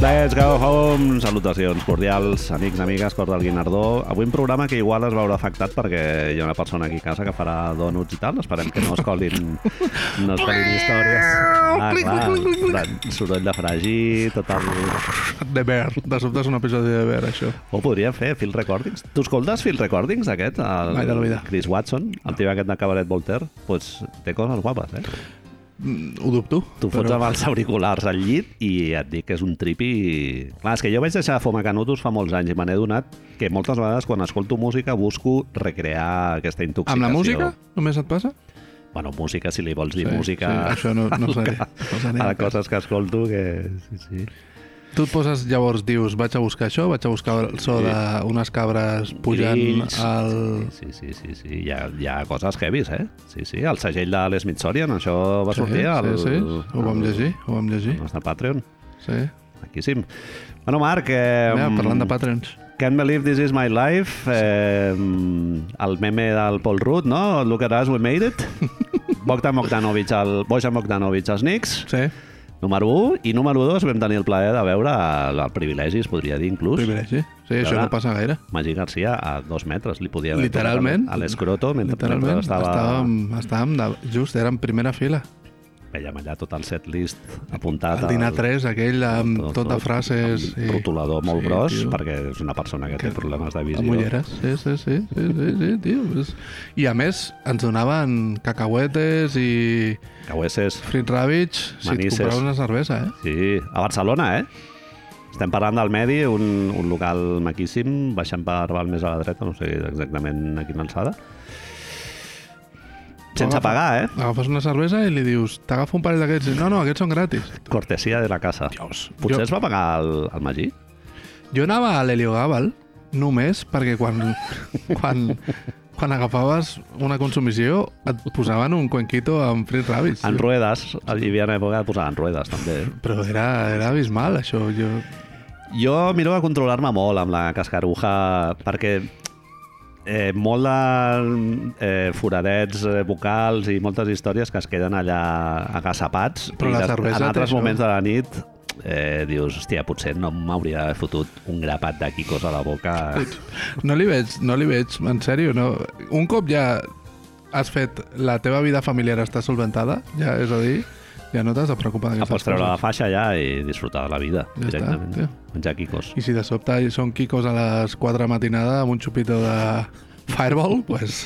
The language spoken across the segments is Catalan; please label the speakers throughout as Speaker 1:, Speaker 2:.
Speaker 1: Let's go home! Salutacions cordials, amics, amigues, cor del Guinardó. Avui un programa que igual es veurà afectat perquè hi ha una persona aquí a casa que farà donuts i tal. Esperem que no es colin, no es colin històries. Ah, clar, soroll de fregir, tot el...
Speaker 2: De Bear. De sobte és un episodi de Bear, això.
Speaker 1: Ho podria fer, Phil Recordings. Tu escoltes Phil Recordings, aquest? El,
Speaker 2: Mai de la vida.
Speaker 1: Chris Watson, el tio aquest de Cabaret Voltaire. Doncs pues, té coses guapes, eh?
Speaker 2: Mm, Ho dubto.
Speaker 1: Tu fots
Speaker 2: però-
Speaker 1: amb els auriculars al llit i et dic que és un tripi... Clar, és que jo vaig deixar de fumar canutos fa molts anys i me n'he donat que moltes vegades quan escolto música busco recrear aquesta intoxicació.
Speaker 2: Amb la música només et passa?
Speaker 1: Bueno, música, si li vols dir
Speaker 2: Sí,
Speaker 1: música...
Speaker 2: sí, això no- no
Speaker 1: al
Speaker 2: sé,
Speaker 1: que-
Speaker 2: no sé ni
Speaker 1: a
Speaker 2: el que.
Speaker 1: coses que escolto que... Sí, sí.
Speaker 2: Tu et poses, llavors dius, vaig a buscar això, vaig a buscar el so
Speaker 1: Sí.
Speaker 2: d'unes cabres pujant
Speaker 1: Grills.
Speaker 2: al...
Speaker 1: Sí, sí, sí, sí. Hi, ha, hi ha coses heavies, eh? Sí, sí. El segell de Les Mitsorian, això va sortir al...
Speaker 2: Sí, sí, ho vam
Speaker 1: al-
Speaker 2: llegir, ho vam llegir,
Speaker 1: Al nostre Patreon.
Speaker 2: sí.
Speaker 1: Maquíssim. Bueno, Marc... Eh,
Speaker 2: Mira, parlant de patrons.
Speaker 1: Can't Believe This Is My Life, eh, el meme del Paul Rudd, no? Look at us, we made it. Bogdan Bogdanovic, el Bojan Bogdanovic als Knicks,
Speaker 2: Sí,
Speaker 1: número 1. I número 2 vam tenir el plaer de veure el, el privilegi, es podria dir inclús.
Speaker 2: privilegi. Sí, això
Speaker 1: Veure-
Speaker 2: no passa gaire.
Speaker 1: Magí Garcia a dos metres, li podia haver
Speaker 2: Literalment.
Speaker 1: tocat A l'escroto mentre,
Speaker 2: Literalment,
Speaker 1: mentre estava...
Speaker 2: estàvem, estàvem de, just, érem primera fila.
Speaker 1: Vèiem allà tot el set list apuntat
Speaker 2: El dinar
Speaker 1: al-
Speaker 2: 3, aquell, amb tot, de frases...
Speaker 1: Amb rotulador molt
Speaker 2: Sí,
Speaker 1: gros,
Speaker 2: tio.
Speaker 1: perquè és una persona que, té problemes de visió.
Speaker 2: Amb ulleres, sí, sí, sí, sí, sí, sí tio. És... I a més, ens donaven cacahuetes i
Speaker 1: Caueses,
Speaker 2: frit rabbits si
Speaker 1: Manises.
Speaker 2: et compraves una cervesa, eh?
Speaker 1: Sí, a Barcelona, eh? Estem parlant del Medi, un, un local maquíssim, baixant per Balmes a la dreta, no sé exactament a quina alçada. Sense
Speaker 2: Agafa-
Speaker 1: pagar, eh?
Speaker 2: Agafes una cervesa i li dius, t'agafo un parell d'aquests. I, No, no, aquests són gratis.
Speaker 1: Cortesia de la casa.
Speaker 2: Dios.
Speaker 1: Potser
Speaker 2: Jo-
Speaker 1: es va pagar el, el Magí.
Speaker 2: Jo anava a l'Heliogàbal només perquè quan, quan, quan agafaves una consumició et posaven un cuenquito amb frit rabbits.
Speaker 1: En ruedes, hi havia una època de posar en ruedes, també. eh?
Speaker 2: Però era, era abismal, això. Jo...
Speaker 1: Jo miro de controlar-me molt amb la cascaruja perquè eh, molt de eh, foradets eh, vocals i moltes històries que es queden allà agassapats
Speaker 2: Però
Speaker 1: i
Speaker 2: la
Speaker 1: des-
Speaker 2: cervesa
Speaker 1: en
Speaker 2: té
Speaker 1: altres
Speaker 2: això.
Speaker 1: moments de la nit eh, dius, hòstia, potser no m'hauria d'haver fotut un grapat de quicos a la boca
Speaker 2: No li veig, no li veig, en sèrio, no. Un cop ja has fet la teva vida familiar està solventada, ja, és a dir, ja no t'has de preocupar
Speaker 1: Ah, pots
Speaker 2: d'aquestes
Speaker 1: treure la
Speaker 2: coses.
Speaker 1: faixa ja i disfrutar de la vida
Speaker 2: Ja està,
Speaker 1: directament,
Speaker 2: tio.
Speaker 1: menjar quicos
Speaker 2: I si de sobte són quicos a les 4 de matinada amb un xupito de Fireball, pues,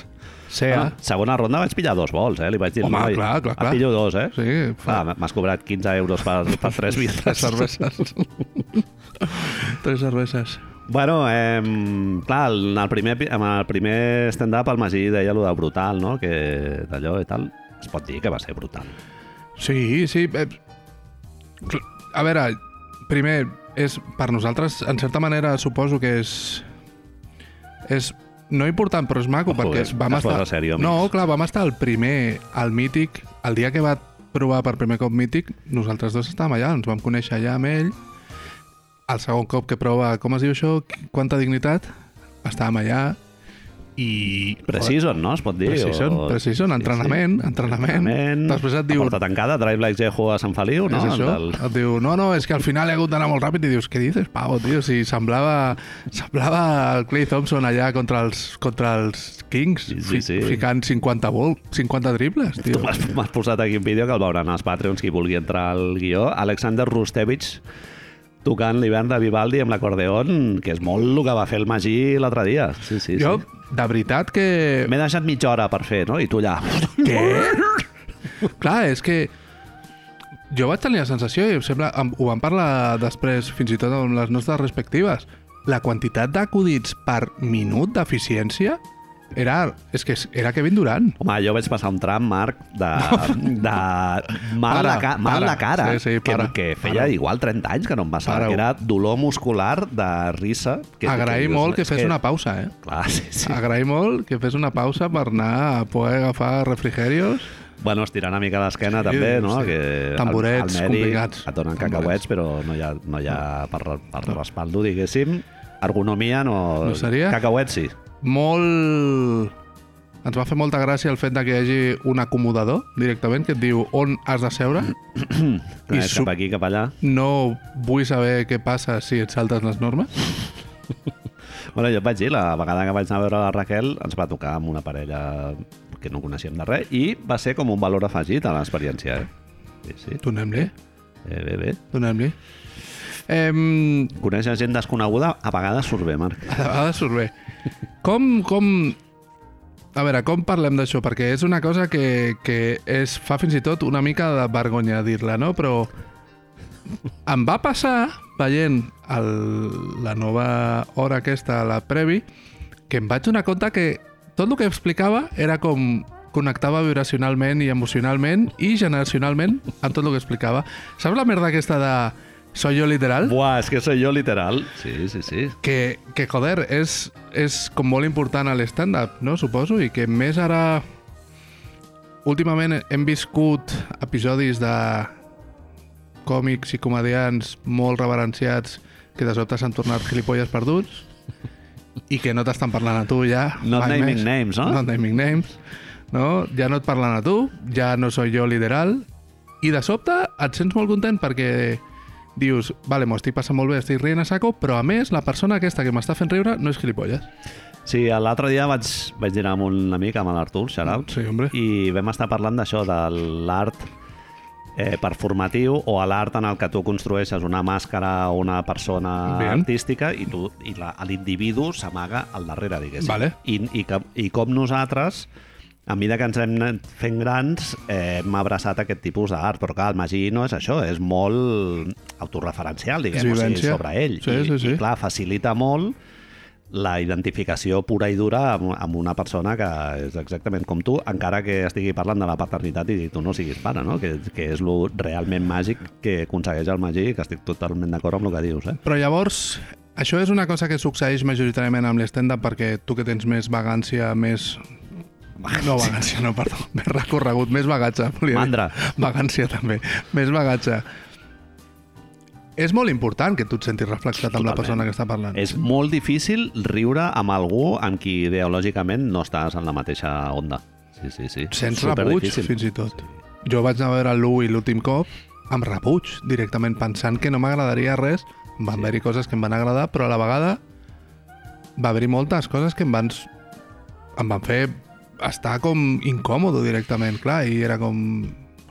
Speaker 2: sea.
Speaker 1: Ah, segona ronda vaig pillar dos vols, eh? Li vaig dir,
Speaker 2: Home,
Speaker 1: "Noi,
Speaker 2: clar, clar, clar."
Speaker 1: et pillo dos, eh?
Speaker 2: Sí, fa
Speaker 1: Clar, m'has cobrat 15 euros per, per tres
Speaker 2: tres
Speaker 1: birres.
Speaker 2: cerveses. tres cerveses.
Speaker 1: Bueno, eh, clar, en el primer, epi- en el primer stand-up el Magí deia allò de brutal, no? Que d'allò i tal. Es pot dir que va ser brutal.
Speaker 2: Sí, sí. eh, cl- A veure, primer, és per nosaltres, en certa manera, suposo que és... És no important, però és maco,
Speaker 1: Ojo,
Speaker 2: perquè
Speaker 1: es-
Speaker 2: vam
Speaker 1: es
Speaker 2: estar...
Speaker 1: posa serio, amics.
Speaker 2: no, clar, vam estar el primer, al mític, el dia que va provar per primer cop mític, nosaltres dos estàvem allà, ens vam conèixer allà amb ell, el segon cop que prova, com es diu això, Qu- quanta dignitat, estàvem allà, i...
Speaker 1: Precision, no? Es pot dir?
Speaker 2: Precision, precision, entrenament, entrenament. Després et
Speaker 1: A
Speaker 2: diu-
Speaker 1: porta tancada, Drive Like Jehu a Sant Feliu, no?
Speaker 2: És això?
Speaker 1: El del-
Speaker 2: Et diu, no, no, és que al final he hagut d'anar molt ràpid i dius, què dices, Pau, tio? Si semblava, semblava el Clay Thompson allà contra els, contra els Kings,
Speaker 1: Sí, sí,
Speaker 2: fi-
Speaker 1: sí.
Speaker 2: ficant 50 vol, 50 triples,
Speaker 1: Tu
Speaker 2: tio.
Speaker 1: m'has m'has posat aquí un vídeo que el veuran als Patreons qui vulgui entrar al guió. Alexander Rustevich tocant l'hivern de Vivaldi amb l'acordeon, que és molt el que va fer el Magí l'altre dia. Sí, sí,
Speaker 2: Jo,
Speaker 1: sí.
Speaker 2: de veritat que...
Speaker 1: M'he deixat mitja hora per fer, no? I tu allà...
Speaker 2: Què? Clar, és que jo vaig tenir la sensació, i em sembla, em- ho vam parlar després, fins i tot amb les nostres respectives, la quantitat d'acudits per minut d'eficiència era, és que era Kevin Durant.
Speaker 1: Home, jo vaig passar un tram, Marc, de, de mal,
Speaker 2: Para,
Speaker 1: de ca mal
Speaker 2: para.
Speaker 1: de cara,
Speaker 2: Sí, sí,
Speaker 1: que,
Speaker 2: para.
Speaker 1: que feia
Speaker 2: Para.
Speaker 1: igual 30 anys que no em passava,
Speaker 2: Para-ho.
Speaker 1: que era dolor muscular de risa. Que,
Speaker 2: Agrair
Speaker 1: dius,
Speaker 2: molt que
Speaker 1: és
Speaker 2: fes una pausa, eh?
Speaker 1: Clar, sí, sí.
Speaker 2: Sí. Agrair molt que fes una pausa per anar a poder agafar refrigerios.
Speaker 1: Bueno, estirar una mica l'esquena
Speaker 2: Sí,
Speaker 1: també, no?
Speaker 2: sí.
Speaker 1: Que al-
Speaker 2: Tamborets
Speaker 1: al Medi
Speaker 2: complicats.
Speaker 1: Et donen
Speaker 2: Tamborets.
Speaker 1: cacauets, però no hi ha, no hi ha per, per respaldo, diguéssim. Ergonomia no...
Speaker 2: No seria?
Speaker 1: Cacauets sí.
Speaker 2: Molt... ens va fer molta gràcia el fet de que hi hagi un acomodador directament que et diu on has de seure.
Speaker 1: Clar, és
Speaker 2: sup-
Speaker 1: cap aquí, cap allà.
Speaker 2: No vull saber què passa si et saltes les normes.
Speaker 1: Bueno, jo et vaig dir, la vegada que vaig anar a veure la Raquel ens va tocar amb una parella que no coneixíem de res i va ser com un valor afegit a l'experiència. Eh? Sí, sí.
Speaker 2: Donem-li,
Speaker 1: Bé, bé, bé.
Speaker 2: donem-li. Em,
Speaker 1: Conèixer gent desconeguda a vegades surt bé, Marc.
Speaker 2: A vegades Ah, surt bé. Com, com... A veure, com parlem d'això? Perquè és una cosa que, que és, fa fins i tot una mica de vergonya dir-la, no? Però em va passar, veient el, la nova hora aquesta, la previ, que em vaig donar compte que tot el que explicava era com connectava vibracionalment i emocionalment i generacionalment amb tot el que explicava. Saps la merda aquesta de soy yo literal?
Speaker 1: Buah, és que soy jo, literal. Sí, sí, sí.
Speaker 2: que, que joder, és, és com molt important a l'estàndard, no? Suposo, i que més ara... Últimament hem viscut episodis de còmics i comedians molt reverenciats que de sobte s'han tornat gilipolles perduts i que no t'estan parlant a tu ja.
Speaker 1: Not
Speaker 2: mai
Speaker 1: naming names, no?
Speaker 2: Not naming names, no? Ja no et parlen a tu, ja no soy jo literal, i de sobte et sents molt content perquè dius, vale, m'ho estic passant molt bé, estic rient a saco, però a més la persona aquesta que m'està fent riure no és gilipolles.
Speaker 1: Sí, l'altre dia vaig, vaig dinar amb un amic, amb l'Artur, shout
Speaker 2: Sí, hombre.
Speaker 1: i vam estar parlant d'això, de l'art eh, performatiu o a l'art en el que tu construeixes una màscara o una persona
Speaker 2: Bien.
Speaker 1: Bien. artística i, tu, i la- l'individu s'amaga al darrere, diguéssim.
Speaker 2: Vale.
Speaker 1: I, i, que, I com nosaltres, a mesura que ens hem anat fent grans, eh, hem abraçat aquest tipus d'art, però clar, el Magí no és això, és molt autoreferencial, diguem, o sigui,
Speaker 2: vivència.
Speaker 1: sobre ell.
Speaker 2: Sí,
Speaker 1: I,
Speaker 2: sí, sí.
Speaker 1: I clar, facilita molt la identificació pura i dura amb, amb una persona que és exactament com tu, encara que estigui parlant de la paternitat i tu no siguis pare, no? Que, que és lo realment màgic que aconsegueix el Magí, que estic totalment d'acord amb el que dius, eh?
Speaker 2: Però llavors, això és una cosa que succeeix majoritàriament amb l'estenda perquè tu que tens més vagància, més... No, vagància, no, perdó. Més recorregut, més bagatge. volia dir.
Speaker 1: Mandra.
Speaker 2: Vagància, també. Més bagatge. És molt important que tu et sentis reflexat amb la
Speaker 1: Totalment.
Speaker 2: persona que està parlant.
Speaker 1: És molt difícil riure amb algú amb qui ideològicament no estàs en la mateixa onda. Sí, sí, sí.
Speaker 2: Sents rebuig,
Speaker 1: Superdifícil.
Speaker 2: fins i tot. Jo vaig anar a veure l'1 i l'últim cop amb rebuig, directament pensant que no m'agradaria res. Em Van
Speaker 1: Sí.
Speaker 2: haver-hi coses que em van agradar, però a la vegada va haver-hi moltes coses que em van, s- em van fer estar com incòmodo directament, clar, i era com...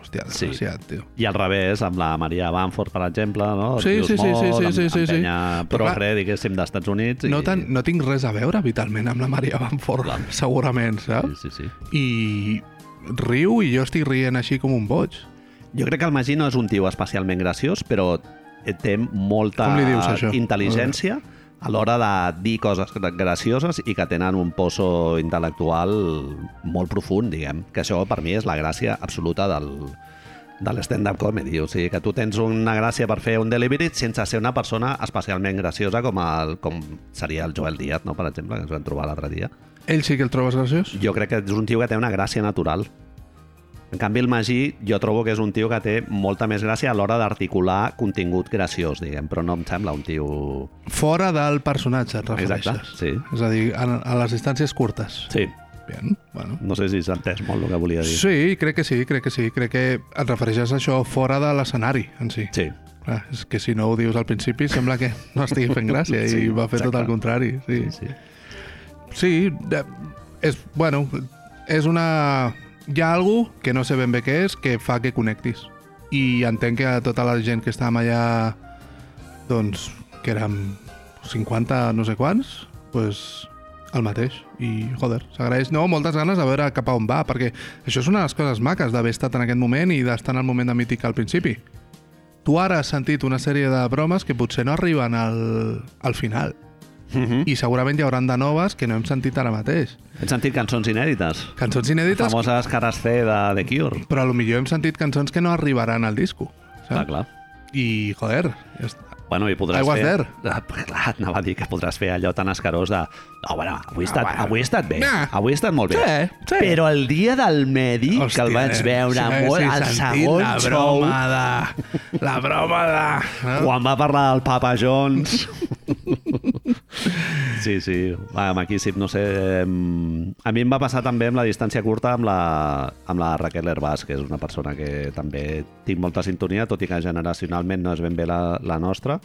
Speaker 2: Hòstia,
Speaker 1: Sí.
Speaker 2: desgraciat, tio.
Speaker 1: I al revés, amb la Maria Bamford, per exemple, no?
Speaker 2: Sí,
Speaker 1: Rius
Speaker 2: sí, sí, sí,
Speaker 1: molt,
Speaker 2: sí,
Speaker 1: amb-
Speaker 2: sí, sí,
Speaker 1: amb
Speaker 2: sí.
Speaker 1: penya
Speaker 2: Però clar,
Speaker 1: progre, diguéssim, d'Estats Units.
Speaker 2: No,
Speaker 1: i...
Speaker 2: tan, no tinc res a veure vitalment amb la Maria Vanford, segurament,
Speaker 1: Sí,
Speaker 2: saps?
Speaker 1: sí, sí.
Speaker 2: I riu i jo estic rient així com un boig.
Speaker 1: Jo crec que el Magí no és un tio especialment graciós, però té molta
Speaker 2: Com li dius, això?
Speaker 1: intel·ligència a l'hora de dir coses gracioses i que tenen un pozo intel·lectual molt profund, diguem. Que això, per mi, és la gràcia absoluta del, de l'stand-up comedy. O sigui, que tu tens una gràcia per fer un delivery sense ser una persona especialment graciosa com, el, com seria el Joel Díaz, no? per exemple, que ens vam trobar l'altre dia.
Speaker 2: Ell sí que el trobes graciós?
Speaker 1: Jo crec que és un tio que té una gràcia natural. En canvi, el Magí, jo trobo que és un tio que té molta més gràcia a l'hora d'articular contingut graciós, diguem, però no em sembla un tio...
Speaker 2: Fora del personatge, et refereixes.
Speaker 1: Exacte, sí.
Speaker 2: És a dir, a, a les distàncies curtes.
Speaker 1: Sí,
Speaker 2: Bien, bueno.
Speaker 1: no sé si s'ha entès molt el que volia dir.
Speaker 2: Sí, crec que sí, crec que sí. Crec que et refereixes a això fora de l'escenari en si.
Speaker 1: Sí,
Speaker 2: Clar, és que si no ho dius al principi sembla que no estigui fent gràcia
Speaker 1: Sí,
Speaker 2: i va fer tot
Speaker 1: exacte.
Speaker 2: el contrari. Sí,
Speaker 1: sí, sí.
Speaker 2: sí de- és, bueno, és una... Hi ha algú que no sé ben bé què és que fa que connectis. I entenc que a tota la gent que estàvem allà, doncs, que érem 50 no sé quants, pues, el mateix. I, joder, s'agraeix. No, moltes ganes de veure cap a on va, perquè això és una de les coses maques d'haver estat en aquest moment i d'estar en el moment de mític al principi. Tu ara has sentit una sèrie de bromes que potser no arriben al, al final.
Speaker 1: Mhm.
Speaker 2: I segurament hi hauran de noves que no hem sentit ara mateix.
Speaker 1: Hem sentit cançons inèdites.
Speaker 2: Cançons inèdites,
Speaker 1: Famoses cares C de The Cure.
Speaker 2: però a lo millor hem sentit cançons que no arribaran al disco.
Speaker 1: Clar,
Speaker 2: Saps?
Speaker 1: clar.
Speaker 2: I, joder, ja està.
Speaker 1: Bueno, i podràs
Speaker 2: I was
Speaker 1: fer...
Speaker 2: there.
Speaker 1: Ah, Clar, anava a dir que podràs fer allò tan escarós de... No, bueno, avui he estat,
Speaker 2: Ah, bueno.
Speaker 1: avui he estat bé.
Speaker 2: Nah.
Speaker 1: Avui he estat molt bé.
Speaker 2: Sí, sí.
Speaker 1: Però el dia del medi, que el vaig
Speaker 2: eh,
Speaker 1: veure molt, al segon
Speaker 2: la
Speaker 1: show,
Speaker 2: broma de... La broma de... No?
Speaker 1: quan va parlar del Papa Jones. Sí, sí. Va, maquíssim, no sé... em, A mi em va passar també amb la distància curta amb la, amb la Raquel Herbàs, que és una persona que també tinc molta sintonia, tot i que generacionalment no és ben bé la, la nostra.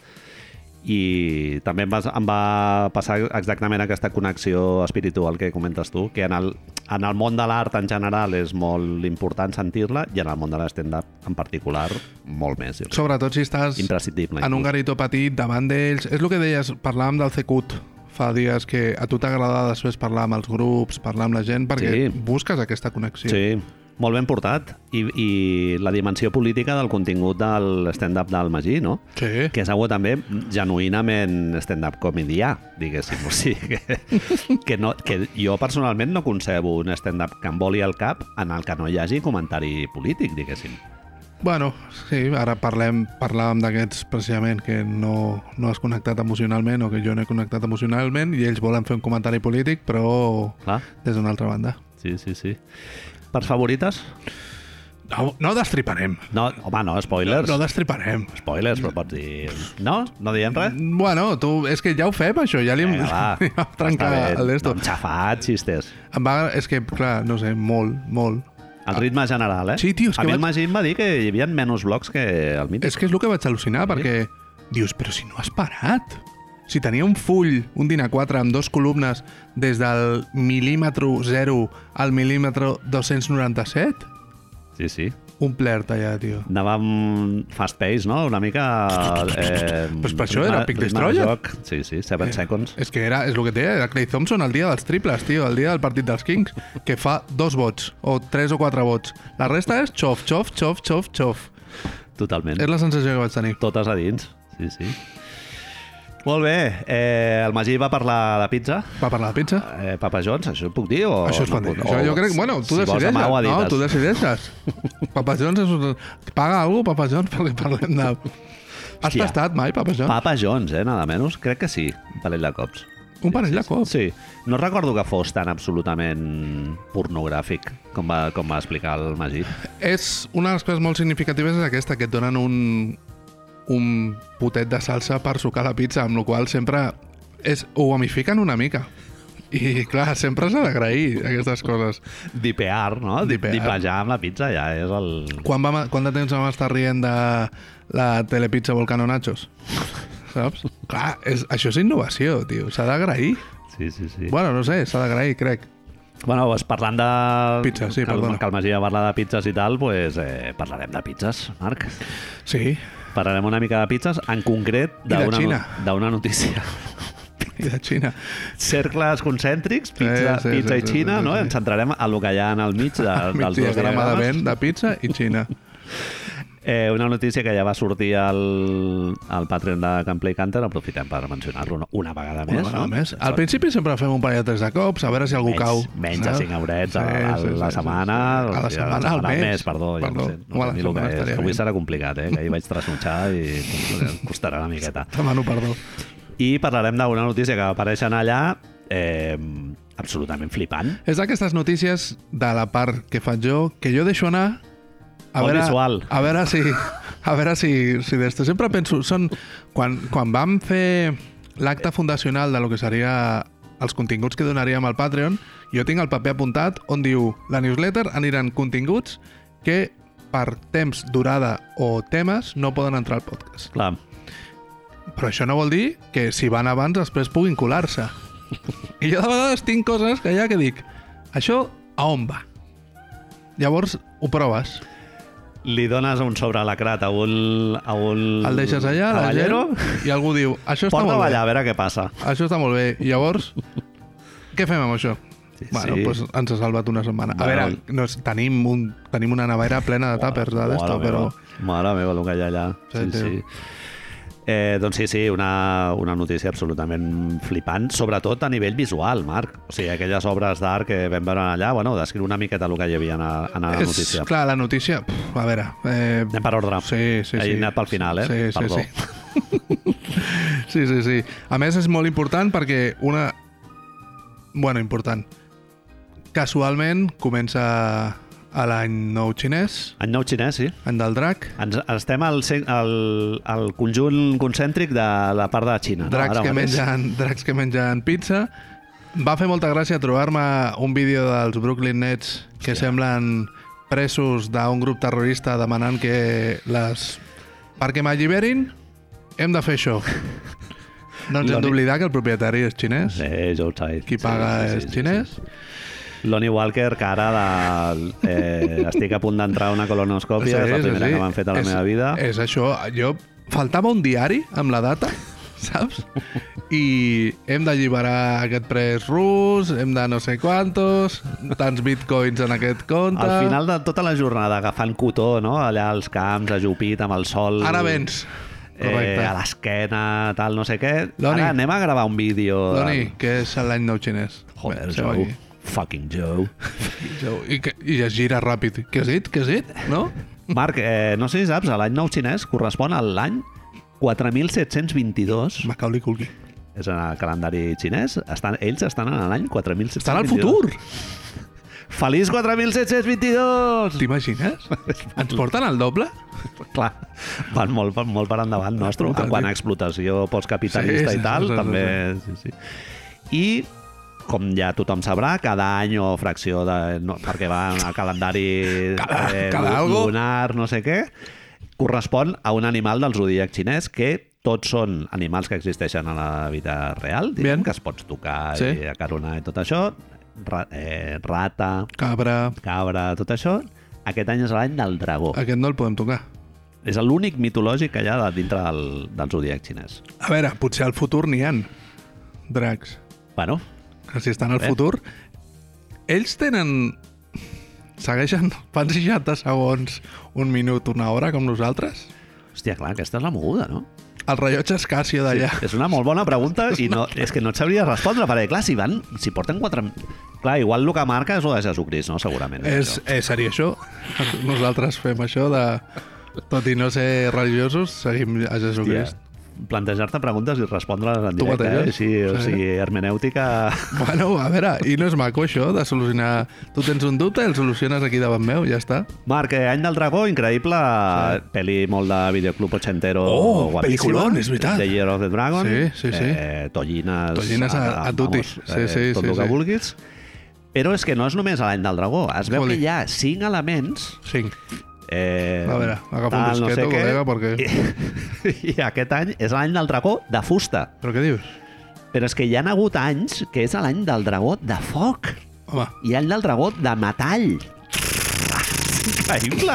Speaker 1: I també em va, em va passar exactament aquesta connexió espiritual que comentes tu, que en el, en el món de l'art en general és molt important sentir-la i en el món de l'stand-up en particular molt més. Jo crec.
Speaker 2: Sobretot si estàs
Speaker 1: Imprescindible.
Speaker 2: en un garito petit davant d'ells. És el que deies, parlàvem del CQT fa dies que a tu t'agrada després parlar amb els grups, parlar amb la gent, perquè
Speaker 1: Sí.
Speaker 2: busques aquesta connexió.
Speaker 1: Sí, molt ben portat. I, i la dimensió política del contingut del stand-up del Magí, no?
Speaker 2: sí.
Speaker 1: Que és algo també genuïnament stand-up comedià, diguéssim. O sigui, que, que, no, que jo personalment no concebo un stand-up que em voli el cap en el que no hi hagi comentari polític, diguéssim.
Speaker 2: Bueno, sí, ara parlem, parlàvem d'aquests precisament que no, no has connectat emocionalment o que jo no he connectat emocionalment i ells volen fer un comentari polític, però
Speaker 1: Clar,
Speaker 2: des d'una altra banda.
Speaker 1: sí, sí, sí. Per favorites?
Speaker 2: No, no destriparem.
Speaker 1: No, home, no,
Speaker 2: No,
Speaker 1: spoilers.
Speaker 2: no destriparem.
Speaker 1: Spoilers, però pots dir... No? No diem res?
Speaker 2: Bueno, tu, és que ja ho fem, això, ja li hem,
Speaker 1: Vinga, va.
Speaker 2: li hem
Speaker 1: Està
Speaker 2: trencat
Speaker 1: bé. Doncs-
Speaker 2: el d'esto.
Speaker 1: No, hem xafat xistes.
Speaker 2: Em va, és que, clar, no sé, molt, molt.
Speaker 1: El ritme general, eh?
Speaker 2: Ah. Sí, tio, és
Speaker 1: a
Speaker 2: que
Speaker 1: mi el
Speaker 2: vaig-
Speaker 1: Magí em va dir que hi havia menys blocs que el mític.
Speaker 2: És que és el que vaig al·lucinar, perquè dius, però si no has parat. Si tenia un full, un dinar 4 amb dos columnes des del mil·límetre 0 al mil·límetre 297,
Speaker 1: Sí, sí.
Speaker 2: un pler tallat, tio.
Speaker 1: Anàvem fast pace, no? Una mica... Eh,
Speaker 2: Pues per això era
Speaker 1: ritme-
Speaker 2: Pic Eh,
Speaker 1: ritme de
Speaker 2: Destroyer.
Speaker 1: joc. Sí, sí, 7 seconds.
Speaker 2: És que era, és el que té, era Clay Thompson el dia dels triples, tio, el dia del partit dels Kings, que fa dos vots, o tres o quatre vots. La resta és xof, xof, xof, xof, xof.
Speaker 1: Totalment.
Speaker 2: eh, És la sensació que vaig tenir.
Speaker 1: Totes a dins. Sí, sí. Molt bé. Eh, el Magí va parlar de pizza.
Speaker 2: Va parlar de pizza?
Speaker 1: Eh, Papa Jones, això ho puc dir? O
Speaker 2: Això es pot
Speaker 1: Oh, no
Speaker 2: dir.
Speaker 1: puc-
Speaker 2: Això
Speaker 1: o-
Speaker 2: jo crec... Bueno, tu
Speaker 1: si
Speaker 2: decideixes.
Speaker 1: Vols, amau,
Speaker 2: no, tu decideixes. Papa Jones és un... Paga algú, Papa Jones, perquè parlem de... Has
Speaker 1: Hòstia.
Speaker 2: tastat mai, Papa Jones?
Speaker 1: Papa Jones, eh, nada menys. Crec que sí, un parell de cops.
Speaker 2: Un parell de cops.
Speaker 1: Sí, no recordo que fos tan absolutament pornogràfic com va, com va explicar el Magí.
Speaker 2: És una de les coses molt significatives és aquesta, que et donen un, un potet de salsa per sucar la pizza, amb la qual cosa sempre és, ho amifiquen una mica. I clar, sempre s'ha d'agrair aquestes coses.
Speaker 1: Dipear, no?
Speaker 2: Dipear.
Speaker 1: Dipear. Dipejar amb la pizza ja és el...
Speaker 2: Quan, vam, quant de temps vam estar rient de la telepizza Volcano Nachos? Saps? Clar, és, això és innovació, tio. S'ha d'agrair.
Speaker 1: Sí, sí, sí.
Speaker 2: Bueno, no sé, s'ha d'agrair, crec.
Speaker 1: Bueno, doncs parlant de...
Speaker 2: Pizza, sí,
Speaker 1: que, el-
Speaker 2: perdona.
Speaker 1: Que el Magí va parlar de pizzas i tal, doncs eh, parlarem de pizzas, Marc.
Speaker 2: Sí,
Speaker 1: Parlarem una mica de pizzas, en concret
Speaker 2: de
Speaker 1: d'una no-
Speaker 2: Xina.
Speaker 1: d'una notícia.
Speaker 2: i de Xina.
Speaker 1: Cercles concèntrics, pizza,
Speaker 2: Eh, Sí, sí,
Speaker 1: pizza
Speaker 2: sí,
Speaker 1: i
Speaker 2: sí,
Speaker 1: Xina,
Speaker 2: sí,
Speaker 1: no?
Speaker 2: sí.
Speaker 1: Ens centrarem a lo que hi ha en el mig de, dels
Speaker 2: Migdia
Speaker 1: dos
Speaker 2: grama de
Speaker 1: diagrames.
Speaker 2: vent, de pizza i Xina.
Speaker 1: Eh, una notícia que ja va sortir al, al Patreon de Can Play Canter, aprofitem per mencionar-lo una- una vegada més.
Speaker 2: Una vegada
Speaker 1: no?
Speaker 2: més. Al
Speaker 1: Són
Speaker 2: principi sempre fem un parell de tres de cops, a veure si algú
Speaker 1: menys,
Speaker 2: cau.
Speaker 1: Menys de
Speaker 2: saps?
Speaker 1: 5 eurets a, a, a la setmana.
Speaker 2: sí. A la
Speaker 1: o sigui,
Speaker 2: setmana, al mes.
Speaker 1: perdó. jo
Speaker 2: Perdó,
Speaker 1: no sé,
Speaker 2: o
Speaker 1: no
Speaker 2: a la
Speaker 1: sé ni el que
Speaker 2: setmana
Speaker 1: és,
Speaker 2: estaria
Speaker 1: que
Speaker 2: bé.
Speaker 1: Avui serà complicat, eh? Que ahir vaig trasnotxar i costarà una miqueta.
Speaker 2: Demano perdó.
Speaker 1: I parlarem d'una notícia que va aparèixer allà eh, absolutament flipant.
Speaker 2: És d'aquestes notícies de la part que faig jo, que jo deixo anar a
Speaker 1: Molt
Speaker 2: veure,
Speaker 1: visual.
Speaker 2: a veure si... A veure si, si d'esto. Sempre penso... Són, quan, quan vam fer l'acte fundacional de lo que seria els continguts que donaríem al Patreon, jo tinc el paper apuntat on diu la newsletter aniran continguts que per temps, durada o temes no poden entrar al podcast.
Speaker 1: Clar,
Speaker 2: Però això no vol dir que si van abans després puguin colar-se. I jo de vegades tinc coses que ja que dic, això a on va? Llavors ho proves.
Speaker 1: li dones un sobre alacrat a un... A un
Speaker 2: El deixes allà, a la gent,
Speaker 1: cavallero,
Speaker 2: i algú diu, això està
Speaker 1: Porta a
Speaker 2: molt
Speaker 1: ballar,
Speaker 2: bé.
Speaker 1: a veure què passa.
Speaker 2: Això està molt bé. I llavors, què fem amb això?
Speaker 1: Sí,
Speaker 2: bueno,
Speaker 1: sí.
Speaker 2: Doncs ens ha salvat una setmana. A
Speaker 1: Bueno.
Speaker 2: veure, no, és- tenim, un, tenim una nevera plena de tàpers de d'esto,
Speaker 1: Mare
Speaker 2: però...
Speaker 1: meva, Mare meva, el que hi ha allà. Sí,
Speaker 2: Sí,
Speaker 1: sí.
Speaker 2: tio.
Speaker 1: Eh, doncs sí, sí, una, una notícia absolutament flipant, sobretot a nivell visual, Marc. O sigui, aquelles obres d'art que vam veure allà, bueno, descriu una miqueta el que hi havia en, a- en la
Speaker 2: És,
Speaker 1: notícia.
Speaker 2: clar, la notícia... Pff, a veure... Eh,
Speaker 1: Anem per ordre.
Speaker 2: Sí, sí, sí.
Speaker 1: Ah, He anat pel final, eh?
Speaker 2: Sí, sí,
Speaker 1: Perdó.
Speaker 2: sí. sí, sí, sí. A més, és molt important perquè una... Bueno, important. Casualment comença a l'any nou xinès,
Speaker 1: Any nou xinès, sí.
Speaker 2: any del drac,
Speaker 1: Ens, estem al, cen- al, al conjunt concèntric de la part de la Xina. no?
Speaker 2: dracs,
Speaker 1: Ara
Speaker 2: que
Speaker 1: mateix.
Speaker 2: mengen, dracs que mengen pizza. Va fer molta gràcia trobar-me un vídeo dels Brooklyn Nets que semblen presos d'un grup terrorista demanant que les... Perquè m'alliberin, hem de fer això. No ens hem
Speaker 1: L'únic-
Speaker 2: d'oblidar que el propietari és xinès.
Speaker 1: Sí, Joe Tsai.
Speaker 2: Qui
Speaker 1: Sí,
Speaker 2: paga és xinès.
Speaker 1: Lonnie Walker, que ara de, eh, estic a punt d'entrar a una colonoscòpia, és la primera que m'han fet a la
Speaker 2: és,
Speaker 1: meva vida.
Speaker 2: És això. Jo... Faltava un diari amb la data, saps? I hem d'alliberar aquest pres rus, hem de no sé quantos, tants bitcoins en aquest compte...
Speaker 1: Al final de tota la jornada, agafant cotó, no? allà als camps, ajupit, amb el sol...
Speaker 2: Ara vens.
Speaker 1: Eh,
Speaker 2: Correcte.
Speaker 1: a l'esquena, tal, no sé què.
Speaker 2: Lonnie.
Speaker 1: Ara anem a gravar un vídeo. de-
Speaker 2: Doni, que és l'any nou xinès.
Speaker 1: Joder,
Speaker 2: Seu
Speaker 1: Joe.
Speaker 2: aquí.
Speaker 1: Fucking Joe.
Speaker 2: Seu- I, que, I es gira ràpid. Què has dit? Què has dit? No?
Speaker 1: Marc, eh, no sé si saps, l'any nou xinès correspon a l'any 4722.
Speaker 2: Macaulay Culkin.
Speaker 1: És en el calendari xinès. Estan, ells estan en l'any 4722.
Speaker 2: Estan al futur!
Speaker 1: Feliç 4722!
Speaker 2: T'imagines? Ens porten al doble?
Speaker 1: Clar, van molt, van molt per endavant nostre, en quant a explotació postcapitalista
Speaker 2: Sí,
Speaker 1: sí,
Speaker 2: sí,
Speaker 1: i tal,
Speaker 2: sí, sí,
Speaker 1: també... Sí, sí. I com ja tothom sabrà, cada any o fracció de... No, perquè va en el calendari eh,
Speaker 2: Cada- cada algo.
Speaker 1: lunar, no sé què, correspon a un animal del zodíac xinès que tots són animals que existeixen a la vida real, diguem,
Speaker 2: Bien.
Speaker 1: que es pots tocar
Speaker 2: Sí.
Speaker 1: i acaronar i tot això, ra, eh, rata,
Speaker 2: Cabra.
Speaker 1: cabra, tot això. Aquest any és l'any del dragó.
Speaker 2: Aquest no el podem tocar.
Speaker 1: És l'únic mitològic que hi ha de dintre del, del zodiac xinès.
Speaker 2: A veure, potser al futur n'hi han dracs.
Speaker 1: Bueno,
Speaker 2: Que si estan al
Speaker 1: Bé.
Speaker 2: futur... Ells tenen... Segueixen... Fan 60 segons, un minut, una hora, com nosaltres?
Speaker 1: hòstia, clar, aquesta és la moguda, no?
Speaker 2: El rellotge és Casio d'allà.
Speaker 1: És una molt bona pregunta i no, és que no et sabria respondre, perquè clar, si van, si porten quatre... Clar, igual el que marca és el de Jesucrist, no? Segurament.
Speaker 2: És,
Speaker 1: això.
Speaker 2: eh, seria això. Nosaltres fem això de... Tot i no ser religiosos, seguim a
Speaker 1: Hòstia,
Speaker 2: Jesucrist.
Speaker 1: plantejar-te preguntes i respondre-les en
Speaker 2: Tu
Speaker 1: directe, eh?
Speaker 2: mateix?
Speaker 1: Així, o
Speaker 2: Sí.
Speaker 1: sigui, hermenèutica...
Speaker 2: Bueno, a veure, i no és maco això de solucionar... Tu tens un dubte, el soluciones aquí davant meu, ja està.
Speaker 1: Marc, eh, Any del Dragó, increïble, sí. peli molt de videoclub ochentero
Speaker 2: Oh,
Speaker 1: guapíssima.
Speaker 2: peliculón, és veritat.
Speaker 1: The Year of the Dragon.
Speaker 2: Sí, sí, sí.
Speaker 1: Eh, tollines,
Speaker 2: Tollines a- a tutti.
Speaker 1: vamos, eh,
Speaker 2: Sí, sí,
Speaker 1: tot
Speaker 2: sí,
Speaker 1: el que
Speaker 2: sí.
Speaker 1: vulguis. Però és que no és només l'any del dragó. Es veu
Speaker 2: Joli.
Speaker 1: que hi ha cinc elements...
Speaker 2: Cinc.
Speaker 1: Eh,
Speaker 2: A veure, agafa un
Speaker 1: tal,
Speaker 2: disqueto,
Speaker 1: què.
Speaker 2: col·lega, perquè-
Speaker 1: I, I aquest any és l'any del dragó de fusta.
Speaker 2: Però què dius?
Speaker 1: Però és que hi han hagut anys que és l'any del dragó de foc.
Speaker 2: Home,
Speaker 1: I any del dragó de metall. Increïble!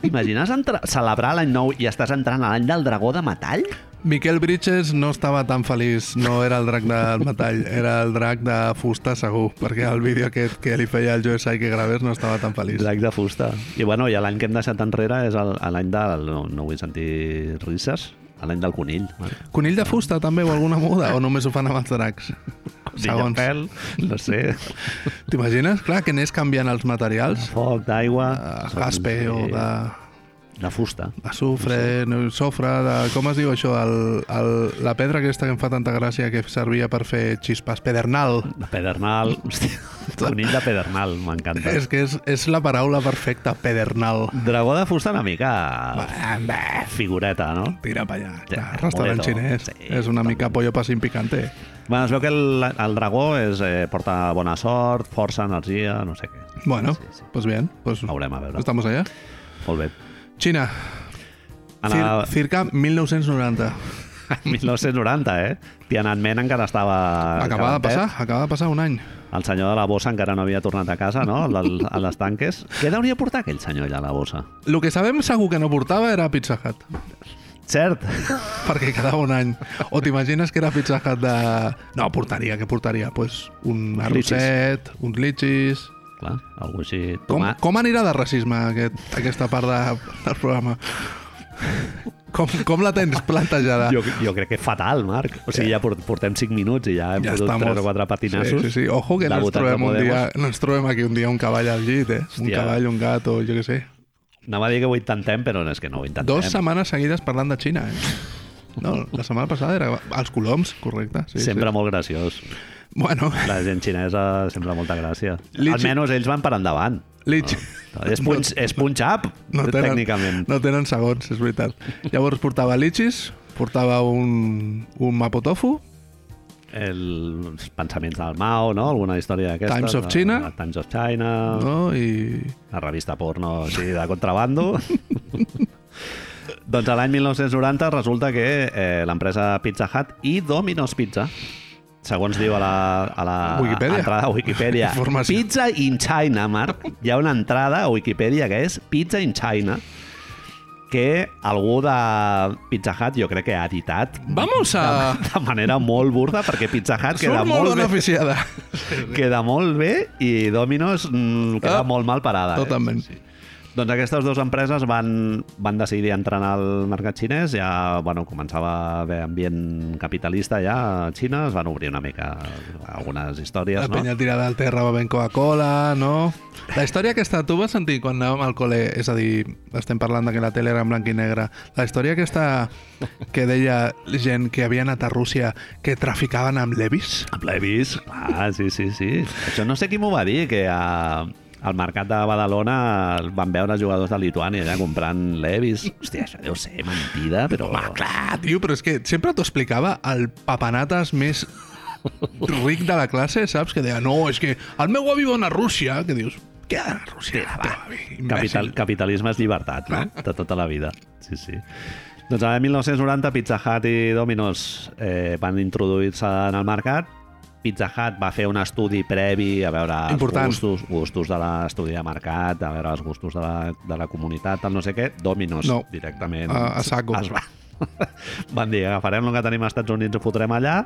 Speaker 1: T'imagines entra- celebrar l'any nou i estàs entrant a l'any del dragó de metall?
Speaker 2: Miquel Bridges no estava tan feliç, no era el drac del metall, era el drac de fusta segur, perquè el vídeo aquest que li feia el Joe Sai que gravés no estava tan feliç.
Speaker 1: Drac de fusta. I bueno, i l'any que hem deixat enrere és el- l'any del... No, no vull sentir risses. L'any del conill.
Speaker 2: Conill de fusta també o alguna moda, o només ho fan amb els dracs?
Speaker 1: Conill de
Speaker 2: Segons.
Speaker 1: pèl, no sé.
Speaker 2: T'imagines? Clar, que anés canviant els materials,
Speaker 1: Foc, d'aigua...
Speaker 2: de jaspe Ah, o de
Speaker 1: De fusta.
Speaker 2: azufre, no, sofre, de, com es diu això? El, el, la pedra aquesta que em fa tanta gràcia que servia per fer xispes, pedernal.
Speaker 1: De pedernal. Hòstia, conill de pedernal, m'encanta.
Speaker 2: És que és, és la paraula perfecta, pedernal.
Speaker 1: Dragó de fusta una mica
Speaker 2: Bah, bah.
Speaker 1: figureta, no?
Speaker 2: Tira pa allà.
Speaker 1: Sí,
Speaker 2: Clar, restaurant
Speaker 1: moleto.
Speaker 2: xinès.
Speaker 1: Sí,
Speaker 2: és una mica pollo passin picante.
Speaker 1: Bueno, es veu que el, el dragó és, eh, porta bona sort, força, energia, no sé què.
Speaker 2: Bueno,
Speaker 1: Sí, sí.
Speaker 2: pues bien. Pues
Speaker 1: Veurem, a veure.
Speaker 2: Estamos allá.
Speaker 1: Molt bé.
Speaker 2: Xina.
Speaker 1: En
Speaker 2: Cir
Speaker 1: el
Speaker 2: Circa 1990.
Speaker 1: 1990, eh? Tiananmen encara estava...
Speaker 2: Acaba de
Speaker 1: calentet.
Speaker 2: passar, acaba de passar un any.
Speaker 1: El senyor de la bossa encara no havia tornat a casa, no? Al- al- A les tanques. Què deuria portar aquell senyor allà a la bossa?
Speaker 2: El que sabem segur que no portava era Pizza Hut,
Speaker 1: Cert!
Speaker 2: perquè quedava un any. O t'imagines que era Pizza Hut de... No, portaria, que portaria? Pues un
Speaker 1: litxis.
Speaker 2: arrosset, uns litxis...
Speaker 1: Clar, algú així...
Speaker 2: Com,
Speaker 1: Toma...
Speaker 2: com anirà de racisme aquest, aquesta part de, del programa? Com, com la tens plantejada?
Speaker 1: Jo, jo crec que fatal, Marc. O sigui, ja port- portem 5 minuts i ja hem ja fotut 3 o 4 patinassos.
Speaker 2: Sí, sí, sí. Ojo que no ens,
Speaker 1: Debutats de
Speaker 2: trobem un
Speaker 1: Podemos.
Speaker 2: dia, no ens trobem aquí un dia un cavall al llit, eh? Un
Speaker 1: Hòstia.
Speaker 2: cavall, un gat o jo què sé.
Speaker 1: Anava a dir que ho intentem, però no és que no ho intentem.
Speaker 2: Dos setmanes seguides parlant de Xina, eh? No, la setmana passada era els coloms, correcte. Sí,
Speaker 1: Sempre molt graciós.
Speaker 2: Sí. Bueno,
Speaker 1: La gent xinesa sembla molta gràcia.
Speaker 2: Li-
Speaker 1: Almenys ells van per endavant.
Speaker 2: Leach.
Speaker 1: És punx, és punx up, no tenen, tècnicament.
Speaker 2: No tenen segons, és veritat. Llavors portava litxis, portava un, un mapotofu,
Speaker 1: El, els pensaments del Mao, no? Alguna història d'aquesta.
Speaker 2: Times of China.
Speaker 1: Times of China.
Speaker 2: no? I...
Speaker 1: La revista porno així de contrabando. doncs a l'any 1990 resulta que eh, l'empresa Pizza Hut i Domino's Pizza segons diu a la, a la
Speaker 2: Wikipedia.
Speaker 1: entrada a Wikipedia.
Speaker 2: Informació.
Speaker 1: Pizza in China, Marc. Hi ha una entrada a Wikipedia que és Pizza in China que algú de Pizza Hut jo crec que ha editat
Speaker 2: Vamos a...
Speaker 1: de manera molt burda perquè Pizza Hut queda
Speaker 2: Surt
Speaker 1: molt,
Speaker 2: molt
Speaker 1: bé,
Speaker 2: beneficiada.
Speaker 1: queda molt bé i Domino's mm, queda
Speaker 2: Ah,
Speaker 1: molt mal parada. Eh?
Speaker 2: totalment.
Speaker 1: Sí, sí. Doncs aquestes dues empreses van, van decidir entrar al mercat xinès, ja bueno, començava a haver ambient capitalista ja a Xina, es van obrir una mica algunes històries,
Speaker 2: La
Speaker 1: no?
Speaker 2: penya tirada al terra bevent Coca-Cola, no? La història aquesta, tu vas sentir quan anàvem al col·le, és a dir, estem parlant de que la tele era en blanc i negre, la història aquesta que deia gent que havia anat a Rússia que traficaven amb levis?
Speaker 1: Amb Levis, clar, Ah, sí, sí, sí. Això no sé qui m'ho va dir, que a, al mercat de Badalona van veure jugadors de Lituània ja comprant Levis. Hòstia, això deu ser mentida, però... Home,
Speaker 2: Ah, tio, però és que sempre t'ho explicava el papanates més ric de la classe, saps? Que deia, no, és que el meu avi va anar a Rússia, que dius, què ha d'anar a Rússia? Va,
Speaker 1: Capital, capitalisme és llibertat, no? De tota la vida. Sí, sí. Doncs l'any 1990 Pizza Hut i Domino's eh, van introduir-se en el mercat. Pizza Hut va fer un estudi previ a veure
Speaker 2: Important.
Speaker 1: els gustos, gustos de l'estudi de mercat, a veure els gustos de la, de la comunitat, tal no sé què. Domino's
Speaker 2: No.
Speaker 1: directament.
Speaker 2: A- a saco.
Speaker 1: Es va. van dir, agafarem el que tenim als Estats Units, ho fotrem allà,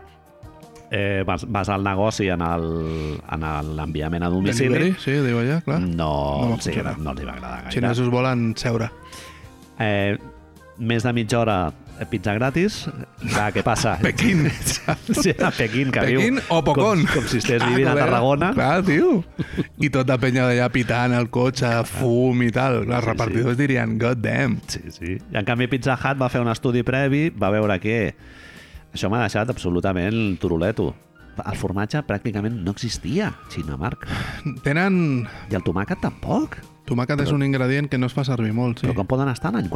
Speaker 1: eh, vas, vas al negoci en el- en el- l'enviament a domicili.
Speaker 2: Delivery, sí, diu allà, clar.
Speaker 1: No,
Speaker 2: No
Speaker 1: no,
Speaker 2: va
Speaker 1: sí,
Speaker 2: funcionar.
Speaker 1: no els hi va agradar
Speaker 2: Els
Speaker 1: gaire.
Speaker 2: xinesos volen seure.
Speaker 1: Eh, més de mitja hora eh, pizza gratis. Clar, què passa?
Speaker 2: Pequín.
Speaker 1: Sí, a Pequín, que
Speaker 2: Pequín
Speaker 1: viu...
Speaker 2: o Pocón. Ah,
Speaker 1: Com, com si estigués vivint a
Speaker 2: col·lega.
Speaker 1: Tarragona.
Speaker 2: Clar, tio. I tota penya d'allà pitant el cotxe, fum i tal. Els
Speaker 1: Sí,
Speaker 2: repartidors dirien, god damn.
Speaker 1: Sí, sí. I en canvi Pizza Hut va fer un estudi previ, va veure que això m'ha deixat absolutament turuleto. El formatge pràcticament no existia a Xina, Marc.
Speaker 2: Tenen...
Speaker 1: I el tomàquet tampoc.
Speaker 2: Tomàquet és un ingredient que no es fa servir molt,
Speaker 1: Sí.
Speaker 2: sí.
Speaker 1: Però com poden estar l'any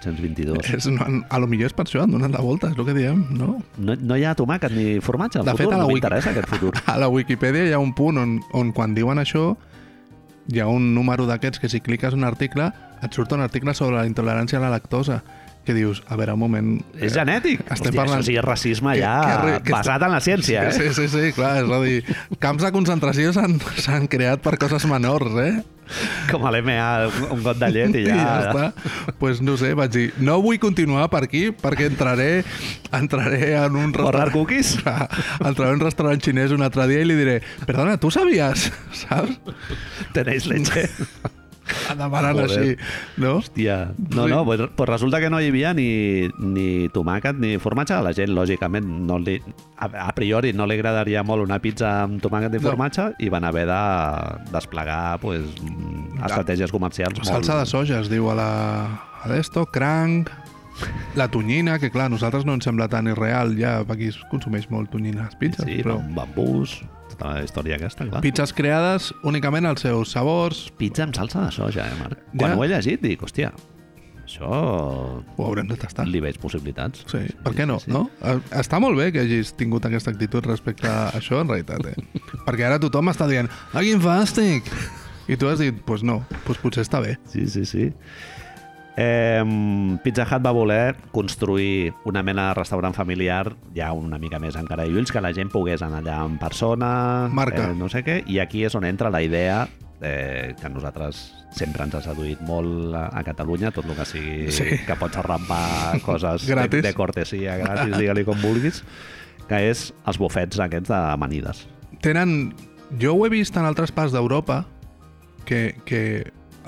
Speaker 1: 4722?
Speaker 2: És, no, a lo millor és per això, han donat la volta, és el que diem, no?
Speaker 1: No, no hi ha tomàquet ni formatge al
Speaker 2: De fet,
Speaker 1: futur.
Speaker 2: a la
Speaker 1: no
Speaker 2: Wiki-
Speaker 1: m'interessa aquest futur.
Speaker 2: A la Wikipedia hi ha un punt on, on quan diuen això hi ha un número d'aquests que si cliques un article et surt un article sobre la intolerància a la lactosa que dius, a veure, un moment... eh,
Speaker 1: És genètic.
Speaker 2: Estem
Speaker 1: Hòstia,
Speaker 2: parlant-
Speaker 1: Això sí, és racisme
Speaker 2: Que-
Speaker 1: ja
Speaker 2: que re- que
Speaker 1: basat en la ciència, eh?
Speaker 2: Sí, sí, sí, clar, és a dir, camps de concentració s'han s'han creat per coses menors, eh?
Speaker 1: Com a l'MA, un got de llet i ja...
Speaker 2: I ja està. pues no sé, vaig dir, no vull continuar per aquí perquè entraré, entraré en un
Speaker 1: Borrar cookies?
Speaker 2: Clar, entraré en un restaurant xinès un altre dia i li diré, perdona, tu sabies, saps?
Speaker 1: Tenéis leche.
Speaker 2: Demanant
Speaker 1: Joder.
Speaker 2: així, no?
Speaker 1: Hòstia. No, no, pues, pues resulta que no hi havia ni, ni tomàquet ni formatge. A la gent, lògicament, no li, a, a priori no li agradaria molt una pizza amb tomàquet i
Speaker 2: No.
Speaker 1: formatge i van haver de desplegar pues, mm, estratègies comercials molt...
Speaker 2: Salsa de soja es diu a la... a d'esto, cranc, la tonyina, que clar, a nosaltres no ens sembla tan irreal, ja aquí es consumeix molt tonyina a les pizzas,
Speaker 1: Sí,
Speaker 2: però...
Speaker 1: però... amb bambús, tota la història aquesta, clar.
Speaker 2: Pizzas creades únicament als seus sabors.
Speaker 1: Pizza amb salsa de soja, eh, Marc? Quan
Speaker 2: Ja.
Speaker 1: ho he llegit, dic, hòstia, això
Speaker 2: Ho haurem de tastar.
Speaker 1: li veig possibilitats.
Speaker 2: Sí, per què no,
Speaker 1: sí, sí.
Speaker 2: no? Eh, Està molt bé que hagis tingut aquesta actitud respecte a això, en realitat, eh? Perquè ara tothom està dient, ah, quin fàstic! I tu has dit, doncs pues no, doncs pues potser està bé.
Speaker 1: Sí, sí, sí. Eh, Pizza Hut va voler construir una mena de restaurant familiar ja una mica més encara i ulls, que la gent pogués anar allà en persona,
Speaker 2: Marca.
Speaker 1: Eh, no sé què, i aquí és on entra la idea eh, que a nosaltres sempre ens ha seduït molt a, a Catalunya, tot el que sigui
Speaker 2: Sí.
Speaker 1: que pots arrampar coses de,
Speaker 2: Gratis.
Speaker 1: de cortesia, gratis, digue-li com vulguis, que és els bufets aquests d'amanides.
Speaker 2: Tenen... Jo ho he vist en altres parts d'Europa que, que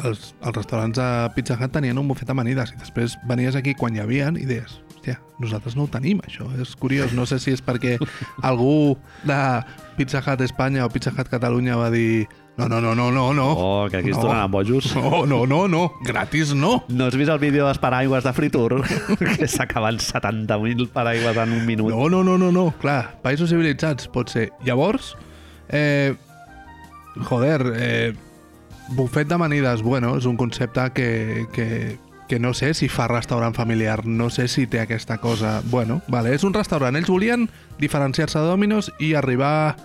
Speaker 2: els, els restaurants de Pizza Hut tenien un bufet amanides i després venies aquí quan hi havien i deies, hòstia, nosaltres no ho tenim, això. És curiós, no sé si és perquè algú de Pizza Hut Espanya o Pizza Hut Catalunya va dir no, no, no, no, no, no.
Speaker 1: Oh, que aquí es
Speaker 2: no.
Speaker 1: tornen bojos.
Speaker 2: No, no, no, no. Gratis no.
Speaker 1: No has vist el vídeo dels paraigües de Fritur? que s'acaben 70.000 paraigües en un minut.
Speaker 2: No, no, no, no, no. Clar, països civilitzats pot ser. Llavors, eh, joder, eh, Bufet d'amanides, bueno, és un concepte que, que, que no sé si fa restaurant familiar, no sé si té aquesta cosa. Bueno, vale, és un restaurant. Ells volien diferenciar-se de Domino's i arribar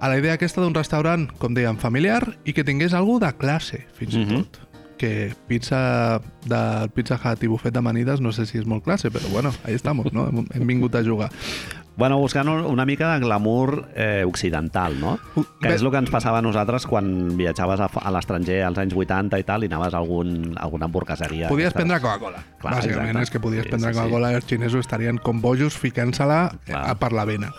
Speaker 2: a la idea aquesta d'un restaurant, com dèiem, familiar i que tingués algú de classe, fins i
Speaker 1: Mhm.
Speaker 2: tot. Que pizza del Pizza Hut i bufet d'amanides no sé si és molt classe, però bueno, ahí estamos, no? Hem, hem vingut a jugar.
Speaker 1: Bueno, buscant un- una mica de glamour eh, occidental, no?
Speaker 2: U-
Speaker 1: Que
Speaker 2: bé-
Speaker 1: és el que ens passava a nosaltres quan viatjaves a, fa- a l'estranger als anys 80 i tal i anaves a, algun, a alguna hamburgueseria.
Speaker 2: Podies
Speaker 1: d'aquestes.
Speaker 2: prendre Coca-Cola.
Speaker 1: Clar,
Speaker 2: Bàsicament
Speaker 1: exacte.
Speaker 2: és que podies
Speaker 1: Sí,
Speaker 2: prendre
Speaker 1: sí, sí.
Speaker 2: Coca-Cola i els xinesos estarien com bojos ficant-se-la eh,
Speaker 1: Clar.
Speaker 2: per la vena.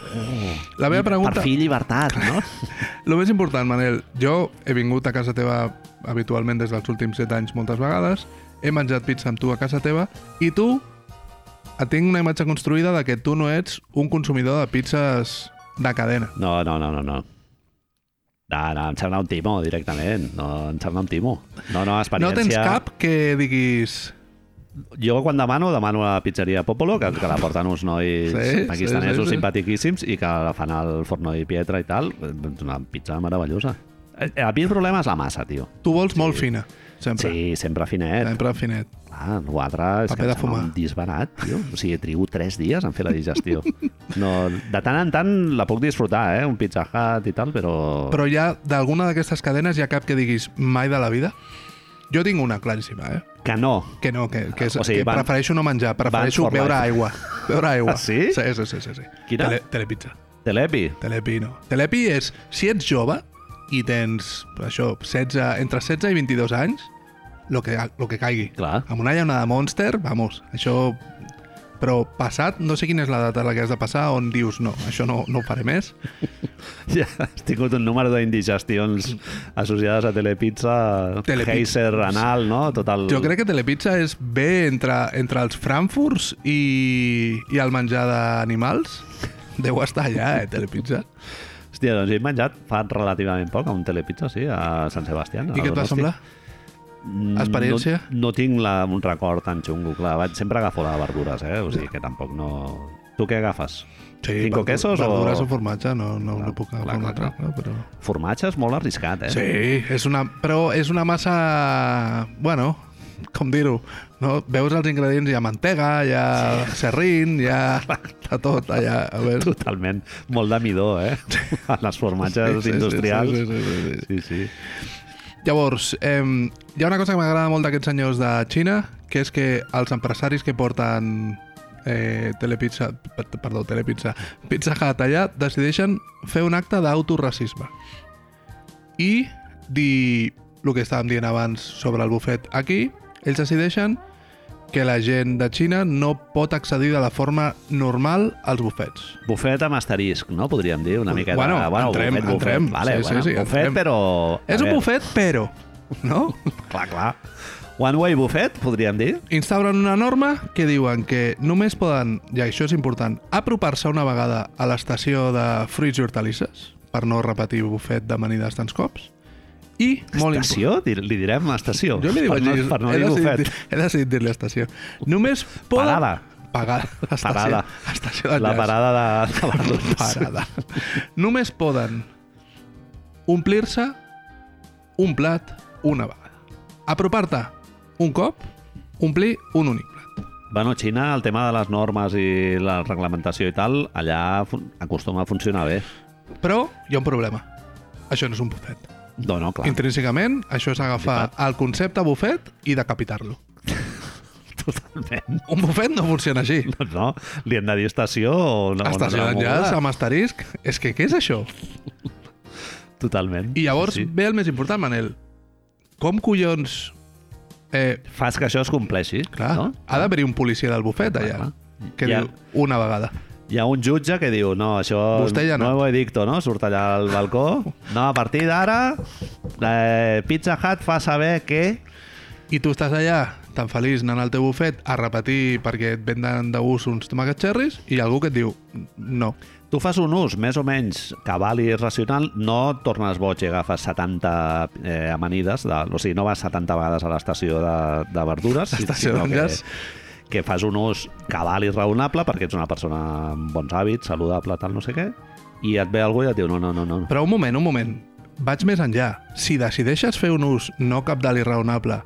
Speaker 2: La meva pregunta...
Speaker 1: Per fi llibertat, no?
Speaker 2: El més important, Manel, jo he vingut a casa teva habitualment des dels últims 7 anys moltes vegades, he menjat pizza amb tu a casa teva i tu et tinc una imatge construïda de que tu no ets un consumidor de pizzas de cadena.
Speaker 1: No, no, no, no, no. No, no, em sembla un timo, directament. No, em sembla un timo. No, no,
Speaker 2: No
Speaker 1: experiència...
Speaker 2: tens cap que diguis...
Speaker 1: Jo quan demano, demano a la pizzeria Popolo, que, que la porten uns nois
Speaker 2: Sí,
Speaker 1: sí, pakistanesos
Speaker 2: sí, sí,
Speaker 1: sí,
Speaker 2: sí.
Speaker 1: sí, simpatiquíssims i que la fan al forno di pietra i tal. És una pizza meravellosa. Eh, A mi el problema és la massa, tio.
Speaker 2: Tu vols sí. molt fina, sempre.
Speaker 1: Sí, sempre finet.
Speaker 2: Sempre finet.
Speaker 1: Clar, l'altre és
Speaker 2: Paper
Speaker 1: que em
Speaker 2: de
Speaker 1: sembla
Speaker 2: fumar.
Speaker 1: un disbarat, tio. O sigui, trigo tres dies en fer la digestió. No, de tant en tant la puc disfrutar, eh? Un Pizza Hut i tal, però...
Speaker 2: Però hi ha d'alguna d'aquestes cadenes hi ha cap que diguis mai de la vida? Jo tinc una claríssima, eh?
Speaker 1: Que no.
Speaker 2: Que no, que, que, és,
Speaker 1: O
Speaker 2: o
Speaker 1: sigui,
Speaker 2: sigui, que
Speaker 1: van-
Speaker 2: prefereixo no menjar, prefereixo
Speaker 1: for
Speaker 2: beure
Speaker 1: life.
Speaker 2: aigua. Beure aigua.
Speaker 1: Ah, sí?
Speaker 2: Sí, sí, sí. sí, sí.
Speaker 1: Quina?
Speaker 2: telepizza.
Speaker 1: Telepi.
Speaker 2: Telepi no. Telepi és, si ets jove i tens, això, 16, entre 16 i 22 anys, lo que, lo que caigui.
Speaker 1: Clar.
Speaker 2: Amb una llaunada Monster, vamos, això... Però passat, no sé quina és la data a la que has de passar, on dius, no, això no, no ho faré més.
Speaker 1: Ja has tingut un número d'indigestions associades a Telepizza,
Speaker 2: Telepizza.
Speaker 1: Heiser, anal, no? Tot el...
Speaker 2: Jo crec que Telepizza és bé entre, entre els frankfurts i, i el menjar d'animals. Deu estar allà, eh, Telepizza.
Speaker 1: Hòstia, doncs he menjat fa relativament poc a un Telepizza, sí, a Sant Sebastià.
Speaker 2: I què et va semblar? Experiència?
Speaker 1: Mm, No, no tinc la, un record tan xungo, clar. Vaig, sempre agafo la de verdures, eh? O sigui que tampoc no... Tu què agafes? Cinco
Speaker 2: verdu-
Speaker 1: quesos o-
Speaker 2: verdures o... formatge, no, no, no,
Speaker 1: Clar,
Speaker 2: no puc
Speaker 1: clar,
Speaker 2: agafar una
Speaker 1: clar,
Speaker 2: altra, no, però...
Speaker 1: Formatge és molt arriscat, eh?
Speaker 2: Sí, és una, però és una massa... Bueno, com dir-ho, no? veus els ingredients, hi ha mantega, hi ha sí. serrín, hi ha de tot allà. A veure.
Speaker 1: Totalment. Molt de midó, eh? A les formatges
Speaker 2: Sí, sí, sí,
Speaker 1: industrials.
Speaker 2: sí, sí, sí, sí,
Speaker 1: sí, sí.
Speaker 2: Llavors, eh, hi ha una cosa que m'agrada molt d'aquests senyors de Xina, que és que els empresaris que porten eh, telepizza, per- perdó, telepizza, Pizza Hut allà, decideixen fer un acte d'autoracisme. I dir el que estàvem dient abans sobre el bufet aquí, ells decideixen que la gent de Xina no pot accedir de la forma normal als bufets.
Speaker 1: Bufet amb asterisc, no? Podríem dir una miqueta.
Speaker 2: Bueno, entrem,
Speaker 1: bufet, bufet.
Speaker 2: entrem.
Speaker 1: Vale,
Speaker 2: Sí, sí,
Speaker 1: bueno,
Speaker 2: sí,
Speaker 1: bufet,
Speaker 2: entrem.
Speaker 1: però... a
Speaker 2: És un
Speaker 1: veure,
Speaker 2: bufet, però... No?
Speaker 1: Clar, clar. One way bufet, podríem dir.
Speaker 2: instauren una norma que diuen que només poden, i això és important, apropar-se una vegada a l'estació de fruits i hortalisses, per no repetir bufet d'amanides tants cops, i, molt important,
Speaker 1: estació? Dir- Li direm estació.
Speaker 2: jo li dic,
Speaker 1: per no, per no
Speaker 2: he,
Speaker 1: dir
Speaker 2: decidit,
Speaker 1: bufet.
Speaker 2: dir- he decidit dir-li estació. Només poden...
Speaker 1: Parada.
Speaker 2: Pagada. Estació,
Speaker 1: Parada.
Speaker 2: Estació de
Speaker 1: La
Speaker 2: llast.
Speaker 1: parada de, de verdures.
Speaker 2: Parada. Només poden omplir-se un plat una vegada. Apropar-te un cop, omplir un únic plat.
Speaker 1: Bueno, Xina, el tema de les normes i la reglamentació i tal, allà fun- acostuma a funcionar bé.
Speaker 2: Però hi ha un problema. Això no és un bufet.
Speaker 1: No, no, clar.
Speaker 2: Intrínsecament, això és agafar el concepte bufet i decapitar-lo.
Speaker 1: Totalment.
Speaker 2: Un bufet no funciona així.
Speaker 1: Doncs no, li hem de dir estació o una,
Speaker 2: Estació
Speaker 1: una altra
Speaker 2: d'enllaç
Speaker 1: moguda.
Speaker 2: amb asterisc. És que què és això?
Speaker 1: Totalment.
Speaker 2: I llavors
Speaker 1: Sí.
Speaker 2: ve el més important, Manel. Com collons... Eh,
Speaker 1: Fas que això es compleixi,
Speaker 2: clar,
Speaker 1: no?
Speaker 2: no? ha d'haver-hi un policia del bufet
Speaker 1: Clar,
Speaker 2: allà.
Speaker 1: clar.
Speaker 2: Que
Speaker 1: Hi ha-
Speaker 2: diu una vegada.
Speaker 1: Hi ha un jutge que diu, no, això...
Speaker 2: Vostè ja no.
Speaker 1: Nuevo edicto, no? Surt allà al balcó. No, a partir d'ara, eh, Pizza Hut fa saber que...
Speaker 2: I tu estàs allà, tan feliç, anant al teu bufet a repetir perquè et venden de gust uns tomàquets xerris i hi ha algú que et diu no.
Speaker 1: Tu fas un ús més o menys cabal i racional, no et tornes boig i agafes 70 eh, amanides, de, o sigui, no vas 70 vegades a l'estació de, de verdures, si-
Speaker 2: L'estació
Speaker 1: sinó
Speaker 2: d'enllaç.
Speaker 1: que, que fas un ús cabal i raonable perquè ets una persona amb bons hàbits, saludable, tal, no sé què, i et ve algú i et diu no, no, no, no.
Speaker 2: Però un moment, un moment. vaig més enllà. Si decideixes fer un ús no capdalt i raonable,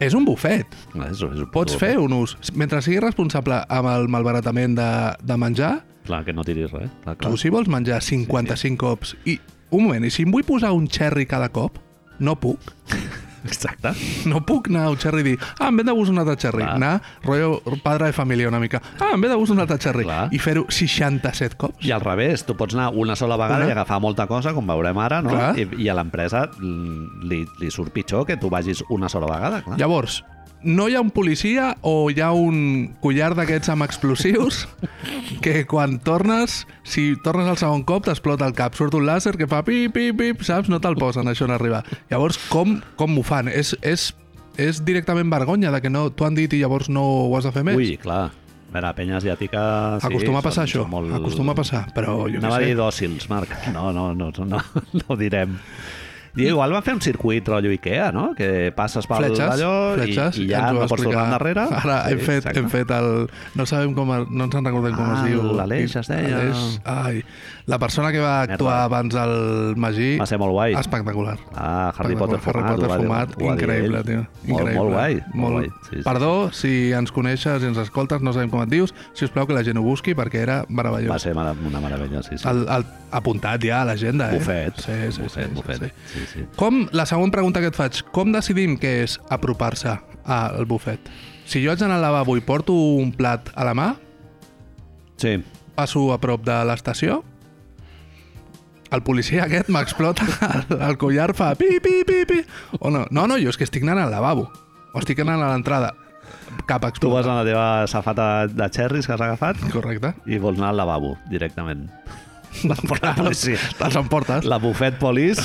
Speaker 2: és un bufet.
Speaker 1: És, és
Speaker 2: Pots fer un ús. Mentre siguis responsable amb el malbaratament de, de menjar,
Speaker 1: Clar, que no tiris res. Clar, clar.
Speaker 2: tu si vols menjar 55 cops i... Un moment, i si em vull posar un xerri cada cop, no puc.
Speaker 1: Exacte.
Speaker 2: No puc anar a un xerri i dir, ah, em ve de gust un altre xerri.
Speaker 1: Clar.
Speaker 2: Anar, rotllo padre de família una mica. Ah, em ve de gust un altre xerri.
Speaker 1: Clar.
Speaker 2: I fer-ho 67 cops.
Speaker 1: I al revés, tu pots anar una sola vegada
Speaker 2: Una.
Speaker 1: i agafar molta cosa, com veurem ara, no?
Speaker 2: Clar.
Speaker 1: I, I a l'empresa mm, li, li surt pitjor que tu vagis una sola vegada, clar.
Speaker 2: Llavors, no hi ha un policia o hi ha un collar d'aquests amb explosius que quan tornes, si tornes al segon cop, t'explota el cap. Surt un làser que fa pip, pip, pip, saps? No te'l posen, això en arribar. Llavors, com, com ho fan? És, és, és directament vergonya de que no t'ho han dit i llavors no ho has de fer més.
Speaker 1: Ui, clar. A veure, penya asiàtica... Sí,
Speaker 2: Acostuma a passar
Speaker 1: són-
Speaker 2: això,
Speaker 1: són molt...
Speaker 2: acostuma a passar, però jo
Speaker 1: Anava a
Speaker 2: què
Speaker 1: dir
Speaker 2: sé.
Speaker 1: dòcils, Marc. No, no, no, no, no, no ho direm. I igual va fer un circuit rotllo Ikea, no? Que passes pel
Speaker 2: Fletxes,
Speaker 1: d'allò i,
Speaker 2: fletxes,
Speaker 1: i ja
Speaker 2: ens ho va
Speaker 1: no pots tornar
Speaker 2: explicar.
Speaker 1: endarrere.
Speaker 2: Ara hem, fet,
Speaker 1: exacte.
Speaker 2: hem fet el... No sabem com... El, no ens en recordem com
Speaker 1: Ah,
Speaker 2: es diu.
Speaker 1: l'Aleix es deia.
Speaker 2: Aleix, ai, la persona que va actuar
Speaker 1: Merda.
Speaker 2: abans del Magí...
Speaker 1: Va ser molt guai.
Speaker 2: Espectacular.
Speaker 1: Ah, Harry Potter fumat.
Speaker 2: Harry Potter
Speaker 1: ho va dir-
Speaker 2: fumat,
Speaker 1: ho va dir
Speaker 2: increïble,
Speaker 1: ell.
Speaker 2: tio.
Speaker 1: Molt,
Speaker 2: Increïble.
Speaker 1: molt guai. Molt, guai. Sí, sí.
Speaker 2: Perdó, si ens coneixes i ens escoltes, no sabem com et dius, si us plau que la gent ho busqui perquè era meravellós.
Speaker 1: Va ser mara- una meravella, sí, sí.
Speaker 2: El, el, apuntat ja a l'agenda, eh?
Speaker 1: Bufet.
Speaker 2: Sí, sí,
Speaker 1: bufet,
Speaker 2: sí,
Speaker 1: bufet.
Speaker 2: sí.
Speaker 1: Sí, sí.
Speaker 2: Com, la següent pregunta que et faig, com decidim què és apropar-se al bufet? Si jo haig d'anar al lavabo i porto un plat a la mà,
Speaker 1: sí.
Speaker 2: passo a prop de l'estació, el policia aquest m'explota el, el collar, fa pi, pi, pi, pi. O no, no, no, jo és que estic anant al lavabo. O estic anant a l'entrada. Cap
Speaker 1: Tu vas
Speaker 2: explotar.
Speaker 1: a la teva safata de xerris que has agafat
Speaker 2: Correcte.
Speaker 1: i vols anar al lavabo directament. La, la policia.
Speaker 2: Te'ls emportes.
Speaker 1: La bufet polis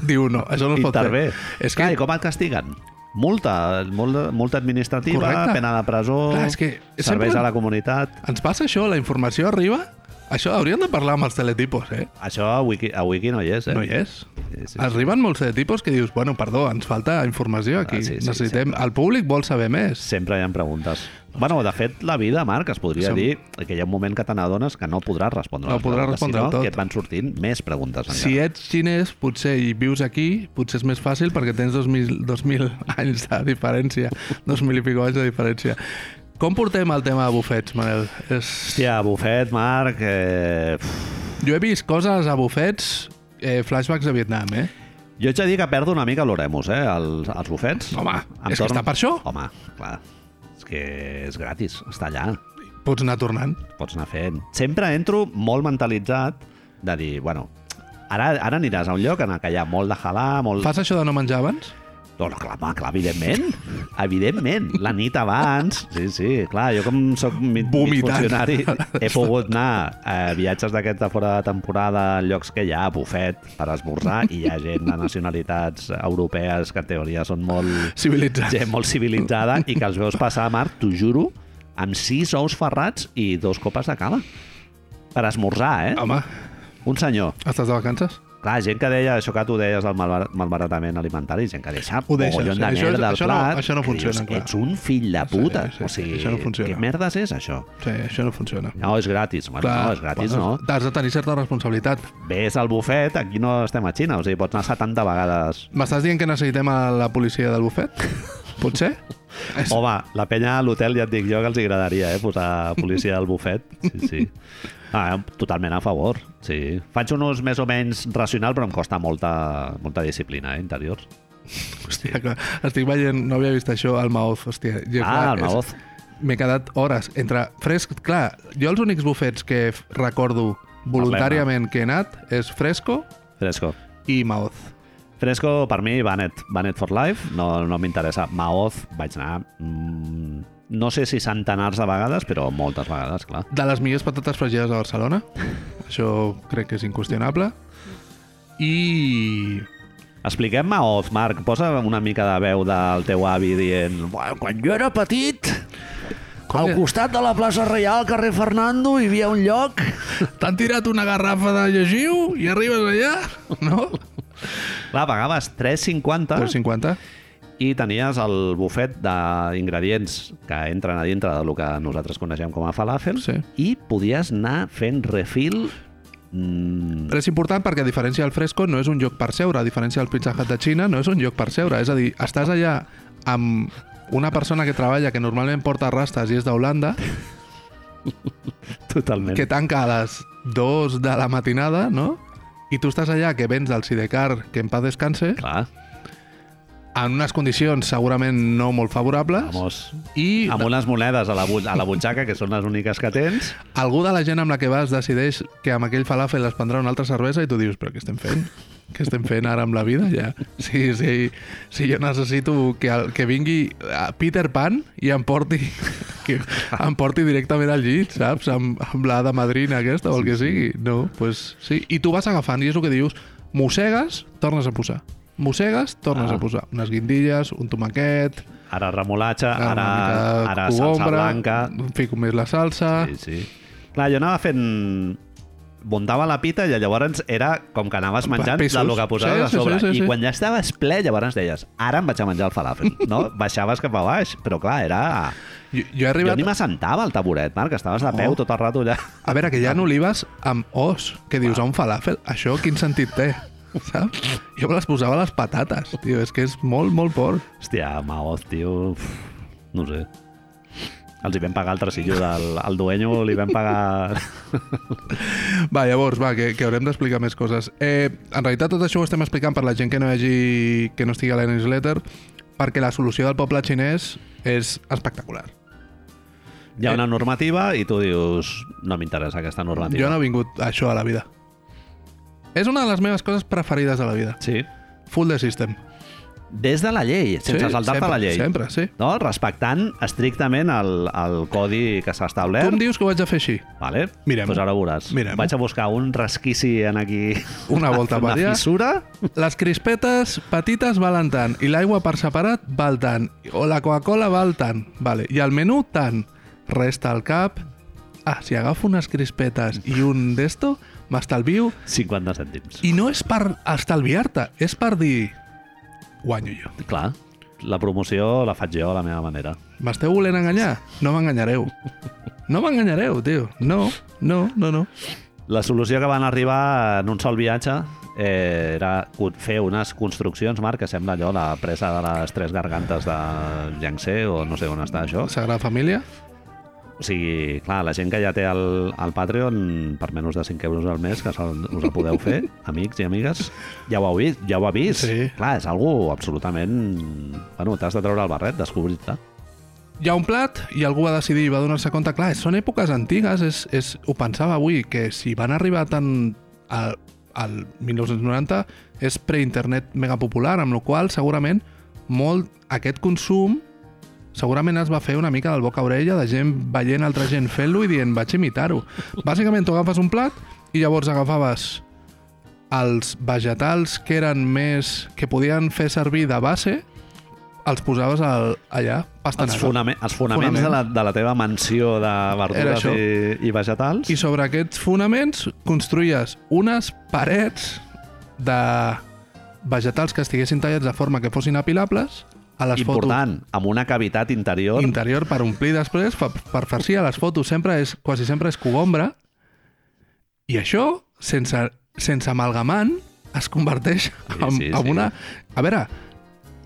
Speaker 2: Diu, no, això no es pot
Speaker 1: intervé.
Speaker 2: fer. És
Speaker 1: Clar,
Speaker 2: que
Speaker 1: I com et castiguen? Multa, multa, multa administrativa,
Speaker 2: Correcte.
Speaker 1: pena de presó,
Speaker 2: Clar, és que
Speaker 1: serveis
Speaker 2: sempre-
Speaker 1: a la comunitat...
Speaker 2: ens passa això, la informació arriba... Això hauríem de parlar amb els teletipos, eh?
Speaker 1: Això a Wiki, a Wiki no hi és, eh?
Speaker 2: No hi és. Ah.
Speaker 1: Sí, sí.
Speaker 2: Arriben molts de tipus que dius, bueno, perdó, ens falta informació aquí.
Speaker 1: Ah, sí, sí,
Speaker 2: Necessitem... El públic vol saber més.
Speaker 1: Sempre hi ha preguntes. Bueno, de fet, la vida, Marc, es podria
Speaker 2: Som-
Speaker 1: dir que hi ha un moment que te n'adones que no podràs respondre
Speaker 2: No
Speaker 1: les
Speaker 2: podràs
Speaker 1: preguntes,
Speaker 2: respondre
Speaker 1: sinó
Speaker 2: tot.
Speaker 1: que et van sortint més preguntes.
Speaker 2: Si
Speaker 1: encara.
Speaker 2: ets xinès, potser i vius aquí, potser és més fàcil perquè tens 2.000, 2.000 anys de diferència, 2.000 i pico anys de diferència. Com portem el tema de bufets, Manel? És...
Speaker 1: Hòstia, bufet, Marc... Eh... pff.
Speaker 2: Jo he vist coses a bufets, eh, flashbacks de Vietnam, eh?
Speaker 1: Jo haig de dir que perdo una mica l'oremus, eh, els, els bufets.
Speaker 2: Home, és que està per això.
Speaker 1: Home, clar. És que és gratis, està allà.
Speaker 2: Pots anar tornant.
Speaker 1: Pots anar fent. Sempre entro molt mentalitzat de dir, bueno, ara, ara aniràs a un lloc en el que hi ha molt de halar, molt...
Speaker 2: Fas això de no menjar abans?
Speaker 1: No, no, clar, home, clar, evidentment. Evidentment. La nit abans. Sí, sí, clar, jo com soc mig, mig
Speaker 2: Vomitant.
Speaker 1: funcionari he pogut anar a viatges d'aquests de fora de temporada en llocs que hi ha bufet per esmorzar i hi ha gent de nacionalitats europees que en teoria són molt,
Speaker 2: Civilitzats.
Speaker 1: gent molt civilitzada i que els veus passar a mar, t'ho juro, amb sis ous ferrats i dos copes de cava. Per esmorzar, eh?
Speaker 2: Home,
Speaker 1: Un senyor.
Speaker 2: estàs de vacances?
Speaker 1: Clar, gent que deia això que tu deies del malbar- malbaratament alimentari, gent que deixa
Speaker 2: Ho deixes,
Speaker 1: mogollon
Speaker 2: sí.
Speaker 1: de
Speaker 2: Això-
Speaker 1: merda al
Speaker 2: això no-
Speaker 1: plat.
Speaker 2: això no
Speaker 1: que
Speaker 2: funciona,
Speaker 1: dius,
Speaker 2: clar.
Speaker 1: Ets un fill de
Speaker 2: Sí,
Speaker 1: puta.
Speaker 2: sí,
Speaker 1: o sigui,
Speaker 2: això no funciona.
Speaker 1: Què merdes és això?
Speaker 2: Sí, això no funciona.
Speaker 1: No, és gratis. Bueno, Ah, no, és gratis,
Speaker 2: bueno,
Speaker 1: no.
Speaker 2: Has de tenir certa responsabilitat.
Speaker 1: Ves al bufet, aquí no estem a Xina, o sigui, pots anar 70 vegades.
Speaker 2: M'estàs dient que necessitem a la policia del bufet? Potser? És-
Speaker 1: Home, la penya a l'hotel ja et dic jo que els hi agradaria, eh, posar policia al bufet. Sí, sí. Ah, totalment a favor, sí. Faig un ús més o menys racional, però em costa molta, molta disciplina, eh, interiors.
Speaker 2: Hòstia, clar, estic veient, no havia vist això al Maoz, hòstia. Jo,
Speaker 1: Ah, el
Speaker 2: és-
Speaker 1: Maoz.
Speaker 2: M'he quedat hores entre fresc... Clar, jo els únics bufets que f- recordo voluntàriament que he anat és Fresco
Speaker 1: Fresco.
Speaker 2: i Maoz.
Speaker 1: Fresco, per mi, Banet, Banet for Life, no, no m'interessa. Maoz, vaig anar... Mm, no sé si centenars de vegades, però moltes vegades, clar.
Speaker 2: De les millors patates fregides de Barcelona, això crec que és inqüestionable. I...
Speaker 1: Expliquem Maoz, Marc. Posa una mica de veu del teu avi dient "Bueno, quan jo era petit, al costat de la plaça Reial, carrer Fernando, hi havia un lloc...
Speaker 2: T'han tirat una garrafa de llegiu i arribes allà, no?
Speaker 1: Clar, pagaves 3,50
Speaker 2: 3,50.
Speaker 1: i tenies el bufet d'ingredients que entren a dintre del que nosaltres coneixem com a falafel
Speaker 2: Sí.
Speaker 1: i podies anar fent refil Mm,
Speaker 2: Però és important perquè, a diferència del Fresco, no és un lloc per seure. A diferència del Pizza Hut de Xina, no és un lloc per seure. És a dir, estàs allà amb una persona que treballa, que normalment porta rastes i és d'Holanda,
Speaker 1: totalment.
Speaker 2: que tanca a les 2 de la matinada, no? I tu estàs allà, que vens del Sidecar, que en paz descanse,
Speaker 1: Clar,
Speaker 2: en unes condicions segurament no molt favorables,
Speaker 1: vamos.
Speaker 2: i
Speaker 1: Amb unes monedes a la, bu- a la butxaca, que són les úniques que tens.
Speaker 2: algú de la gent amb la que vas decideix que amb aquell falafel es prendrà una altra cervesa i tu dius, però què estem fent? Què estem fent ara amb la vida, ja? Sí, sí, sí jo necessito que, el, que vingui a Peter Pan i em porti, que em porti directament al llit, saps? Amb, amb la de madrina aquesta o el que sigui. No, doncs pues, sí. I tu vas agafant, i és el que dius, mossegues, tornes a posar. Mossegues, tornes
Speaker 1: Ah.
Speaker 2: a posar. Unes guindilles, un tomaquet...
Speaker 1: Ara remolatxa,
Speaker 2: una
Speaker 1: ara,
Speaker 2: mica Ah.
Speaker 1: ara salsa
Speaker 2: cogombre,
Speaker 1: blanca.
Speaker 2: Fico més la salsa...
Speaker 1: Sí, sí. Clar, jo anava fent muntava la pita i llavors era com que anaves menjant
Speaker 2: Pesos.
Speaker 1: del que posaves
Speaker 2: Sí,
Speaker 1: a
Speaker 2: sí,
Speaker 1: sobre.
Speaker 2: sí, sí,
Speaker 1: I
Speaker 2: sí.
Speaker 1: quan ja estaves ple, llavors deies, ara em vaig a menjar el falafel. No? Baixaves cap a baix, però clar, era...
Speaker 2: Jo, jo he
Speaker 1: Jo
Speaker 2: arribat...
Speaker 1: ni m'assentava al taburet, Marc, estaves de peu
Speaker 2: Oh.
Speaker 1: tot el rato allà.
Speaker 2: A veure, que hi ha olives amb os, que dius, a un falàfel, això quin sentit té? Saps? Jo me les posava a les patates, tio, és que és molt, molt por.
Speaker 1: Hòstia, Maoz, tio... Uf, no sé. Els hi vam pagar el tresillo del al duenyo, li vam pagar...
Speaker 2: Va, llavors, va, que, que haurem d'explicar més coses. Eh, en realitat, tot això ho estem explicant per la gent que no hagi, que no estigui a la newsletter, perquè la solució del poble xinès és espectacular.
Speaker 1: Hi ha una normativa i tu dius, no m'interessa aquesta normativa.
Speaker 2: Jo no he vingut a això a la vida. És una de les meves coses preferides de la vida.
Speaker 1: Sí.
Speaker 2: Full the system.
Speaker 1: Des de la llei, sense
Speaker 2: Sí,
Speaker 1: saltar-te la
Speaker 2: sempre,
Speaker 1: llei.
Speaker 2: Sempre, sí.
Speaker 1: No? Respectant estrictament el, el codi que s'ha
Speaker 2: Tu em
Speaker 1: establert.
Speaker 2: dius que ho haig de fer així.
Speaker 1: Vale?
Speaker 2: Mirem-ho.
Speaker 1: Pues ara ho veuràs.
Speaker 2: Mirem-ho.
Speaker 1: Vaig a buscar un resquici en aquí.
Speaker 2: Una volta per
Speaker 1: Una
Speaker 2: allà.
Speaker 1: fissura.
Speaker 2: Les crispetes petites valen tant i l'aigua per separat val tant o la Coca-Cola val tant, vale. i el menú tant. Resta al cap... Ah, si agafo unes crispetes i un d'esto, m'estalvio
Speaker 1: 50 cèntims.
Speaker 2: i no és per estalviar-te, és per dir... Guanyo jo.
Speaker 1: Clar, la promoció la faig jo a la meva manera.
Speaker 2: M'esteu volent enganyar? No m'enganyareu. No m'enganyareu, tio. No, no, no, no.
Speaker 1: La solució que van arribar en un sol viatge eh, era co- fer unes construccions, Marc, que sembla allò, la presa de les tres gargantes de Yangtze, o no sé on està això.
Speaker 2: Sagrada Família?
Speaker 1: O sigui, clar, la gent que ja té el, el Patreon, per menys de 5 euros al mes, que se'l- us la podeu fer, amics i amigues, ja ho heu vist, ja ho ha vist.
Speaker 2: Sí.
Speaker 1: Clar, és algú absolutament... Bueno, t'has de treure el barret, descobrir-te.
Speaker 2: hi ha un plat i algú va decidir i va donar-se compte, clar, són èpoques antigues, és, és, ho pensava avui, que si van arribar tant al, al 1990 és preinternet megapopular, amb la qual cosa, segurament molt aquest consum segurament es va fer una mica del boca a orella de gent veient altra gent fent-lo i dient vaig imitar-ho. Bàsicament tu agafes un plat i llavors agafaves els vegetals que eren més... que podien fer servir de base els posaves al, allà,
Speaker 1: Els,
Speaker 2: pastanada.
Speaker 1: foname els fonaments
Speaker 2: Fonament.
Speaker 1: de la, de la teva mansió de verdures
Speaker 2: això.
Speaker 1: i, i vegetals.
Speaker 2: I sobre aquests fonaments construïes unes parets de vegetals que estiguessin tallats de forma que fossin apilables a les
Speaker 1: Important, amb una cavitat interior.
Speaker 2: fotos interior per omplir després, fa- per farcir a les fotos sempre és, quasi sempre és cogombra i això, sense, sense amalgamant, es converteix en,
Speaker 1: sí,
Speaker 2: en
Speaker 1: sí.
Speaker 2: una... A veure,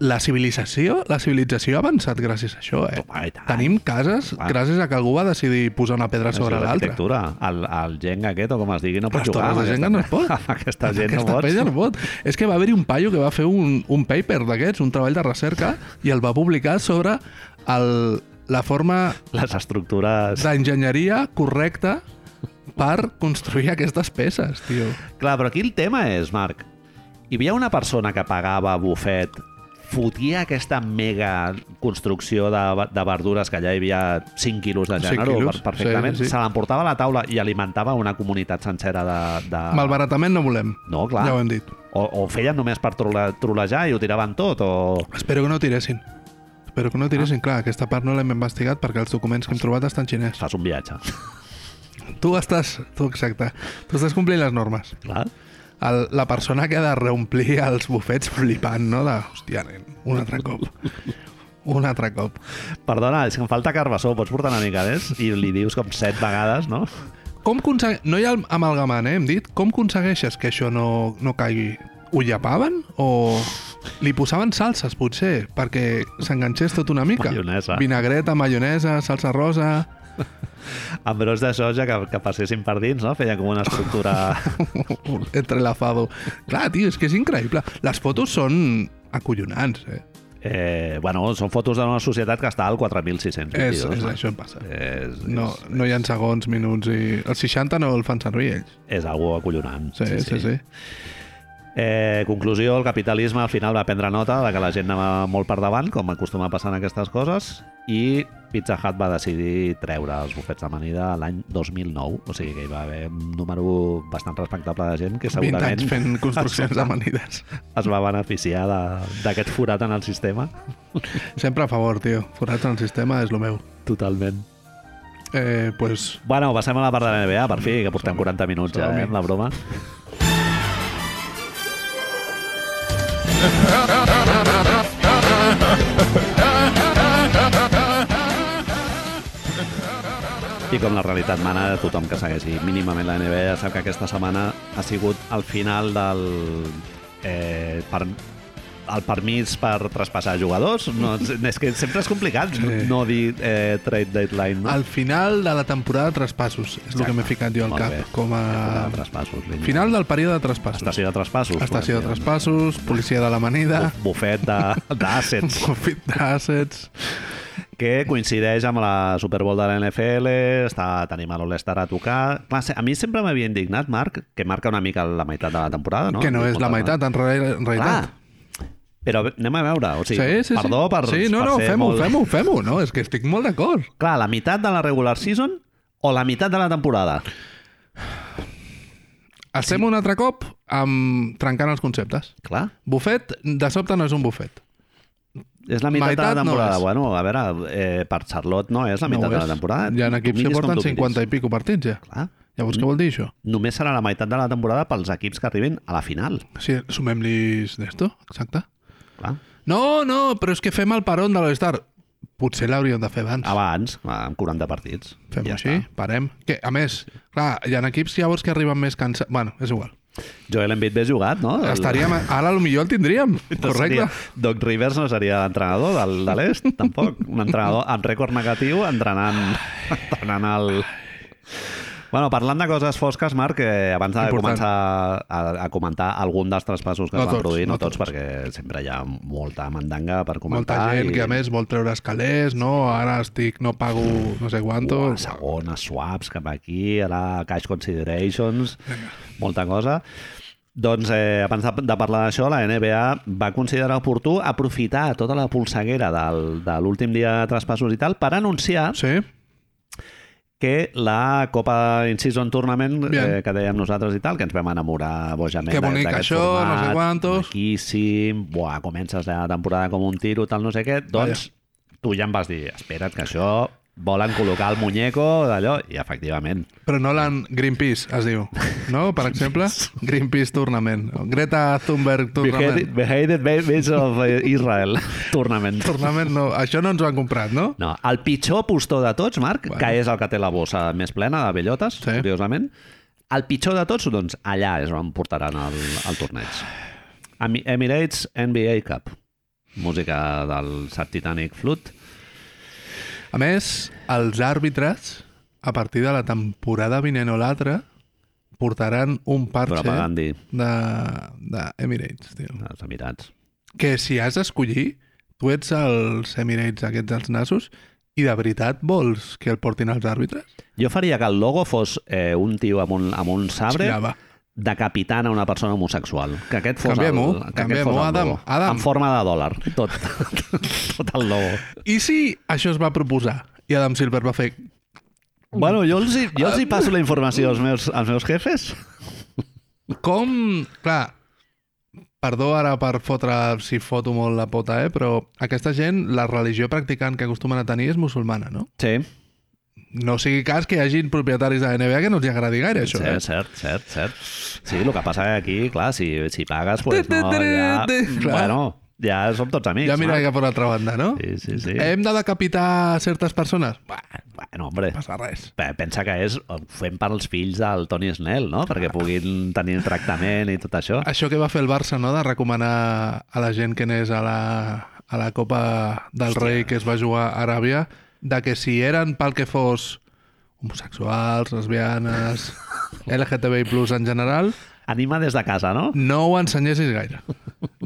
Speaker 2: la civilització, la civilització ha avançat gràcies a això, eh?
Speaker 1: Home, i tant.
Speaker 2: Tenim cases
Speaker 1: Clar.
Speaker 2: gràcies a que algú va decidir posar una pedra sobre
Speaker 1: Això és
Speaker 2: l'altra.
Speaker 1: arquitectura. El, el Jenga aquest, o com es digui, no pot
Speaker 2: Però
Speaker 1: jugar.
Speaker 2: torres de gent que no es pot.
Speaker 1: Amb aquesta
Speaker 2: Amb
Speaker 1: gent
Speaker 2: aquesta
Speaker 1: no pots.
Speaker 2: penya no pot. És que va haver-hi un paio que va fer un, un paper d'aquests, un treball de recerca, i el va publicar sobre el, la forma
Speaker 1: Les estructures...
Speaker 2: d'enginyeria correcta per construir aquestes peces, tio.
Speaker 1: Clar, però aquí el tema és, Marc, hi havia una persona que pagava bufet, fotia aquesta mega construcció de, de verdures que allà hi havia 5 quilos de
Speaker 2: Cinc
Speaker 1: gènere,
Speaker 2: quilos,
Speaker 1: perfectament,
Speaker 2: sí,
Speaker 1: sí,
Speaker 2: sí.
Speaker 1: sí. se l'emportava a la taula i alimentava una comunitat sencera de... de...
Speaker 2: Malbaratament no volem.
Speaker 1: Ah. No, clar.
Speaker 2: Ja ho hem dit.
Speaker 1: O, o feien només per trole, trolejar i ho tiraven tot, o...
Speaker 2: Espero que no ho tiressin. Espero que no ho tiressin.
Speaker 1: Ah.
Speaker 2: Clar, aquesta part no l'hem investigat perquè els documents que hem trobat estan xinès.
Speaker 1: Fas un viatge.
Speaker 2: Tu estàs... Tu, exacte. Tu estàs complint les normes.
Speaker 1: Clar.
Speaker 2: el, la persona que ha de reomplir els bufets flipant, no? De, hòstia, nen, un altre cop. Un altre cop.
Speaker 1: Perdona, és que em falta carbassó, pots portar una mica més? I li dius com set vegades, no?
Speaker 2: Com aconsegue... No hi ha am- amalgamant, eh, hem dit. Com aconsegueixes que això no, no caigui? Ho llapaven o li posaven salses, potser, perquè s'enganxés tot una mica?
Speaker 1: Maionesa.
Speaker 2: Vinagreta, maionesa, salsa rosa...
Speaker 1: Amb bros de soja que, que passessin per dins, no? Feia com una estructura...
Speaker 2: entrelazado. Clar, tio, és que és increïble. Les fotos són acollonants, eh?
Speaker 1: Eh, bueno, són fotos d'una societat que està al 4.600.
Speaker 2: És, és això em passa.
Speaker 1: És,
Speaker 2: No, no hi ha segons, minuts i... Els 60 no el fan servir ells.
Speaker 1: és algo acollonant.
Speaker 2: Sí, sí, sí. sí.
Speaker 1: Eh, conclusió, el capitalisme al final va prendre nota de que la gent anava molt per davant, com acostuma a passar en aquestes coses, i Pizza Hut va decidir treure els bufets d'amanida l'any 2009, o sigui que hi va haver un número bastant respectable de gent que
Speaker 2: 20
Speaker 1: segurament
Speaker 2: anys fent construccions amanides.
Speaker 1: es va beneficiar de- d'aquest forat en el sistema.
Speaker 2: Sempre a favor, tio. Forat en el sistema és lo meu.
Speaker 1: Totalment.
Speaker 2: Eh, pues,
Speaker 1: Bueno, passem a la part de la NBA, per fi, que portem 40 minuts ja, eh, amb la broma. I com la realitat mana, tothom que segueixi mínimament la NBA ja sap que aquesta setmana ha sigut el final del... Eh, per, el permís per traspassar jugadors. No, és que sempre és complicat
Speaker 2: Sí.
Speaker 1: no dir eh, trade deadline, no?
Speaker 2: al final de la temporada de traspassos. És el que m'he ficat jo al
Speaker 1: Molt
Speaker 2: cap.
Speaker 1: bé.
Speaker 2: Com
Speaker 1: Temporada de
Speaker 2: a...
Speaker 1: traspassos. línia.
Speaker 2: Final del període de traspassos.
Speaker 1: Estació de traspassos.
Speaker 2: Estació de
Speaker 1: podem dir.
Speaker 2: traspassos, policia de l'amanida,
Speaker 1: Bu- Bufet de- d'àssets,
Speaker 2: profit d'assets...
Speaker 1: que coincideix amb la Super Bowl de la NFL, està, tenim a l'All-Star a tocar... Clar, se- a mi sempre m'havia indignat, Marc, que marca una mica la meitat de la temporada, Ah, no?
Speaker 2: que no és la
Speaker 1: Contra-
Speaker 2: meitat, en, real, en realitat.
Speaker 1: Clar, però anem a veure, o sigui, Ah, perdó per,
Speaker 2: sí, no,
Speaker 1: per
Speaker 2: no,
Speaker 1: ser
Speaker 2: fem-ho,
Speaker 1: molt...
Speaker 2: fem-ho, fem-ho, no? És que estic molt d'acord.
Speaker 1: Clar, la meitat de la regular season o la meitat de la temporada?
Speaker 2: Estem sí. un altre cop amb trencant els conceptes.
Speaker 1: Clar,
Speaker 2: Bufet, de sobte, no és un bufet.
Speaker 1: és la meitat, de
Speaker 2: Meitat
Speaker 1: la
Speaker 2: no
Speaker 1: temporada.
Speaker 2: és.
Speaker 1: bueno, a veure, eh, per Charlotte no és la meitat
Speaker 2: no ho
Speaker 1: de
Speaker 2: és.
Speaker 1: la temporada.
Speaker 2: Hi ha
Speaker 1: Tu
Speaker 2: equips que
Speaker 1: miris com
Speaker 2: porten
Speaker 1: tu Mm. miris.
Speaker 2: 50 i pico partits, ja.
Speaker 1: Clar,
Speaker 2: Llavors, què vol dir això?
Speaker 1: només serà la meitat de la temporada pels equips que arriben a la final.
Speaker 2: Si sumem-lis d'esto, exacte.
Speaker 1: Clar.
Speaker 2: No, no, però és que fem el parón de l'All-Star. Potser l'hauríem de fer abans.
Speaker 1: Abans, amb 40 partits.
Speaker 2: Fem-ho
Speaker 1: Ah, ja
Speaker 2: així,
Speaker 1: està.
Speaker 2: parem. Que, a més, clar, hi ha equips llavors que arriben més cansats... Bueno, és igual.
Speaker 1: Joel Embiid bé jugat, no? El-
Speaker 2: Estaríem... Ara potser el tindríem,
Speaker 1: No
Speaker 2: correcte?
Speaker 1: Seria, Doc Rivers no seria entrenador del, de l'est, tampoc. Un entrenador amb rècord negatiu entrenant, entrenant el... Bueno, parlant de coses fosques, Marc, eh, abans de
Speaker 2: Important.
Speaker 1: començar a, a comentar algun dels traspassos que
Speaker 2: No
Speaker 1: es van
Speaker 2: tots,
Speaker 1: produir, no,
Speaker 2: no
Speaker 1: tots,
Speaker 2: tots.
Speaker 1: perquè sempre hi ha molta mandanga per
Speaker 2: Molta
Speaker 1: comentar.
Speaker 2: gent
Speaker 1: i...
Speaker 2: que a més vol treure escalers, no, ara estic, no pago no sé quanto.
Speaker 1: Ua, segona, swaps cap aquí, ara cash considerations, molta cosa. Doncs eh, abans de, de parlar d'això, la NBA va considerar oportú aprofitar tota la polseguera del, de l'últim dia de traspassos i tal per anunciar
Speaker 2: Sí,
Speaker 1: que la Copa In-Season Tournament,
Speaker 2: Bien.
Speaker 1: eh, que dèiem nosaltres i tal, que ens vam enamorar bojament
Speaker 2: Que
Speaker 1: d'a-
Speaker 2: bonic
Speaker 1: d'aquest
Speaker 2: això, no sé
Speaker 1: format,
Speaker 2: quantos.
Speaker 1: Maquíssim, buah, comences la temporada com un tiro, tal, no sé què. Doncs tu ja em vas dir, espera't que això volen col·locar el muñeco d'allò, i efectivament,
Speaker 2: però no l'han Greenpeace, es diu, no? Per exemple, Greenpeace Tournament. Greta Thunberg Tournament.
Speaker 1: Beheaded Babies of Israel Tournament.
Speaker 2: Tournament no, això no ens ho han comprat, no?
Speaker 1: No, el pitjor postor de tots, Marc, bueno. que és el que té la bossa més plena de bellotes, sí.
Speaker 2: Sí.
Speaker 1: curiosament, el pitjor de tots, doncs allà és on portaran el, el torneig. Emi- Emirates NBA Cup. Música del Sub Titanic Flute.
Speaker 2: A més, els àrbitres, a partir de la temporada vinent o l'altra, portaran un parxe
Speaker 1: Propagandi.
Speaker 2: de, de Emirates, tio.
Speaker 1: Els Emirats.
Speaker 2: que si has d'escollir, tu ets els Emirates aquests dels nassos i de veritat vols que el portin els àrbitres?
Speaker 1: Jo faria que el logo fos eh, un tio amb un, amb un sabre
Speaker 2: Ja va.
Speaker 1: decapitant a una persona homosexual. Que aquest fos
Speaker 2: Canviem-ho,
Speaker 1: el, que aquest
Speaker 2: canviem-ho,
Speaker 1: fos el
Speaker 2: Adam,
Speaker 1: logo.
Speaker 2: Adam.
Speaker 1: En forma de dòlar. Tot, tot el logo.
Speaker 2: I si això es va proposar i Adam Silver va fer...
Speaker 1: Bueno, jo els, hi, jo
Speaker 2: Ah.
Speaker 1: els hi passo la informació als meus, als meus jefes.
Speaker 2: Com... Clar, perdó ara per fotre, si foto molt la pota, eh? però aquesta gent, la religió practicant que acostumen a tenir és musulmana, no?
Speaker 1: Sí,
Speaker 2: No sigui cas que hi hagin propietaris de la NBA que no els agradi gaire, això,
Speaker 1: cert,
Speaker 2: eh?
Speaker 1: cert, cert, cert. Sí, el que passa és que aquí, clar, si, si pagues, pues,
Speaker 2: Te, te,
Speaker 1: no,
Speaker 2: te,
Speaker 1: ja...
Speaker 2: te. Clar.
Speaker 1: Bueno, Ja som tots amics.
Speaker 2: Ja Eh. mira
Speaker 1: Marc.
Speaker 2: cap a una altra banda, no?
Speaker 1: Sí, sí, sí.
Speaker 2: Hem de decapitar certes persones? Bah,
Speaker 1: Bueno, hombre,
Speaker 2: no passa res.
Speaker 1: pe- pensa que és, ho fem per als fills del Toni Snell, no? Perquè puguin tenir tractament i tot això.
Speaker 2: Això que va fer el Barça, no?, de recomanar a la gent que anés a la, a la Copa del Rei que es va jugar a Aràbia, de que si eren pel que fos homosexuals, lesbianes, LGTBI+, en general,
Speaker 1: Anima des de casa, no?
Speaker 2: no ho ensenyessis gaire.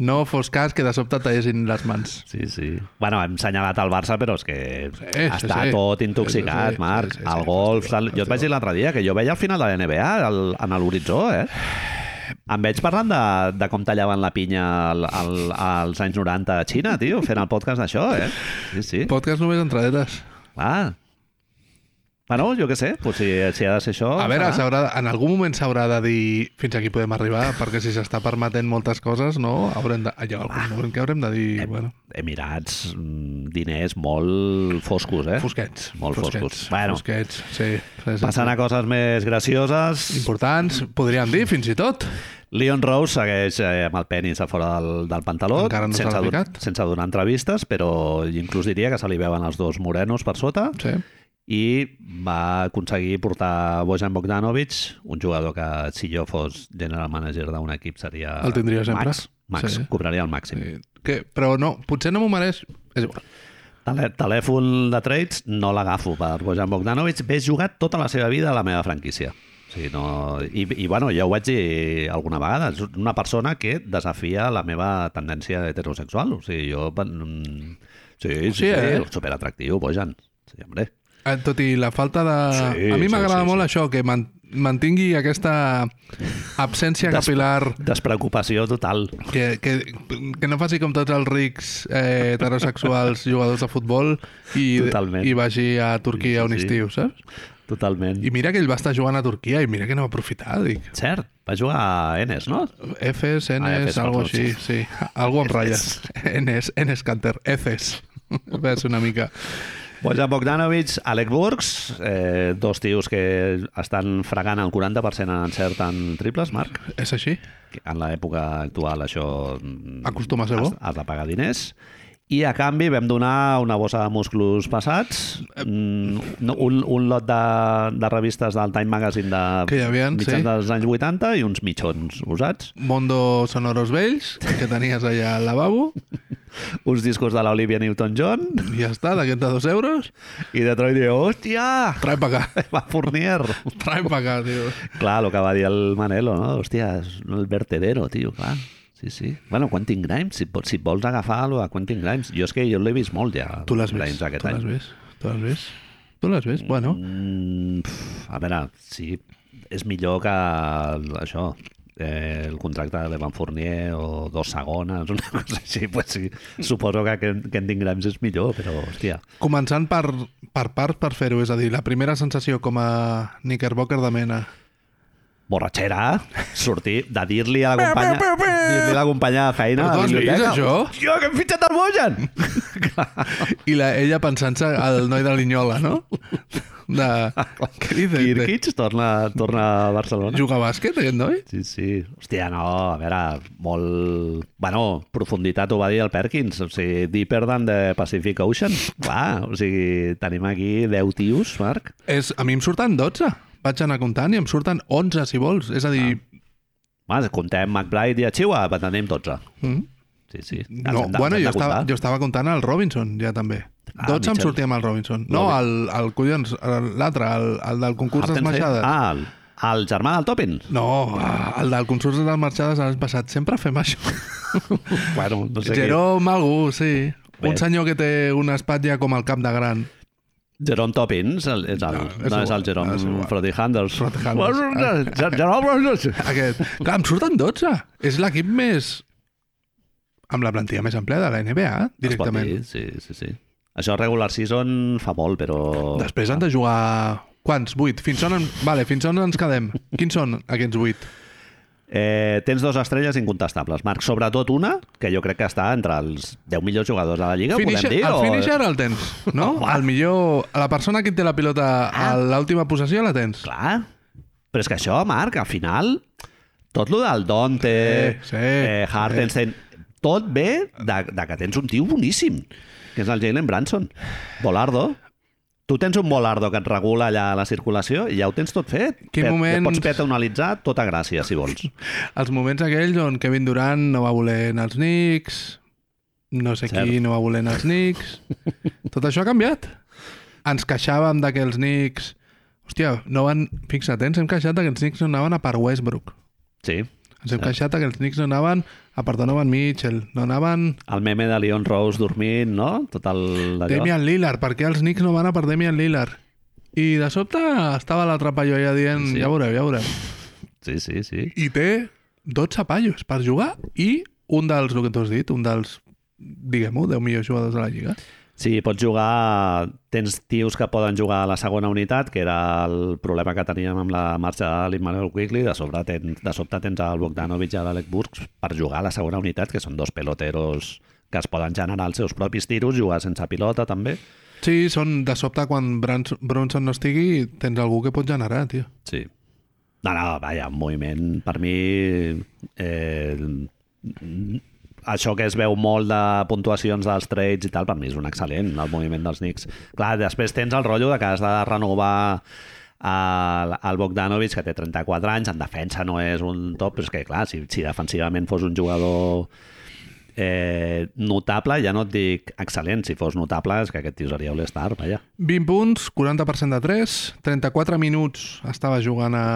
Speaker 2: No fos cas que de sobte tallessin les mans.
Speaker 1: Sí, sí. Bueno, hem senyalat el Barça, però és que sí,
Speaker 2: sí,
Speaker 1: està
Speaker 2: sí.
Speaker 1: tot
Speaker 2: Sí,
Speaker 1: intoxicat,
Speaker 2: sí,
Speaker 1: Marc.
Speaker 2: sí, sí,
Speaker 1: el
Speaker 2: sí,
Speaker 1: golf...
Speaker 2: sí, sí,
Speaker 1: el- Jo et vaig
Speaker 2: sí.
Speaker 1: dir l'altre dia que jo veia el final de la NBA al, en l'horitzó, eh? Em veig parlant de, de com tallaven la pinya al, al, als anys 90 a Xina, tio, fent el podcast d'això, eh? Sí, sí.
Speaker 2: Podcast només entradetes.
Speaker 1: Ah. Bueno, jo què sé, pues si, si ha de ser això...
Speaker 2: A veure,
Speaker 1: serà.
Speaker 2: s'haurà, en algun moment s'haurà de dir fins aquí podem arribar, perquè si s'està permetent moltes coses, no? Haurem de, allò, algun moment que haurem de dir, bueno,
Speaker 1: Emirats, mm, diners molt foscos, eh?
Speaker 2: fosquets.
Speaker 1: Molt foscos.
Speaker 2: fosquets,
Speaker 1: Bueno.
Speaker 2: Fosquets, sí. sí, sí
Speaker 1: Passant a coses més gracioses,
Speaker 2: Importants, podríem dir, fins i tot.
Speaker 1: Leon Rose segueix eh, amb el penis a fora del, del pantaló,
Speaker 2: Encara no se l'ha
Speaker 1: sense,
Speaker 2: picat.
Speaker 1: sense donar entrevistes, però inclús diria que se li veuen els dos morenos per sota,
Speaker 2: Sí.
Speaker 1: i va aconseguir portar Bojan Bogdanovic, un jugador que si jo fos general manager d'un equip seria...
Speaker 2: El tindria sempre.
Speaker 1: Max, Max
Speaker 2: Sí.
Speaker 1: cobraria el màxim.
Speaker 2: sí. Que, però no, potser no m'ho mereix. És igual.
Speaker 1: Tele telèfon de trades no l'agafo per Bojan Bogdanovic. Ve jugat tota la seva vida a la meva franquícia. O sigui, no... I, I, bueno, ja ho vaig dir alguna vegada. És una persona que desafia la meva tendència heterosexual. O sigui, jo... mm, Sí, sí, sí,
Speaker 2: eh?
Speaker 1: superatractiu, Bojan. Sí, hombre.
Speaker 2: Eh, Tot i la falta de...
Speaker 1: Sí,
Speaker 2: a mi
Speaker 1: sí,
Speaker 2: m'agrada
Speaker 1: sí,
Speaker 2: molt
Speaker 1: sí.
Speaker 2: això, que man mantingui aquesta absència
Speaker 1: Des-
Speaker 2: capilar
Speaker 1: Despreocupació total.
Speaker 2: Que, que, que no faci com tots els rics eh, heterosexuals jugadors de futbol i,
Speaker 1: Totalment.
Speaker 2: i vagi a Turquia
Speaker 1: Sí, sí,
Speaker 2: un
Speaker 1: sí.
Speaker 2: estiu, saps?
Speaker 1: Totalment.
Speaker 2: I mira que ell va estar jugant a Turquia i mira que no va aprofitar, dic.
Speaker 1: Cert, va jugar a Enes, no?
Speaker 2: Fs,
Speaker 1: Ah,
Speaker 2: Ns,
Speaker 1: Fs,
Speaker 2: algo
Speaker 1: perdó,
Speaker 2: així, sí. Algo amb ratlles. Ns, Ns Canter, Fs. Ves una mica.
Speaker 1: Bojan Bogdanovic, Alec Burks, eh, dos tios que estan fregant el 40% en encert en triples, Marc.
Speaker 2: És així?
Speaker 1: que En l'època actual això... mm,
Speaker 2: Acostuma a ser bo.
Speaker 1: Has, has de pagar diners. I a canvi vam donar una bossa de musclos passats,
Speaker 2: Eh,
Speaker 1: mm, no, un, un lot de, de revistes del Time Magazine de
Speaker 2: Que hi havia,
Speaker 1: mitjans
Speaker 2: sí.
Speaker 1: dels anys 80 i uns mitjons usats,
Speaker 2: Mondo Sonoros Vells, que tenies allà al lavabo,
Speaker 1: uns discos de l'Olivia Newton-John
Speaker 2: i ja està, d'aquests de dos euros,
Speaker 1: i Detroit diu, hòstia,
Speaker 2: trae pa acá,
Speaker 1: va Fournier.
Speaker 2: trae pa acá, tio.
Speaker 1: Clar, el que va dir el Manelo, no? Hòstia, és el vertedero, tio, clar. Sí, sí. Bueno, Quentin Grimes, si, pots- si vols agafar lo de Quentin Grimes. Jo és que jo l'he vist molt ja.
Speaker 2: Tu l'has
Speaker 1: Grimes
Speaker 2: vist,
Speaker 1: aquest
Speaker 2: tu
Speaker 1: any.
Speaker 2: l'has vist, tu l'has vist, tu l'has vist, bueno.
Speaker 1: Mm, pf, a veure, sí, és millor que el- això, eh, el contracte de l'Evan Fournier o dos segones, una cosa així. Pues sí, suposo que Ken- Quentin Grimes és millor, però, hòstia,
Speaker 2: Començant per, per part per fer-ho, és a dir, la primera sensació com a knickerbocker de mena.
Speaker 1: borratxera, sortir, de dir-li a la companya, dir-li a la companya de feina a
Speaker 2: Però tu
Speaker 1: la
Speaker 2: has vist
Speaker 1: biblioteca.
Speaker 2: això?
Speaker 1: Jo, que hem fitxat el Bojan!
Speaker 2: I la, ella pensant-se al noi de Linyola, no? De... Què dices?
Speaker 1: Kirkic torna, torna a Barcelona.
Speaker 2: Juga a bàsquet, aquest noi?
Speaker 1: Sí, sí. Hòstia, no, a veure, molt... Bueno, profunditat ho va dir el Perkins, o sigui, deeper than the Pacific Ocean. Clar, o sigui, tenim aquí 10 tios, Marc.
Speaker 2: És, a mi em surten 12. Vaig anar comptant i em surten 11, si vols. És a dir,
Speaker 1: Mas, comptem McBride i Achiwa, per tenim 12.
Speaker 2: mm,
Speaker 1: Sí, sí. Els
Speaker 2: no,
Speaker 1: hem Ah, de-
Speaker 2: bueno,
Speaker 1: els hem
Speaker 2: jo
Speaker 1: de
Speaker 2: estava,
Speaker 1: comptar.
Speaker 2: jo estava comptant el Robinson, ja també.
Speaker 1: Ah,
Speaker 2: 12 em
Speaker 1: Mitchell.
Speaker 2: sortia amb el Robinson. No, el, el collons, el- l'altre, el, el del concurs
Speaker 1: Haftenfeld?
Speaker 2: d'esmaixades.
Speaker 1: Ah, el, el germà del Topin.
Speaker 2: No, el del concurs de les marxades l'any passat. Sempre fem això.
Speaker 1: Bueno, no sé Geró...
Speaker 2: Jerome algú, sí.
Speaker 1: Bé.
Speaker 2: Un senyor que té una espatlla com el cap de gran.
Speaker 1: Jerome Topin és el, és el,
Speaker 2: No,
Speaker 1: no,
Speaker 2: és
Speaker 1: és,
Speaker 2: igual,
Speaker 1: el Jerome
Speaker 2: és igual.
Speaker 1: Frody Handels.
Speaker 2: Frothy Handels.
Speaker 1: Ger- Jerome...
Speaker 2: Aquest. Clar, em surten 12. És l'equip més... Amb la plantilla més ampliada de la NBA,
Speaker 1: Es pot
Speaker 2: eh, directament.
Speaker 1: dir, Sí, sí, sí. Això regular season fa molt, però...
Speaker 2: Després han de jugar... Quants? 8. Fins on, en... vale, fins on ens quedem? Quins són aquests 8?
Speaker 1: Eh, tens dues estrelles incontestables, Marc. Sobretot una, que jo crec que està entre els 10 millors jugadors de la Lliga,
Speaker 2: Finisher,
Speaker 1: podem dir?
Speaker 2: el
Speaker 1: o-
Speaker 2: finisher el tens, no?
Speaker 1: Home. Ah.
Speaker 2: El millor... La persona que té la pilota a l'última possessió la tens.
Speaker 1: Clar. Però és que això, Marc, al final, tot lo del Dante,
Speaker 2: Sí, sí,
Speaker 1: eh, Hartenstein... tot ve de, de que tens un tio boníssim, que és el Jalen Branson. Volardo. Tu tens un volardo que et regula allà la circulació i ja ho tens tot fet.
Speaker 2: Quin
Speaker 1: Pet-
Speaker 2: moments-
Speaker 1: Pots petonalitzar tota gràcia, si vols.
Speaker 2: Els moments aquells on Kevin Durant no va voler anar als Knicks, no sé
Speaker 1: Cert.
Speaker 2: qui no va voler anar als Knicks... Tot això ha canviat. Ens queixàvem de que els Knicks... Hòstia, no van... Fixa't, eh, ens hem queixat de que els Knicks no anaven a per Westbrook.
Speaker 1: Sí.
Speaker 2: Ens hem queixat de que els Knicks no anaven a per Donovan Mitchell, no anaven...
Speaker 1: El meme de Leon Rose dormint, no? Tot el... d'allò.
Speaker 2: Damian Lillard, per què els Knicks no van a per Damian Lillard? I de sobte estava l'altre paio allà dient,
Speaker 1: Sí.
Speaker 2: sí. ja veureu, ja veureu.
Speaker 1: Sí, sí, sí.
Speaker 2: I té 12 paios per jugar i un dels, el que t'ho has dit, un dels, diguem-ho, 10 millors jugadors de la Lliga.
Speaker 1: Sí, pots jugar... Tens tios que poden jugar a la segona unitat, que era el problema que teníem amb la marxa de l'Immanuel Quigley. De, sobre ten, de sobte tens el Bogdanovic i l'Alec Burks per jugar a la segona unitat, que són dos peloteros que es poden generar els seus propis tiros, jugar sense pilota també.
Speaker 2: Sí, són de sobte quan Brans- Bronson no estigui, tens algú que pot generar, tio.
Speaker 1: Sí. No, no, vaja, un moviment per mi... Eh, això que es veu molt de puntuacions dels trades i tal, per mi és un excel·lent, el moviment dels Knicks. Clar, després tens el rotllo de que has de renovar el, el Bogdanovic, que té 34 anys, en defensa no és un top, però és que, clar, si, si defensivament fos un jugador eh, notable, ja no et dic excel·lent, si fos notable és que aquest tio seria All-Star, vaja.
Speaker 2: 20 punts, 40% de 3, 34 minuts estava jugant a,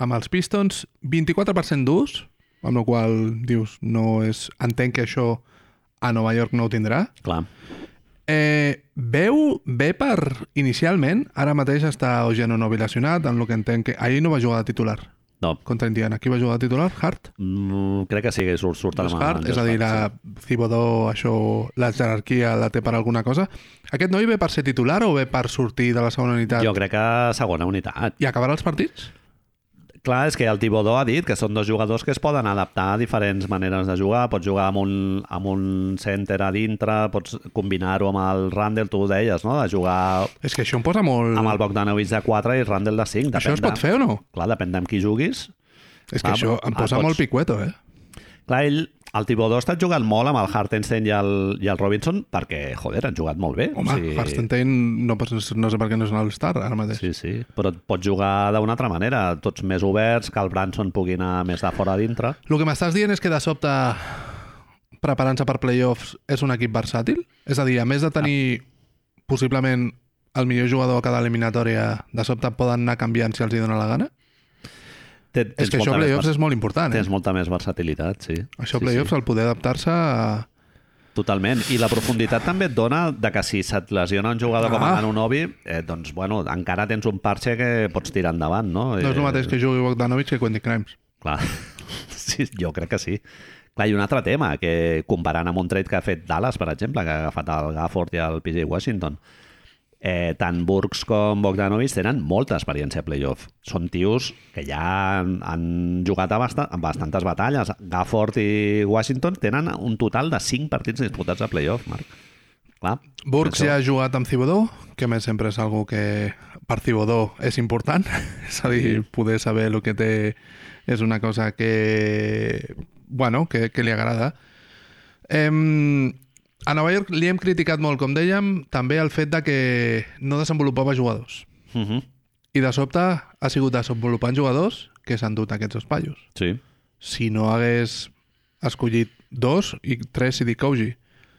Speaker 2: amb els Pistons, 24% d'ús, amb la qual cosa dius, no és... Entenc que això a Nova York no ho tindrà.
Speaker 1: Clar.
Speaker 2: Eh, veu bé per... Inicialment, ara mateix està Ogeno Novi lesionat, en el que entenc que... Ahir no va jugar de titular
Speaker 1: No,
Speaker 2: contra Indiana. Qui va jugar de titular? Hart?
Speaker 1: Mm, crec que sí, que surt, surt a la
Speaker 2: Josh
Speaker 1: mà.
Speaker 2: Hart, és a dir, la Cibodó, això, la jerarquia la té per alguna cosa. Aquest noi ve per ser titular o ve per sortir de la segona unitat
Speaker 1: Jo crec que segona unitat.
Speaker 2: i acabarà els partits?
Speaker 1: Clar, és que el Tibodó ha dit que són dos jugadors que es poden adaptar a diferents maneres de jugar. Pots jugar amb un, amb un center a dintre, pots combinar-ho amb el Randall, tu ho deies, no? de jugar
Speaker 2: És que això em posa molt...
Speaker 1: amb el Bogdanovic de 4 i Randall de 5.
Speaker 2: Mm. Això es pot
Speaker 1: de...
Speaker 2: fer o no?
Speaker 1: Clar, depèn de amb qui juguis.
Speaker 2: És
Speaker 1: Ah,
Speaker 2: que això em
Speaker 1: ah,
Speaker 2: posa
Speaker 1: pots.
Speaker 2: molt picueto, eh?
Speaker 1: Clar, ell, el Tibodó ha estat jugant molt amb el Hartenstein i el, i el Robinson perquè, joder, han jugat molt bé.
Speaker 2: Home, sí. Hartenstein no, pots- no sé per què no és un all-star ara mateix.
Speaker 1: Sí, sí, però et pots jugar d'una altra manera, tots més oberts, que el Branson pugui anar més de fora a dintre.
Speaker 2: El que m'estàs dient és que de sobte preparant-se per playoffs és un equip versàtil? És a dir, a més de tenir possiblement el millor jugador a cada eliminatòria, de sobte poden anar canviant si els hi dóna la gana?
Speaker 1: Té-
Speaker 2: És que això a
Speaker 1: molta més
Speaker 2: playoffs
Speaker 1: vers-
Speaker 2: és molt important, eh?
Speaker 1: Tens molta més versatilitat, sí.
Speaker 2: Això a
Speaker 1: sí,
Speaker 2: playoffs, el poder adaptar-se... a-
Speaker 1: Sí, totalment. I la profunditat també et dona de que si se't lesiona un jugador ah. com
Speaker 2: Ah.
Speaker 1: a Anunobi, eh, doncs, bueno, encara tens un parxe que pots tirar endavant, no? Eh,
Speaker 2: No és el mateix que jugui Bogdanovic que Quentin Crimes.
Speaker 1: Clar, sí, jo crec que sí. Clar, i un altre tema, que comparant amb un trade que ha fet Dallas, per exemple, que ha agafat el Gafford i el PJ Washington, eh, tant Burks com Bogdanovic tenen molta experiència a playoff. Són tios que ja han, han jugat a basta, en bastantes batalles. Gafford i Washington tenen un total de 5 partits disputats a playoff, Marc. Clar,
Speaker 2: Burks
Speaker 1: Això.
Speaker 2: ja ha jugat amb Cibodó, que a més sempre és algo que per Cibodó és important, és a dir, poder saber el que té és una cosa que, bueno, que, que li agrada. Em, a Nova York li hem criticat molt, com dèiem, també el fet de que no desenvolupava jugadors.
Speaker 1: uh -huh.
Speaker 2: I de sobte ha sigut desenvolupant jugadors que s'han dut aquests dos pallos.
Speaker 1: sí.
Speaker 2: Si no hagués escollit dos i tres i dic Koji,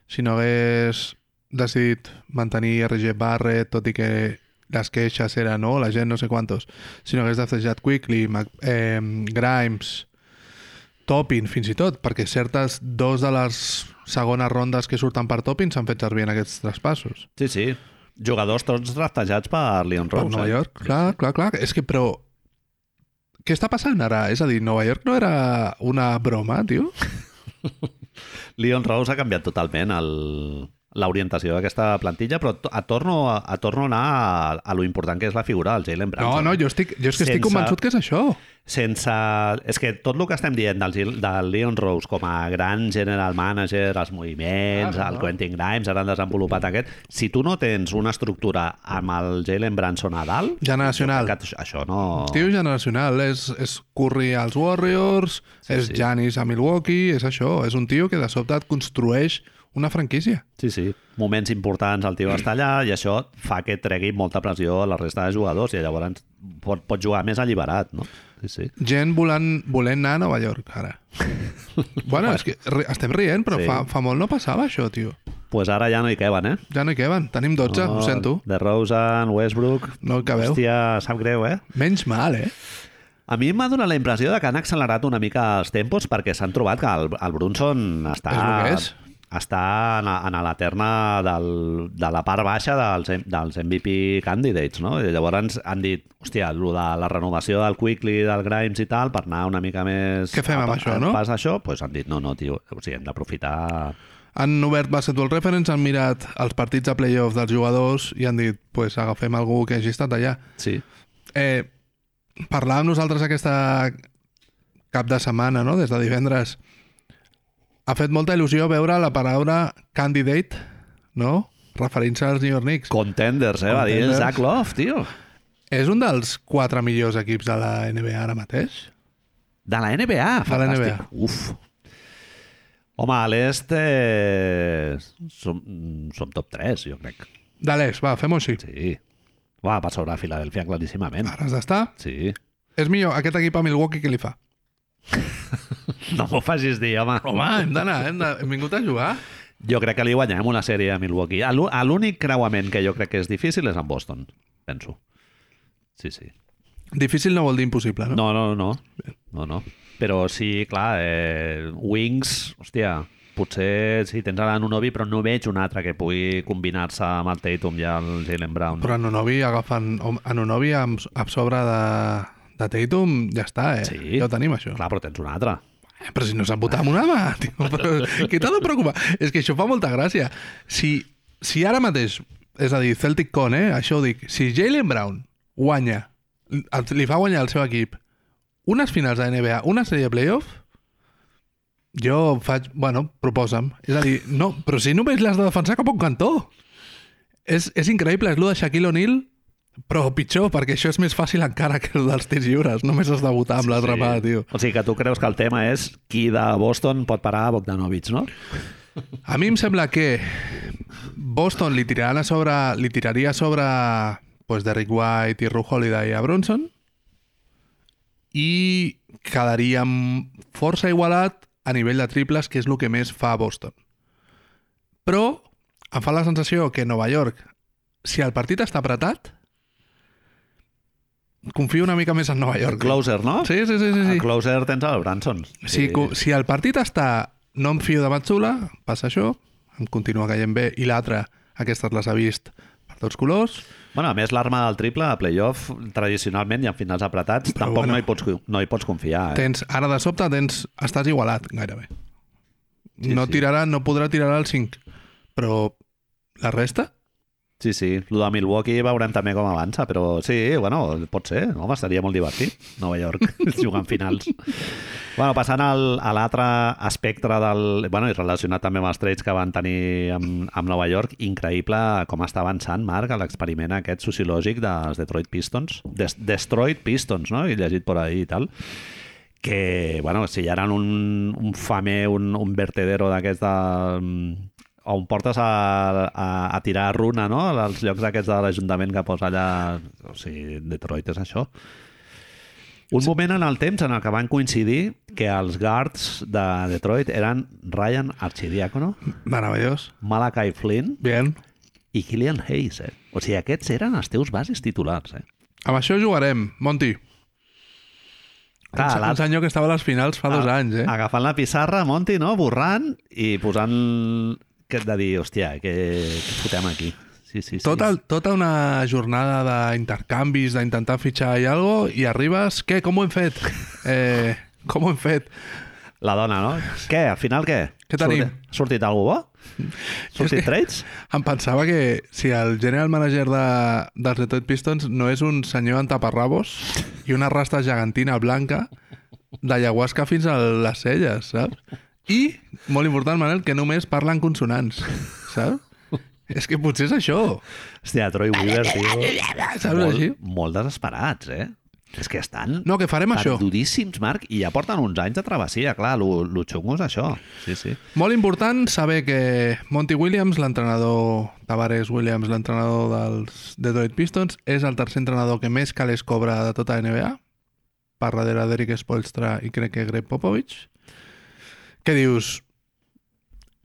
Speaker 2: si no hagués decidit mantenir RG Barrett, tot i que les queixes eren, no, la gent no sé quantos, si no hagués deftejat Quickly, Mac, eh, Grimes, Topin, fins i tot, perquè certes dos de les segones rondes que surten per Topin s'han fet servir en aquests traspassos.
Speaker 1: Sí, sí. Jugadors tots raftejats per Leon
Speaker 2: Per
Speaker 1: Rose.
Speaker 2: Nova
Speaker 1: eh?
Speaker 2: York, clar, clar, clar. És que, però... Què està passant ara? És a dir, Nova York no era una broma, tio?
Speaker 1: Leon Rose ha canviat totalment el, l'orientació d'aquesta plantilla, però to- a torno a, a torno a anar a, a lo important que és la figura del Jalen
Speaker 2: No,
Speaker 1: Branson.
Speaker 2: no, jo, estic, jo és que estic
Speaker 1: Sense-
Speaker 2: convençut que és això.
Speaker 1: sense... És que tot el que estem dient del, Gil- del Leon Rose com a gran general manager, els moviments,
Speaker 2: Clar,
Speaker 1: el
Speaker 2: no?
Speaker 1: Quentin Grimes, ara han desenvolupat aquest... Si tu no tens una estructura amb el Jalen Branson a dalt,
Speaker 2: Generacional.
Speaker 1: que t- això no...
Speaker 2: Tio generacional, és, és Curry als Warriors, sí, és
Speaker 1: sí.
Speaker 2: sí. Giannis a Milwaukee, és això, és un tio que de sobte et construeix una franquícia.
Speaker 1: Sí, sí. Moments importants, el tio està allà i això fa que tregui molta pressió a la resta de jugadors i llavors pot, pot jugar més alliberat, no? Sí, sí.
Speaker 2: Gent volant, volent anar a Nova York, ara. bueno, és que ri, estem rient, però
Speaker 1: Sí.
Speaker 2: sí. fa, fa molt no passava això, tio.
Speaker 1: pues ara ja no hi queben, eh?
Speaker 2: Ja no hi queben, tenim 12, oh. ho sento.
Speaker 1: De Rosen, Westbrook...
Speaker 2: No hi cabeu.
Speaker 1: Hòstia, sap greu, eh?
Speaker 2: Menys mal, eh?
Speaker 1: A mi m'ha donat la impressió de que han accelerat una mica els tempos perquè s'han trobat que el, el Brunson està...
Speaker 2: És el que és.
Speaker 1: està en, en la terna del, de la part baixa dels, M- dels MVP candidates, no? I llavors han dit, hòstia, lo de la renovació del Quickly, del Grimes i tal, per anar una mica més...
Speaker 2: Què fem amb
Speaker 1: a-
Speaker 2: això,
Speaker 1: a
Speaker 2: no?
Speaker 1: Pas a això, doncs han dit, no, no, tio, o sigui, hem d'aprofitar...
Speaker 2: Han obert Basketball Reference, han mirat els partits de playoff dels jugadors i han dit, pues agafem algú que hagi estat allà.
Speaker 1: Sí.
Speaker 2: Eh, parlàvem nosaltres aquesta cap de setmana, no? des de divendres. Ha fet molta il·lusió veure la paraula candidate, no? referint-se als New York Knicks.
Speaker 1: Contenders, eh? Va dir el
Speaker 2: Contenders.
Speaker 1: Zach Love, tio.
Speaker 2: És un dels quatre millors equips de la NBA ara mateix?
Speaker 1: De la NBA, fantàstic.
Speaker 2: NBA.
Speaker 1: Uf. Home, a l'est eh, som, mm, som top 3, jo crec.
Speaker 2: De l'est, va, fem-ho així.
Speaker 1: Sí. Va, per sobre a Filadèlfia claríssimament.
Speaker 2: Ara has d'estar.
Speaker 1: Sí.
Speaker 2: És millor aquest equip a Milwaukee que li fa.
Speaker 1: No m'ho facis dir, home.
Speaker 2: Home, hem d'anar, hem, de... hem vingut a jugar.
Speaker 1: Jo crec que li guanyem una sèrie a Milwaukee. A l'ú- a L'únic creuament que jo crec que és difícil és en Boston, penso. Sí, sí.
Speaker 2: Difícil no vol dir impossible, no?
Speaker 1: No, no, no. No, no. Però sí, clar, eh, Wings, hòstia, potser si tens ara Nunobi, però no veig un altre que pugui combinar-se amb el Tatum i el Jalen Brown.
Speaker 2: Però Anunobi agafen... Anunobi amb, amb sobre de, de Tatum ja està, eh?
Speaker 1: Sí.
Speaker 2: Ja ho tenim, això.
Speaker 1: Clar, però tens un altre.
Speaker 2: Eh, Però si no sap votar amb una mà, tio. Però, què t'ha de preocupar? És que això fa molta gràcia. Si, si ara mateix, és a dir, Celtic Con, eh? Això ho dic. Si Jalen Brown guanya, li fa guanyar al seu equip unes finals de NBA, una sèrie de playoff, jo faig... Bueno, proposa'm. És a dir, no, però si només l'has de defensar cap a un cantó. És, és increïble, és lo de Shaquille O'Neal, però pitjor, perquè això és més fàcil encara que el dels tirs lliures. Només has de votar amb sí, l'altra mà, tio.
Speaker 1: O sigui que tu creus que el tema és qui de Boston pot parar a Bogdanovic, no?
Speaker 2: A mi em sembla que Boston li tiraran a sobre, li tiraria a sobre pues, Derrick White i Ru Holiday a Bronson i quedaria força igualat a nivell de triples, que és el que més fa a Boston. Però em fa la sensació que Nova York, si el partit està apretat, confio una mica més en Nova York. eh?
Speaker 1: Closer, no?
Speaker 2: Sí, sí, sí. sí, sí.
Speaker 1: A Closer tens el Branson.
Speaker 2: Si, co- si el partit està no em fio de Matsula, passa això, em continua caient bé, i l'altre, aquesta les ha vist per tots colors,
Speaker 1: Bueno, a més, l'arma del triple a playoff, tradicionalment i en finals apretats,
Speaker 2: Però
Speaker 1: tampoc
Speaker 2: bueno.
Speaker 1: no, hi pots, co- no hi pots confiar. Eh?
Speaker 2: tens, ara de sobte tens, estàs igualat gairebé.
Speaker 1: Sí,
Speaker 2: no
Speaker 1: sí.
Speaker 2: tirarà, no podrà tirar al 5, però la resta?
Speaker 1: Sí, sí. El de Milwaukee veurem també com avança, però sí, bueno, pot ser. Home, estaria molt divertit, Nova York, jugant finals. bueno, passant al, a l'altre espectre del... Bueno, i relacionat també amb els trets que van tenir amb, amb Nova York, increïble com està avançant, Marc, a l'experiment aquest sociològic dels Detroit Pistons. Des Destroyed Pistons, no? He llegit per ahí i tal que, bueno, si hi ara un, un famer, un, un vertedero d'aquests de mm, on portes a, a, a tirar runa, no? Als llocs aquests de l'Ajuntament que posa allà... O sigui, Detroit és això. Un moment en el temps en el que van coincidir que els guards de Detroit eren Ryan Archidiacono,
Speaker 2: Meravellós.
Speaker 1: Malachi Flynn
Speaker 2: Bien.
Speaker 1: i Killian Hayes, eh? O sigui, aquests eren els teus bases titulars, eh?
Speaker 2: Amb això jugarem, Monti.
Speaker 1: Clar,
Speaker 2: un, se- un
Speaker 1: l'altre-
Speaker 2: senyor que estava a les finals fa dos
Speaker 1: Ah,
Speaker 2: anys, eh?
Speaker 1: Agafant la pissarra, Monti, no? Borrant i posant... Que et de dir, hòstia, què, què fotem aquí? Sí, sí, sí.
Speaker 2: Tot el, tota una jornada d'intercanvis, d'intentar fitxar i algo, i arribes... Què? Com ho hem fet? Eh, com ho hem fet?
Speaker 1: La dona, no? Què? Al final què?
Speaker 2: Què tenim?
Speaker 1: Sorti- Ha sortit algú bo? Ha
Speaker 2: Jo és
Speaker 1: sortit
Speaker 2: que-
Speaker 1: trades?
Speaker 2: Em pensava que si el general manager de, dels Detroit Pistons no és un senyor en taparrabos i una rasta gegantina blanca d'ayahuasca fins a les celles, saps? I, molt important, Manel, que només parlen consonants, saps? És que potser és això,
Speaker 1: Hòstia, Troy Weaver, tio.
Speaker 2: saps així?
Speaker 1: Molt, molt desesperats, eh? És que estan...
Speaker 2: No, que farem
Speaker 1: tan
Speaker 2: això.
Speaker 1: duríssims, Marc, i ja porten uns anys de travessia, clar, lo, lo xungo és això. Sí, sí.
Speaker 2: Molt important saber que Monty Williams, l'entrenador, Tavares Williams, l'entrenador dels Detroit Pistons, és el tercer entrenador que més calés cobra de tota la NBA, per darrere d'Eric Spoelstra i crec que Greg Popovich. Què dius?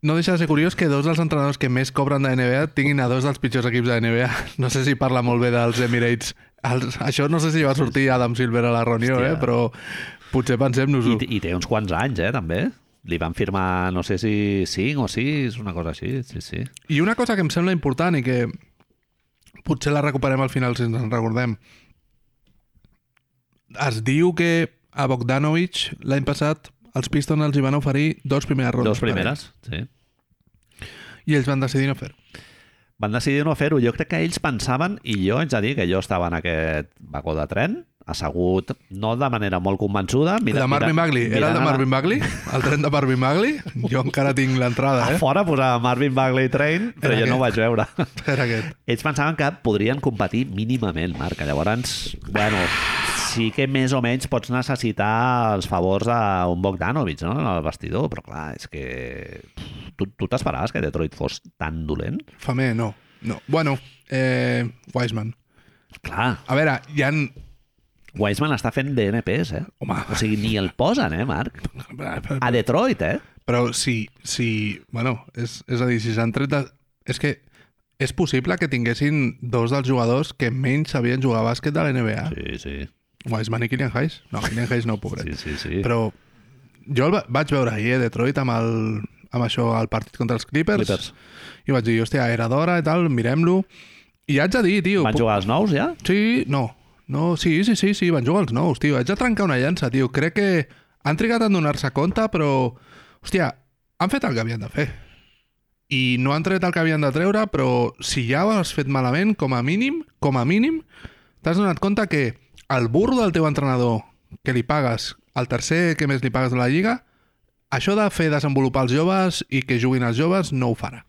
Speaker 2: No deixa de ser curiós que dos dels entrenadors que més cobren de NBA tinguin a dos dels pitjors equips de NBA. No sé si parla molt bé dels Emirates. Els... Això no sé si va sortir Adam Silver a la reunió,
Speaker 1: Hòstia.
Speaker 2: eh? però potser pensem-nos-ho.
Speaker 1: I, I té uns quants anys, eh, també. Li van firmar, no sé si 5 o 6, una cosa així, sí, sí.
Speaker 2: I una cosa que em sembla important i que potser la recuperem al final si ens en recordem. Es diu que a Bogdanovic l'any passat els Pistons els hi van oferir dos primeres rondes.
Speaker 1: Dos primeres, sí.
Speaker 2: I ells van decidir no fer-ho.
Speaker 1: Van decidir no fer-ho. Jo crec que ells pensaven, i jo haig de dir que jo estava en aquest vagó de tren, assegut, no de manera molt convençuda... Mira,
Speaker 2: Mira, de Marvin
Speaker 1: mira-
Speaker 2: Bagley. Era el de
Speaker 1: mirant a-
Speaker 2: Marvin Bagley? El tren de Marvin Bagley? Jo encara tinc l'entrada,
Speaker 1: A
Speaker 2: eh?
Speaker 1: fora posava Marvin Bagley Train, però
Speaker 2: Era
Speaker 1: jo no ho
Speaker 2: aquest.
Speaker 1: vaig veure.
Speaker 2: Era aquest.
Speaker 1: Ells pensaven que podrien competir mínimament, Marc. Llavors, bueno, sí que més o menys pots necessitar els favors d'un Bogdanovic, no?, en el vestidor, però clar, és que... Tu tu t'esperaves que Detroit fos tan dolent?
Speaker 2: Famé, no. No. Bueno, eh, Wiseman.
Speaker 1: Clar,
Speaker 2: A veure, hi ha...
Speaker 1: Wiseman està fent DNPs, eh?
Speaker 2: Home.
Speaker 1: O sigui, ni el posen, eh, Marc? A Detroit, eh?
Speaker 2: Però si, si bueno, és, és a dir, si s'han tret de... És que és possible que tinguessin dos dels jugadors que menys sabien jugar a bàsquet de la NBA. Sí.
Speaker 1: Sí, sí,
Speaker 2: Wiseman i Killian Hayes. No, Killian Hayes no, pobret.
Speaker 1: sí,
Speaker 2: Sí,
Speaker 1: sí.
Speaker 2: sí.
Speaker 1: sí.
Speaker 2: Però jo el va, vaig veure ahir a Detroit amb, el, amb això al partit contra els Clippers,
Speaker 1: Clippers.
Speaker 2: i vaig dir, hòstia, era d'hora i tal, mirem-lo. I haig de dir, tio...
Speaker 1: Van
Speaker 2: pu-
Speaker 1: jugar els nous, ja?
Speaker 2: Sí, no. No, sí, sí, sí, sí, van jugar els nous, tio. Haig de trencar una llança, tio. Crec que han trigat a donar-se compte, però... Hòstia, han fet el que havien de fer. I no han tret el que havien de treure, però si ja ho has fet malament, com a mínim, com a mínim, t'has donat compte que el burro del teu entrenador que li pagues, el tercer que més li pagues de la Lliga, això de fer desenvolupar els joves i que juguin els joves no ho farà.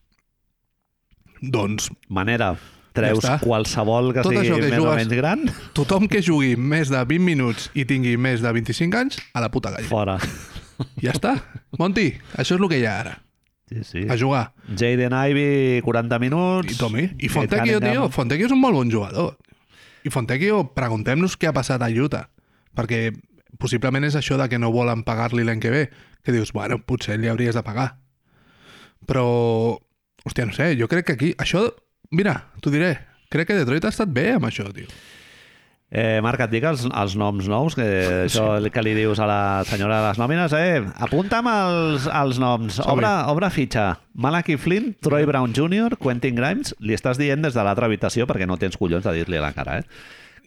Speaker 2: Doncs
Speaker 1: Manera, treus
Speaker 2: Ja està.
Speaker 1: qualsevol que
Speaker 2: Tot
Speaker 1: sigui
Speaker 2: això que
Speaker 1: més o
Speaker 2: jugues-
Speaker 1: menys gran,
Speaker 2: Tothom que jugui més de 20 minuts i tingui més de 25 anys, a la puta galla.
Speaker 1: fora.
Speaker 2: Ja està. Monti, això és el que hi ha ara.
Speaker 1: Sí, sí.
Speaker 2: A jugar.
Speaker 1: Jaden Ivey, 40 minuts.
Speaker 2: I Tommy. I
Speaker 1: Kate
Speaker 2: Fontecchio,
Speaker 1: Cunningham.
Speaker 2: tio. Fontecchio és un molt bon jugador. I Fontecchio, preguntem-nos què ha passat a Utah. Perquè possiblement és això de que no volen pagar-li l'any que ve. Que dius, bueno, potser li hauries de pagar. Però, hòstia, no sé, jo crec que aquí... Això, mira, t'ho diré. Crec que Detroit ha estat bé amb això, tio.
Speaker 1: Eh, Marc, et dic els, els noms nous, que això que li dius a la senyora de les nòmines, eh, apunta'm els, els noms. Obre, obre fitxa. Malachi Flynn, Troy Brown Jr., Quentin Grimes, li estàs dient des de l'altra habitació perquè no tens collons de dir-li a la cara, eh?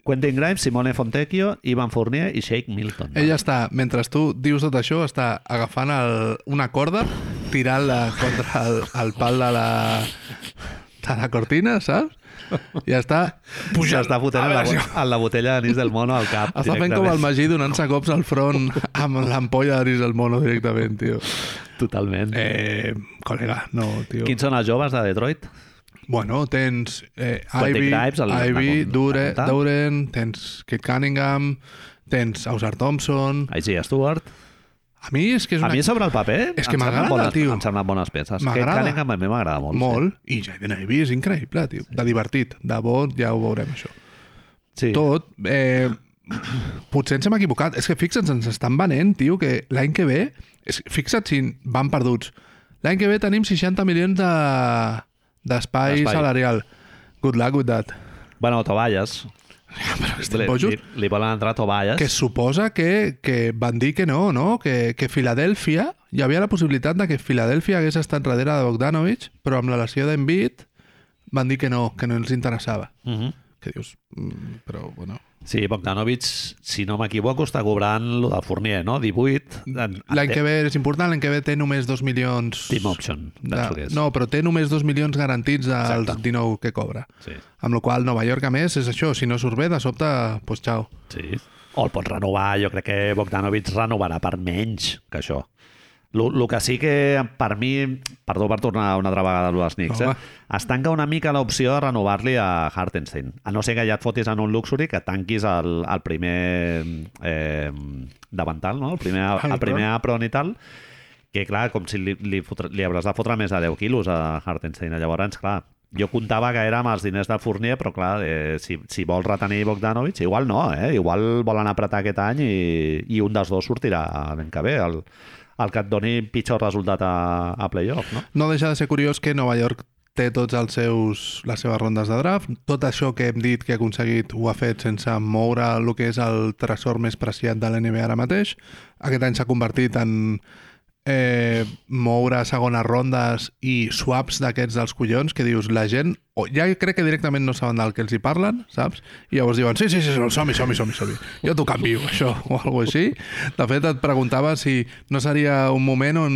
Speaker 1: Quentin Grimes, Simone Fontecchio, Ivan Fournier i Shake Milton.
Speaker 2: Ella està, mentre tu dius tot això, està agafant el, una corda, tirant-la contra el, el pal de la, de la cortina, saps? I està pujant.
Speaker 1: S'està fotent
Speaker 2: A
Speaker 1: en la,
Speaker 2: veure,
Speaker 1: bo- en la botella d'anís del mono al cap.
Speaker 2: Està fent com el
Speaker 1: directament.
Speaker 2: Magí donant-se cops al front amb l'ampolla d'Aris del Mono directament, tio.
Speaker 1: Totalment. Eh,
Speaker 2: Eh, col·lega, no, tio.
Speaker 1: Quins són els joves de Detroit?
Speaker 2: Bueno, tens eh,
Speaker 1: Quentin
Speaker 2: Ivy,
Speaker 1: Grimes, el-
Speaker 2: Ivy
Speaker 1: la- la-
Speaker 2: Dure,
Speaker 1: la-
Speaker 2: Duren, tens Kate Cunningham, tens Ausar Thompson...
Speaker 1: Isaiah Stewart.
Speaker 2: A mi és que és
Speaker 1: A
Speaker 2: una...
Speaker 1: mi sobre el paper
Speaker 2: És que
Speaker 1: em semblen
Speaker 2: m'agrada,
Speaker 1: bones-
Speaker 2: tio.
Speaker 1: Em semblen bones peces. Kate
Speaker 2: M'agrada.
Speaker 1: Cunningham a mi m'agrada molt.
Speaker 2: Molt. I Jaden Ivey és increïble, tio. De divertit, de bo, ja ho veurem, això.
Speaker 1: Sí. sí.
Speaker 2: Tot, eh, potser ens hem equivocat. És que fixa't, ens estan venent, tio, que l'any que ve... És, que fixa't si van perduts. L'any que ve tenim 60 milions de d'espai
Speaker 1: D'espai.
Speaker 2: salarial. Good luck with that.
Speaker 1: Bueno, Toballes.
Speaker 2: Estem
Speaker 1: li,
Speaker 2: bojos?
Speaker 1: li, li volen entrar Toballes.
Speaker 2: Que suposa que, que van dir que no, no? Que, que Filadèlfia... Hi havia la possibilitat de que Filadèlfia hagués estat darrere de Bogdanovic, però amb la lesió d'Envit van dir que no, que no els interessava.
Speaker 1: Mhm.
Speaker 2: que dius, mm, però bueno...
Speaker 1: Sí, Bogdanovic, si no m'equivoco, està cobrant lo del Fournier, no? 18. en-
Speaker 2: L'any
Speaker 1: en-
Speaker 2: que ve és important, l'any que ve té només 2 milions...
Speaker 1: Ah, Team option,
Speaker 2: de-
Speaker 1: penso que és.
Speaker 2: No, però té només 2 milions garantits dels
Speaker 1: Exacte.
Speaker 2: 19 que cobra.
Speaker 1: Sí,
Speaker 2: Amb la qual cosa, Nova York, a més, és això. Si no surt bé, de sobte, doncs pues, xau.
Speaker 1: sí. O el pots renovar, jo crec que Bogdanovic renovarà per menys que això. El que sí que per mi, perdó per tornar una altra vegada a lo dels Knicks, eh?
Speaker 2: Home.
Speaker 1: es tanca una mica l'opció de renovar-li a Hartenstein. A no ser que ja et fotis en un luxury que tanquis el, el primer eh, davantal, no? el primer, el
Speaker 2: Apron.
Speaker 1: primer apron i tal, que clar, com si li, li, fotre, li hauràs de fotre més de 10 quilos a Hartenstein. Llavors, clar, jo comptava que era amb els diners de Fournier, però clar, eh, si, si vols retenir Bogdanovic, igual no, eh? igual volen apretar aquest any i, i un dels dos sortirà l'any que ve, el, el que et doni pitjor resultat a, a playoff, no?
Speaker 2: No deixa de ser curiós que Nova York té tots els seus, les seves rondes de draft. Tot això que hem dit que ha aconseguit ho ha fet sense moure el que és el tresor més preciat de l'NBA ara mateix. Aquest any s'ha convertit en eh, moure segones rondes i swaps d'aquests dels collons que dius la gent, o ja crec que directament no saben del que els hi parlen, saps? I llavors diuen, sí, sí, sí, som-hi, som-hi, som-hi, som Jo t'ho canvio, això, o alguna així. De fet, et preguntava si no seria un moment on,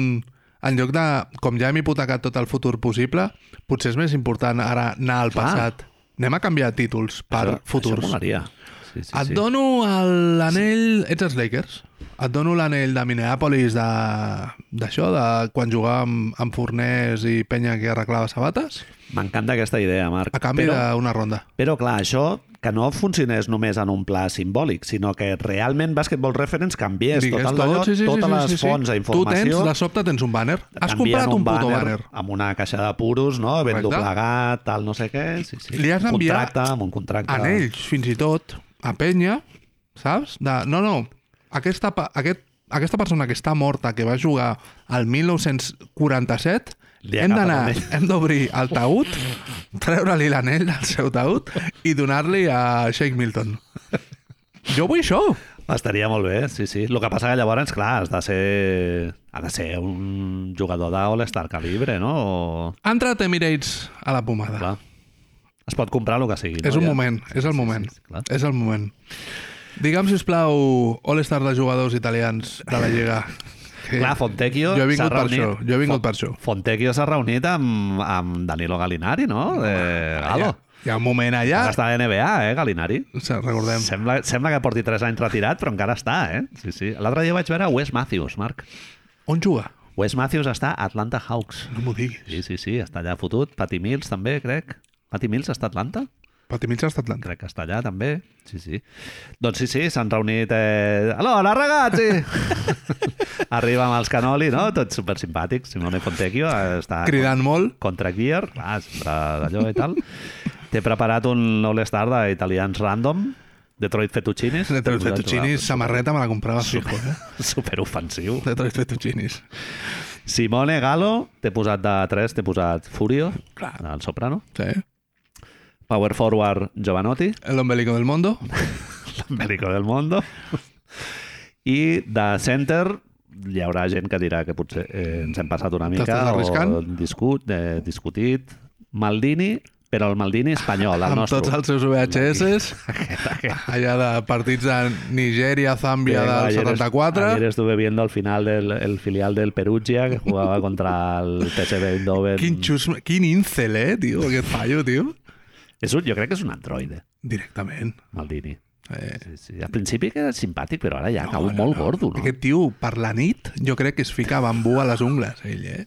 Speaker 2: en lloc de, com ja hem hipotecat tot el futur possible, potser és més important ara anar al
Speaker 1: Clar.
Speaker 2: passat. Anem a canviar títols per
Speaker 1: Això-
Speaker 2: futurs.
Speaker 1: Això molaria. Sí, sí,
Speaker 2: Et
Speaker 1: sí.
Speaker 2: dono el- l'anell... Ets els Lakers? Et dono l'anell de Minneapolis de- d'això, de, de quan jugàvem amb, amb Forners i Penya que arreglava sabates,
Speaker 1: M'encanta aquesta idea, Marc.
Speaker 2: a canvi
Speaker 1: però,
Speaker 2: d'una ronda.
Speaker 1: però, clar, això que no funcionés només en un pla simbòlic, sinó que realment Basketball Reference canviés
Speaker 2: Digues
Speaker 1: tot el d'allò, totes les fonts
Speaker 2: Tu tens,
Speaker 1: d'informació.
Speaker 2: de sobte tens un banner. Has
Speaker 1: t'envien
Speaker 2: comprat un, puto banner.
Speaker 1: Amb una caixa de puros, no? Ben
Speaker 2: Correcte.
Speaker 1: doblegat, tal, no sé què. Sí, sí.
Speaker 2: Li has d'enviar
Speaker 1: Contracte, amb un contracte.
Speaker 2: En ells, fins i tot, a Penya, saps? De, no, no, aquesta, pa- aquest, aquesta persona que està morta, que va jugar al 1947,
Speaker 1: Li
Speaker 2: hem
Speaker 1: agafa
Speaker 2: d'anar,
Speaker 1: l'anell.
Speaker 2: hem d'obrir el taüt, treure-li l'anell del seu taüt i donar-li a Shake Milton. Jo vull això.
Speaker 1: Estaria molt bé, sí, sí. El que passa que llavors, clar, has de ser... Ha de ser un jugador d'All-Star calibre, no? O...
Speaker 2: Ha entrat Emirates a la pomada.
Speaker 1: Clar. Es pot comprar el que sigui.
Speaker 2: Ah. És
Speaker 1: no?
Speaker 2: un
Speaker 1: Ja.
Speaker 2: moment, és el
Speaker 1: sí,
Speaker 2: moment.
Speaker 1: sí, clar.
Speaker 2: és el moment. Digue'm, sisplau, All-Star de jugadors italians de la Lliga. Que
Speaker 1: Clar, Fontecchio
Speaker 2: Jo he vingut
Speaker 1: s'ha
Speaker 2: per
Speaker 1: reunit-
Speaker 2: això, jo he vingut per això.
Speaker 1: Fontecchio s'ha reunit amb, amb Danilo Galinari, no? Eh, Galo.
Speaker 2: Hi ha un moment allà,
Speaker 1: Ah. Està a NBA, eh, Galinari?
Speaker 2: o sigui, recordem,
Speaker 1: Sembla, sembla que porti 3 anys retirat, però encara està, eh? Sí, sí. L'altre dia vaig veure Wes Matthews, Marc.
Speaker 2: on juga?
Speaker 1: Wes Matthews està a Atlanta Hawks.
Speaker 2: No m'ho diguis.
Speaker 1: Sí, sí, sí, està allà fotut. Patty Mills també, crec. Patty Mills està a Atlanta?
Speaker 2: Pati Mitja està Atlanta.
Speaker 1: Crec que està allà també. Sí, sí. Doncs sí, sí, s'han reunit... Eh... Allora, ragazzi! Arriba amb els canoli, no? Tots supersimpàtics. Simone Fontecchio eh, està...
Speaker 2: Cridant molt,
Speaker 1: Contra Gear, clar, sempre d'allò i tal. Té preparat un All-Star d'italians random, Detroit Fettuccinis.
Speaker 2: Detroit Fettuccinis, samarreta me la comprava fijo, eh?
Speaker 1: Superofensiu.
Speaker 2: Detroit Fettuccinis.
Speaker 1: Simone Galo, t'he posat de 3, t'he posat Furio,
Speaker 2: Clar.
Speaker 1: el soprano.
Speaker 2: Sí.
Speaker 1: Power forward, Giovanotti,
Speaker 2: El ombelico del mundo.
Speaker 1: l'Américo del Mondo. I de center, hi haurà gent que dirà que potser eh, ens hem passat una mica
Speaker 2: T'estàs
Speaker 1: o
Speaker 2: arriscant?
Speaker 1: discut, eh, discutit. Maldini, però el Maldini espanyol, el
Speaker 2: Amb
Speaker 1: nostre.
Speaker 2: tots els seus VHS. Allà de partits de Nigèria, Zàmbia del
Speaker 1: Ayer est-
Speaker 2: 74.
Speaker 1: Ayer estuve viendo al final del el filial del Perugia que jugaba contra el PSV Eindhoven.
Speaker 2: Quin, xus, quin incel, eh, tio, aquest paio, tio.
Speaker 1: És un, jo crec que és un androide,
Speaker 2: Directament.
Speaker 1: Maldini.
Speaker 2: Eh,
Speaker 1: Sí, sí. Al principi que era simpàtic, però ara ja no, cau
Speaker 2: no,
Speaker 1: molt
Speaker 2: no.
Speaker 1: gordo, no?
Speaker 2: Aquest tio, per la nit, jo crec que es fica bambú a les ungles, ell, eh?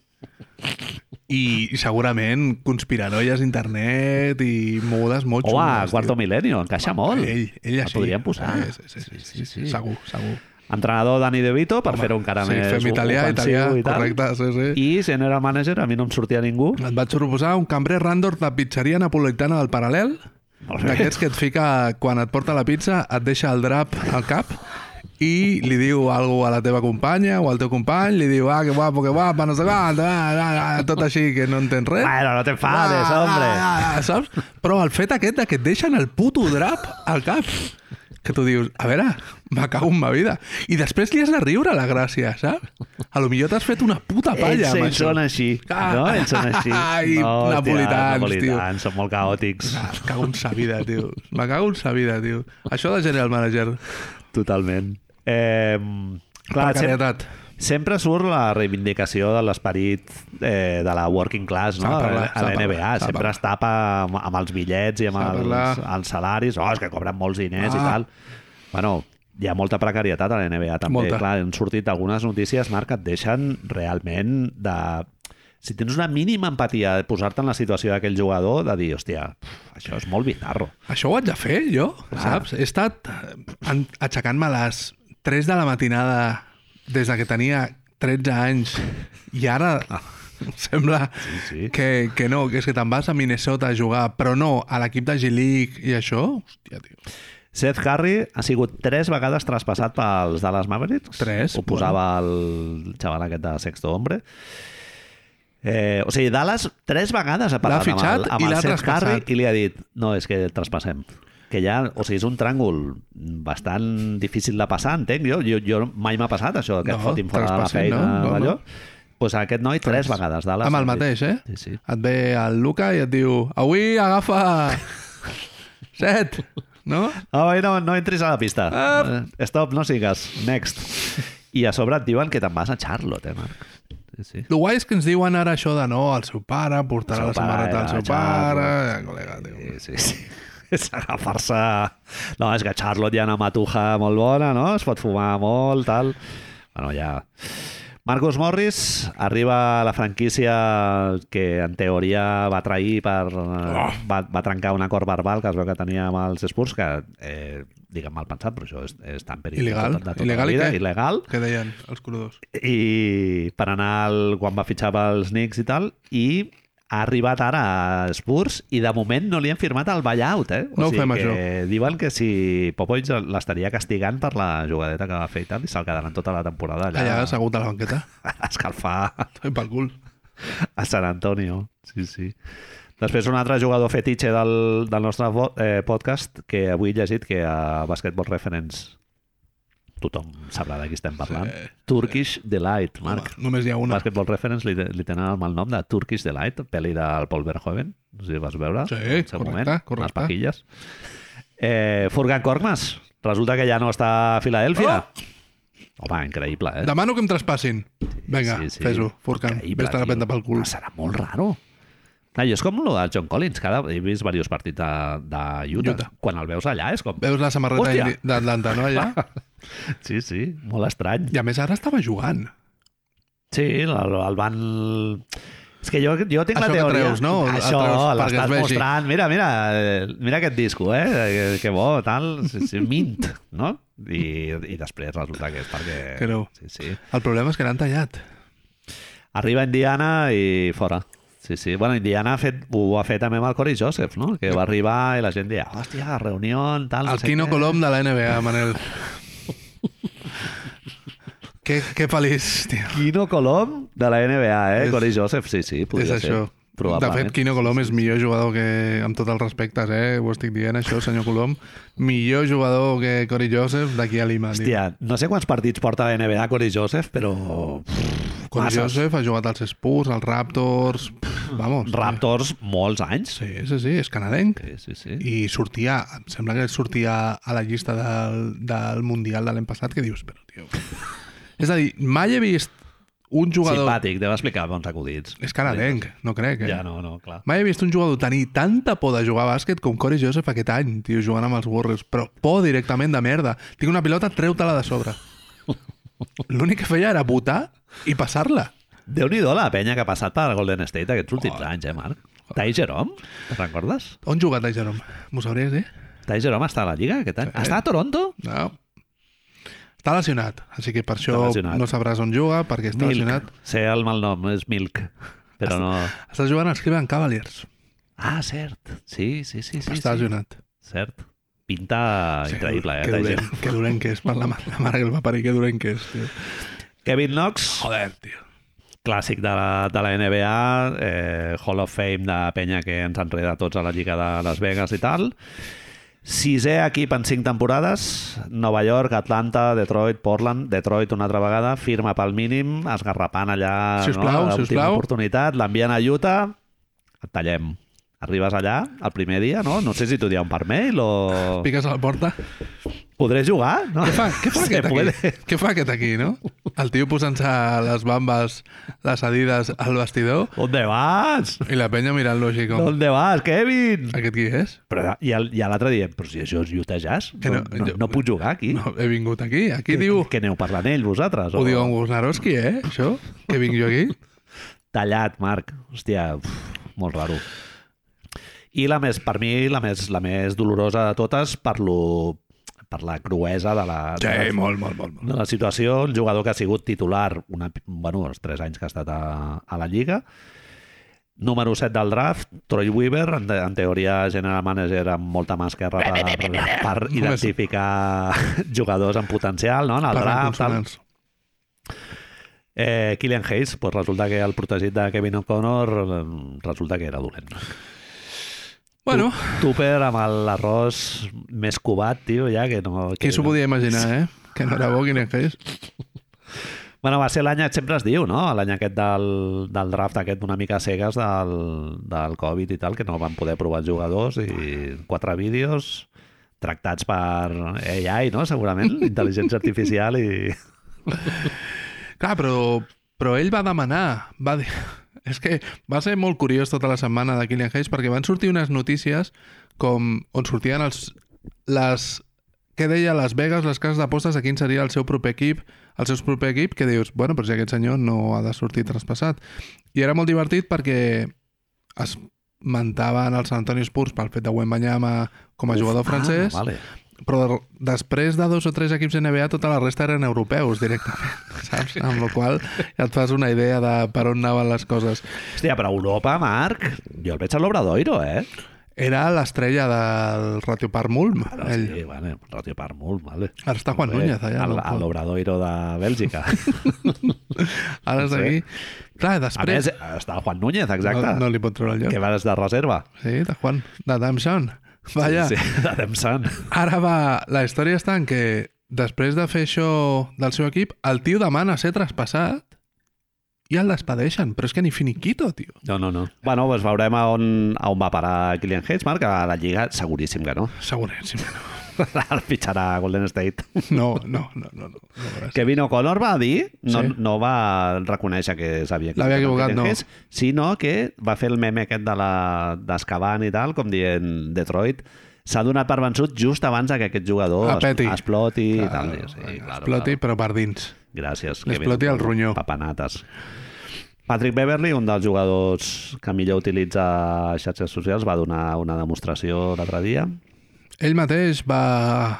Speaker 2: I, i segurament conspiranoies a internet i mogudes molt
Speaker 1: Home,
Speaker 2: xules.
Speaker 1: quarto milenio, encaixa molt.
Speaker 2: Ell, ell
Speaker 1: El
Speaker 2: així.
Speaker 1: podríem posar.
Speaker 2: Sí, sí, sí, sí, sí, sí. Segur, segur.
Speaker 1: Entrenador Dani De Vito, per fer-ho encara
Speaker 2: sí,
Speaker 1: més
Speaker 2: fem italià,
Speaker 1: ofensiu
Speaker 2: italià,
Speaker 1: i tal.
Speaker 2: correcte, sí, sí.
Speaker 1: I general manager, a mi no em sortia ningú.
Speaker 2: Et vaig proposar un cambrer randor de pizzeria napolitana del Paral·lel,
Speaker 1: Molt bé.
Speaker 2: d'aquests que et fica, quan et porta la pizza, et deixa el drap al cap i li diu algo a la teva companya o al teu company, li diu, ah, que guapo, que guapa, no sé quant, ah, ah, ah, tot així, que no entens res.
Speaker 1: Bueno, no t'enfades,
Speaker 2: Eh? Ah,
Speaker 1: hombre.
Speaker 2: ah, ah, saps? Però el fet aquest de que et deixen el puto drap al cap, que tu dius, a veure, me cago en ma vida. I després li has de riure la gràcia, saps? A lo millor t'has fet una puta ah, palla
Speaker 1: Ells,
Speaker 2: amb
Speaker 1: ells
Speaker 2: això.
Speaker 1: són així,
Speaker 2: Ah.
Speaker 1: no? Ells són així.
Speaker 2: Ai,
Speaker 1: no,
Speaker 2: napolitans, tio.
Speaker 1: napolitans, són molt caòtics.
Speaker 2: Ah, Me cago en sa vida, tio. Me cago en sa vida, tio. Això de general manager.
Speaker 1: Totalment. Eh, clar, sempre,
Speaker 2: Precarietat.
Speaker 1: sempre surt la reivindicació de l'esperit eh, de la working class, no?
Speaker 2: S'ha de parlar,
Speaker 1: a
Speaker 2: s'ha de
Speaker 1: la NBA.
Speaker 2: parlar, s'ha de
Speaker 1: Sempre
Speaker 2: parlar.
Speaker 1: es tapa amb, amb els bitllets i amb
Speaker 2: S'ha de
Speaker 1: els,
Speaker 2: parlar.
Speaker 1: els salaris. Oh, és que cobren molts diners i
Speaker 2: Ah.
Speaker 1: tal. Bueno, hi ha molta precarietat a la NBA també.
Speaker 2: Molta.
Speaker 1: Clar, han sortit algunes notícies, Marc, que et deixen realment de... Si tens una mínima empatia de posar-te en la situació d'aquell jugador, de dir, hòstia, pf, això és molt bizarro.
Speaker 2: Això ho haig de fer, jo,
Speaker 1: Ah.
Speaker 2: saps? He estat eh, en- aixecant-me a les 3 de la matinada des de que tenia 13 anys i ara sembla
Speaker 1: sí.
Speaker 2: Que, que no, que és que te'n vas a Minnesota a jugar, però no, a l'equip de G-League i això, hòstia, tio.
Speaker 1: Seth Curry ha sigut tres vegades traspassat pels Dallas Mavericks.
Speaker 2: Tres,
Speaker 1: Ho posava el xaval aquest de Sexto Hombre. Eh, o sigui, Dallas tres vegades ha parlat amb
Speaker 2: fitxat
Speaker 1: el, amb
Speaker 2: i
Speaker 1: el
Speaker 2: l'ha
Speaker 1: Seth Curry
Speaker 2: traspassat.
Speaker 1: i li ha dit no, és que traspassem. Que ja, o sigui, és un tràngol bastant difícil de passar, entenc jo. Jo, jo mai m'ha passat això, que
Speaker 2: No,
Speaker 1: et fotin fora de la
Speaker 2: traspassin,
Speaker 1: feina.
Speaker 2: no, no,
Speaker 1: No,
Speaker 2: no.
Speaker 1: allò. Pues aquest noi tres,
Speaker 2: Tres.
Speaker 1: vegades, Dallas.
Speaker 2: Amb
Speaker 1: li
Speaker 2: el
Speaker 1: ha dit.
Speaker 2: mateix, eh?
Speaker 1: Sí, sí.
Speaker 2: Et ve el Luca i et diu avui agafa set, no?
Speaker 1: Ah, oi, no, no entris a la pista.
Speaker 2: Ah.
Speaker 1: Eh, Stop, no sigues. Next. I a sobre et diuen que te'n vas a Charlotte, eh, Marc? Sí, sí.
Speaker 2: El guai és que ens diuen ara això de no, el seu pare, portarà
Speaker 1: El
Speaker 2: la
Speaker 1: seu
Speaker 2: samarreta al
Speaker 1: pare,
Speaker 2: seu
Speaker 1: Charles.
Speaker 2: pare... Ja, col·lega, tio.
Speaker 1: Eh, Sí, sí, sí. És agafar-se... No, és que a Charlotte hi ha una matuja molt bona, no? Es pot fumar molt, tal... Bueno, ja... Marcus Morris arriba a la franquícia que en teoria va trair per... Oh. Va, va trencar un acord verbal que es veu que tenia amb els Spurs que, eh, diguem mal pensat, però això és, és tan perill
Speaker 2: Il·legal.
Speaker 1: de, tot- de tota la
Speaker 2: Il·legal i
Speaker 1: vida.
Speaker 2: què?
Speaker 1: Il·legal.
Speaker 2: Què deien els colodors?
Speaker 1: i per anar al, quan va fitxar pels Knicks i tal, i ha arribat ara a Spurs i de moment no li han firmat el buyout, eh?
Speaker 2: No ho fem,
Speaker 1: que Diuen que si Popovic l'estaria castigant per la jugadeta que va fer i tal, i se'l quedaran tota la temporada allà,
Speaker 2: Allà assegut a la banqueta.
Speaker 1: a escalfar
Speaker 2: Ai, pel cul.
Speaker 1: a San Antonio. Sí, sí. Després un altre jugador fetitxe del, del nostre vo- eh, podcast que avui he llegit que a Basketball Reference tothom sabrà de qui estem parlant.
Speaker 2: Sí.
Speaker 1: Turkish Delight, Marc.
Speaker 2: Home, només hi ha
Speaker 1: Una.
Speaker 2: una.
Speaker 1: Basketball Reference li, li tenen el mal nom de Turkish Delight, pel·li del Paul Verhoeven, no sé si vas veure.
Speaker 2: Sí,
Speaker 1: en el seu
Speaker 2: correcte, correcte.
Speaker 1: Les paquilles. Eh, Furgan Korkmaz, resulta que ja no està a Filadèlfia. Oh! Home, increïble, eh?
Speaker 2: Demano que em traspassin. Vinga, sí, sí. fes-ho, Furkan.
Speaker 1: Increïble,
Speaker 2: Ves-te la
Speaker 1: tio.
Speaker 2: penta pel cul.
Speaker 1: Home, Serà molt raro. Clar, jo és com el de John Collins, cada he vist diversos partits de, de Utah.
Speaker 2: Utah.
Speaker 1: Quan el veus allà és com...
Speaker 2: Veus la samarreta
Speaker 1: Hòstia! Ah.
Speaker 2: indi- d'Atlanta, no, allà?
Speaker 1: Sí, sí, molt estrany.
Speaker 2: I a més, ara estava jugant.
Speaker 1: Sí, el, el van... És que jo, jo tinc la
Speaker 2: Això que
Speaker 1: teoria...
Speaker 2: treus, no? El
Speaker 1: Això,
Speaker 2: treus perquè
Speaker 1: l'estàs
Speaker 2: es vegi.
Speaker 1: mostrant. Mira, mira, eh, mira aquest disco, eh? Que, que bo, tal. Sí, sí, mint, no? I, I després resulta que és perquè...
Speaker 2: Que no.
Speaker 1: Sí, sí.
Speaker 2: El problema és que l'han tallat.
Speaker 1: Arriba Indiana i fora. Sí, sí. Bueno, Indiana ha fet, ho ha fet també amb el Corey Joseph, no? Que va arribar i la gent deia, hòstia, reunió, tal... no
Speaker 2: El
Speaker 1: sé
Speaker 2: Quino
Speaker 1: què".
Speaker 2: Colom de la NBA, Manel. que, que feliç, tio.
Speaker 1: Quino Colom de la NBA, eh?
Speaker 2: És-
Speaker 1: Corey Joseph, sí, sí,
Speaker 2: és
Speaker 1: podria
Speaker 2: això.
Speaker 1: ser. Probablement.
Speaker 2: De fet, Quino Colom és millor jugador que... Amb tots els respectes, eh? Ho estic dient, això, senyor Colom. Millor jugador que Cory Joseph d'aquí a Lima. tio.
Speaker 1: Hòstia, no sé quants partits porta la NBA Corey Joseph, però...
Speaker 2: Cory
Speaker 1: masses.
Speaker 2: Joseph ha jugat als Spurs, als Raptors... pff, Vamos.
Speaker 1: Raptors molts anys.
Speaker 2: Sí, sí, sí, és canadenc.
Speaker 1: sí, sí. sí.
Speaker 2: I sortia, em sembla que sortia a la llista del, del Mundial de l'any passat, que dius, però, tio... És a dir, mai he vist un jugador...
Speaker 1: Simpàtic, deu explicar bons acudits.
Speaker 2: És canadenc, no crec, eh?
Speaker 1: Ja no, no, clar.
Speaker 2: Mai he vist un jugador tenir tanta por de jugar a bàsquet com Corey Joseph aquest any, tio, jugant amb els Warriors. Però por directament de merda. Tinc una pilota, treu-te-la de sobre. L'únic que feia era votar i passar-la.
Speaker 1: Déu-n'hi-do la penya que ha passat per Golden State aquests últims anys, eh, Marc? Tai Jerome, te'n recordes?
Speaker 2: On juga Tai Jerome? M'ho sabries, eh?
Speaker 1: Tai Jerome està a la Lliga aquest any? Està a Toronto?
Speaker 2: No. Està lesionat, així que per això
Speaker 1: Està lesionat.
Speaker 2: no sabràs on juga, perquè està lesionat.
Speaker 1: Milk. Sé el malnom, és Milk. Però no...
Speaker 2: Està jugant als Cleveland Cavaliers.
Speaker 1: Ah, cert. Sí, sí, sí. sí,
Speaker 2: està
Speaker 1: sí.
Speaker 2: lesionat.
Speaker 1: Cert. Pinta increïble, eh,
Speaker 2: Que
Speaker 1: Tai
Speaker 2: dolent,
Speaker 1: Jerome.
Speaker 2: que dolent que és per la, ma- la mare que el va parir, que dolent que és, tio.
Speaker 1: Kevin Knox,
Speaker 2: Joder, tio.
Speaker 1: clàssic de la, de la NBA, eh, Hall of Fame de penya que ens enreda tots a la Lliga de Las Vegas i tal. Sisè equip en cinc temporades, Nova York, Atlanta, Detroit, Portland, Detroit una altra vegada, firma pel mínim, esgarrapant allà
Speaker 2: Sisplau,
Speaker 1: no? l'última
Speaker 2: sisplau.
Speaker 1: oportunitat, l'envien a Utah, et tallem. Arribes allà, el primer dia, no? No sé si t'ho diuen per mail o...
Speaker 2: Piques a la porta.
Speaker 1: Podré jugar? No?
Speaker 2: Què fa, què fa
Speaker 1: Se
Speaker 2: aquest
Speaker 1: puede.
Speaker 2: aquí? Què fa aquest aquí, no? El tio posant-se les bambes, les adides al vestidor
Speaker 1: ¿Dónde vas?
Speaker 2: i la penya mirant-lo així com...
Speaker 1: ¿Dónde vas, Kevin?
Speaker 2: Aquest qui és?
Speaker 1: Però, I el- i l'altre dient, però si això és Utah Jazz,
Speaker 2: Que
Speaker 1: no,
Speaker 2: no,
Speaker 1: no,
Speaker 2: jo-
Speaker 1: no puc jugar aquí.
Speaker 2: No, he vingut aquí. Aquí diu...
Speaker 1: Que aneu parlant ell, vosaltres?
Speaker 2: Ho diu en Gusnarowski, eh? Això? Que vinc jo aquí?
Speaker 1: Tallat, Marc. Hòstia, uf, molt raro. I la més, per mi, la més, la més dolorosa de totes per, lo, per la cruesa de la, de la,
Speaker 2: molt, molt, molt.
Speaker 1: de la situació. Un jugador que ha sigut titular una, bueno, els tres anys que ha estat a, a la Lliga. Número 7 del draft, Troy Weaver, en, te- en teoria general manager amb molta mà esquerra per, per identificar jugadors en potencial, no? En el
Speaker 2: Parlant
Speaker 1: draft, tal.
Speaker 2: consonants.
Speaker 1: Eh, Killian Hayes, pues resulta que el protegit de Kevin O'Connor eh, resulta que era dolent.
Speaker 2: Bueno,
Speaker 1: Tupper amb el- l'arròs més cubat, tio, ja que no... Que
Speaker 2: qui s'ho podia imaginar, eh? Que no era bo quin és.
Speaker 1: Bueno, va ser l'any, sempre es diu, no? L'any aquest del, del draft aquest una mica a cegues del, del Covid i tal, que no van poder provar els jugadors i quatre vídeos tractats per AI, no? Segurament, intel·ligència artificial i...
Speaker 2: Clar, però, però ell va demanar, va dir... És que va ser molt curiós tota la setmana de Killian Hayes perquè van sortir unes notícies com on sortien els, les... Què deia Las Vegas, les cases d'apostes, a quin seria el seu proper equip, el seu proper equip, que dius, bueno, però si aquest senyor no ha de sortir traspassat. I era molt divertit perquè es mentaven els San Antonio Spurs pel fet de Wembanyama com a jugador francès,
Speaker 1: Ah, vale.
Speaker 2: però de- després de dos o tres equips NBA tota la resta eren europeus directament saps? amb la qual cosa ja et fas una idea de per on anaven les coses
Speaker 1: Hòstia, però Europa, Marc, jo el veig a l'Obradoiro, eh?
Speaker 2: era l'estrella del Ratio Park Mulm
Speaker 1: Ara
Speaker 2: ell.
Speaker 1: sí, vale, Ràdio per molt, vale.
Speaker 2: ara està Juan Núñez allà
Speaker 1: Al-
Speaker 2: no?
Speaker 1: A l'Obradoiro de Bèlgica.
Speaker 2: ara és d'aquí clar,
Speaker 1: A
Speaker 2: després
Speaker 1: més, està el Juan Núñez, exacte.
Speaker 2: no, no li pot treure el lloc
Speaker 1: Que va des de reserva.
Speaker 2: sí, de Juan, de Damson Vaja,
Speaker 1: Sí, de Demsan.
Speaker 2: ara va la història està en que després de fer això del seu equip el tio demana ser traspassat i el despedeixen, però és que ni finiquito, tio.
Speaker 1: No, no, no. Bueno, doncs veurem a on, a on va parar Kylian Hayes, Marc, a la Lliga seguríssim que no.
Speaker 2: Seguret, sí,
Speaker 1: El fitxarà a Golden State.
Speaker 2: No, no, no, no. no, no gràcies.
Speaker 1: Kevin O'Connor va dir, no,
Speaker 2: Sí.
Speaker 1: no va reconèixer que s'havia
Speaker 2: L'havia
Speaker 1: amb
Speaker 2: equivocat,
Speaker 1: Kylian
Speaker 2: no.
Speaker 1: Hayes, sinó que va fer el meme aquest de la- d'Escavant i tal, com dient Detroit, s'ha donat per vençut just abans que aquest jugador
Speaker 2: Ah,
Speaker 1: es-
Speaker 2: Petty.
Speaker 1: exploti i tal.
Speaker 2: Claro,
Speaker 1: Sí, claro,
Speaker 2: Exploti, però per dins.
Speaker 1: Gràcies.
Speaker 2: Li
Speaker 1: Kevin.
Speaker 2: exploti el ronyó.
Speaker 1: Papanates. Patrick Beverly, un dels jugadors que millor utilitza xarxes socials, va donar una demostració l'altre dia.
Speaker 2: Ell mateix va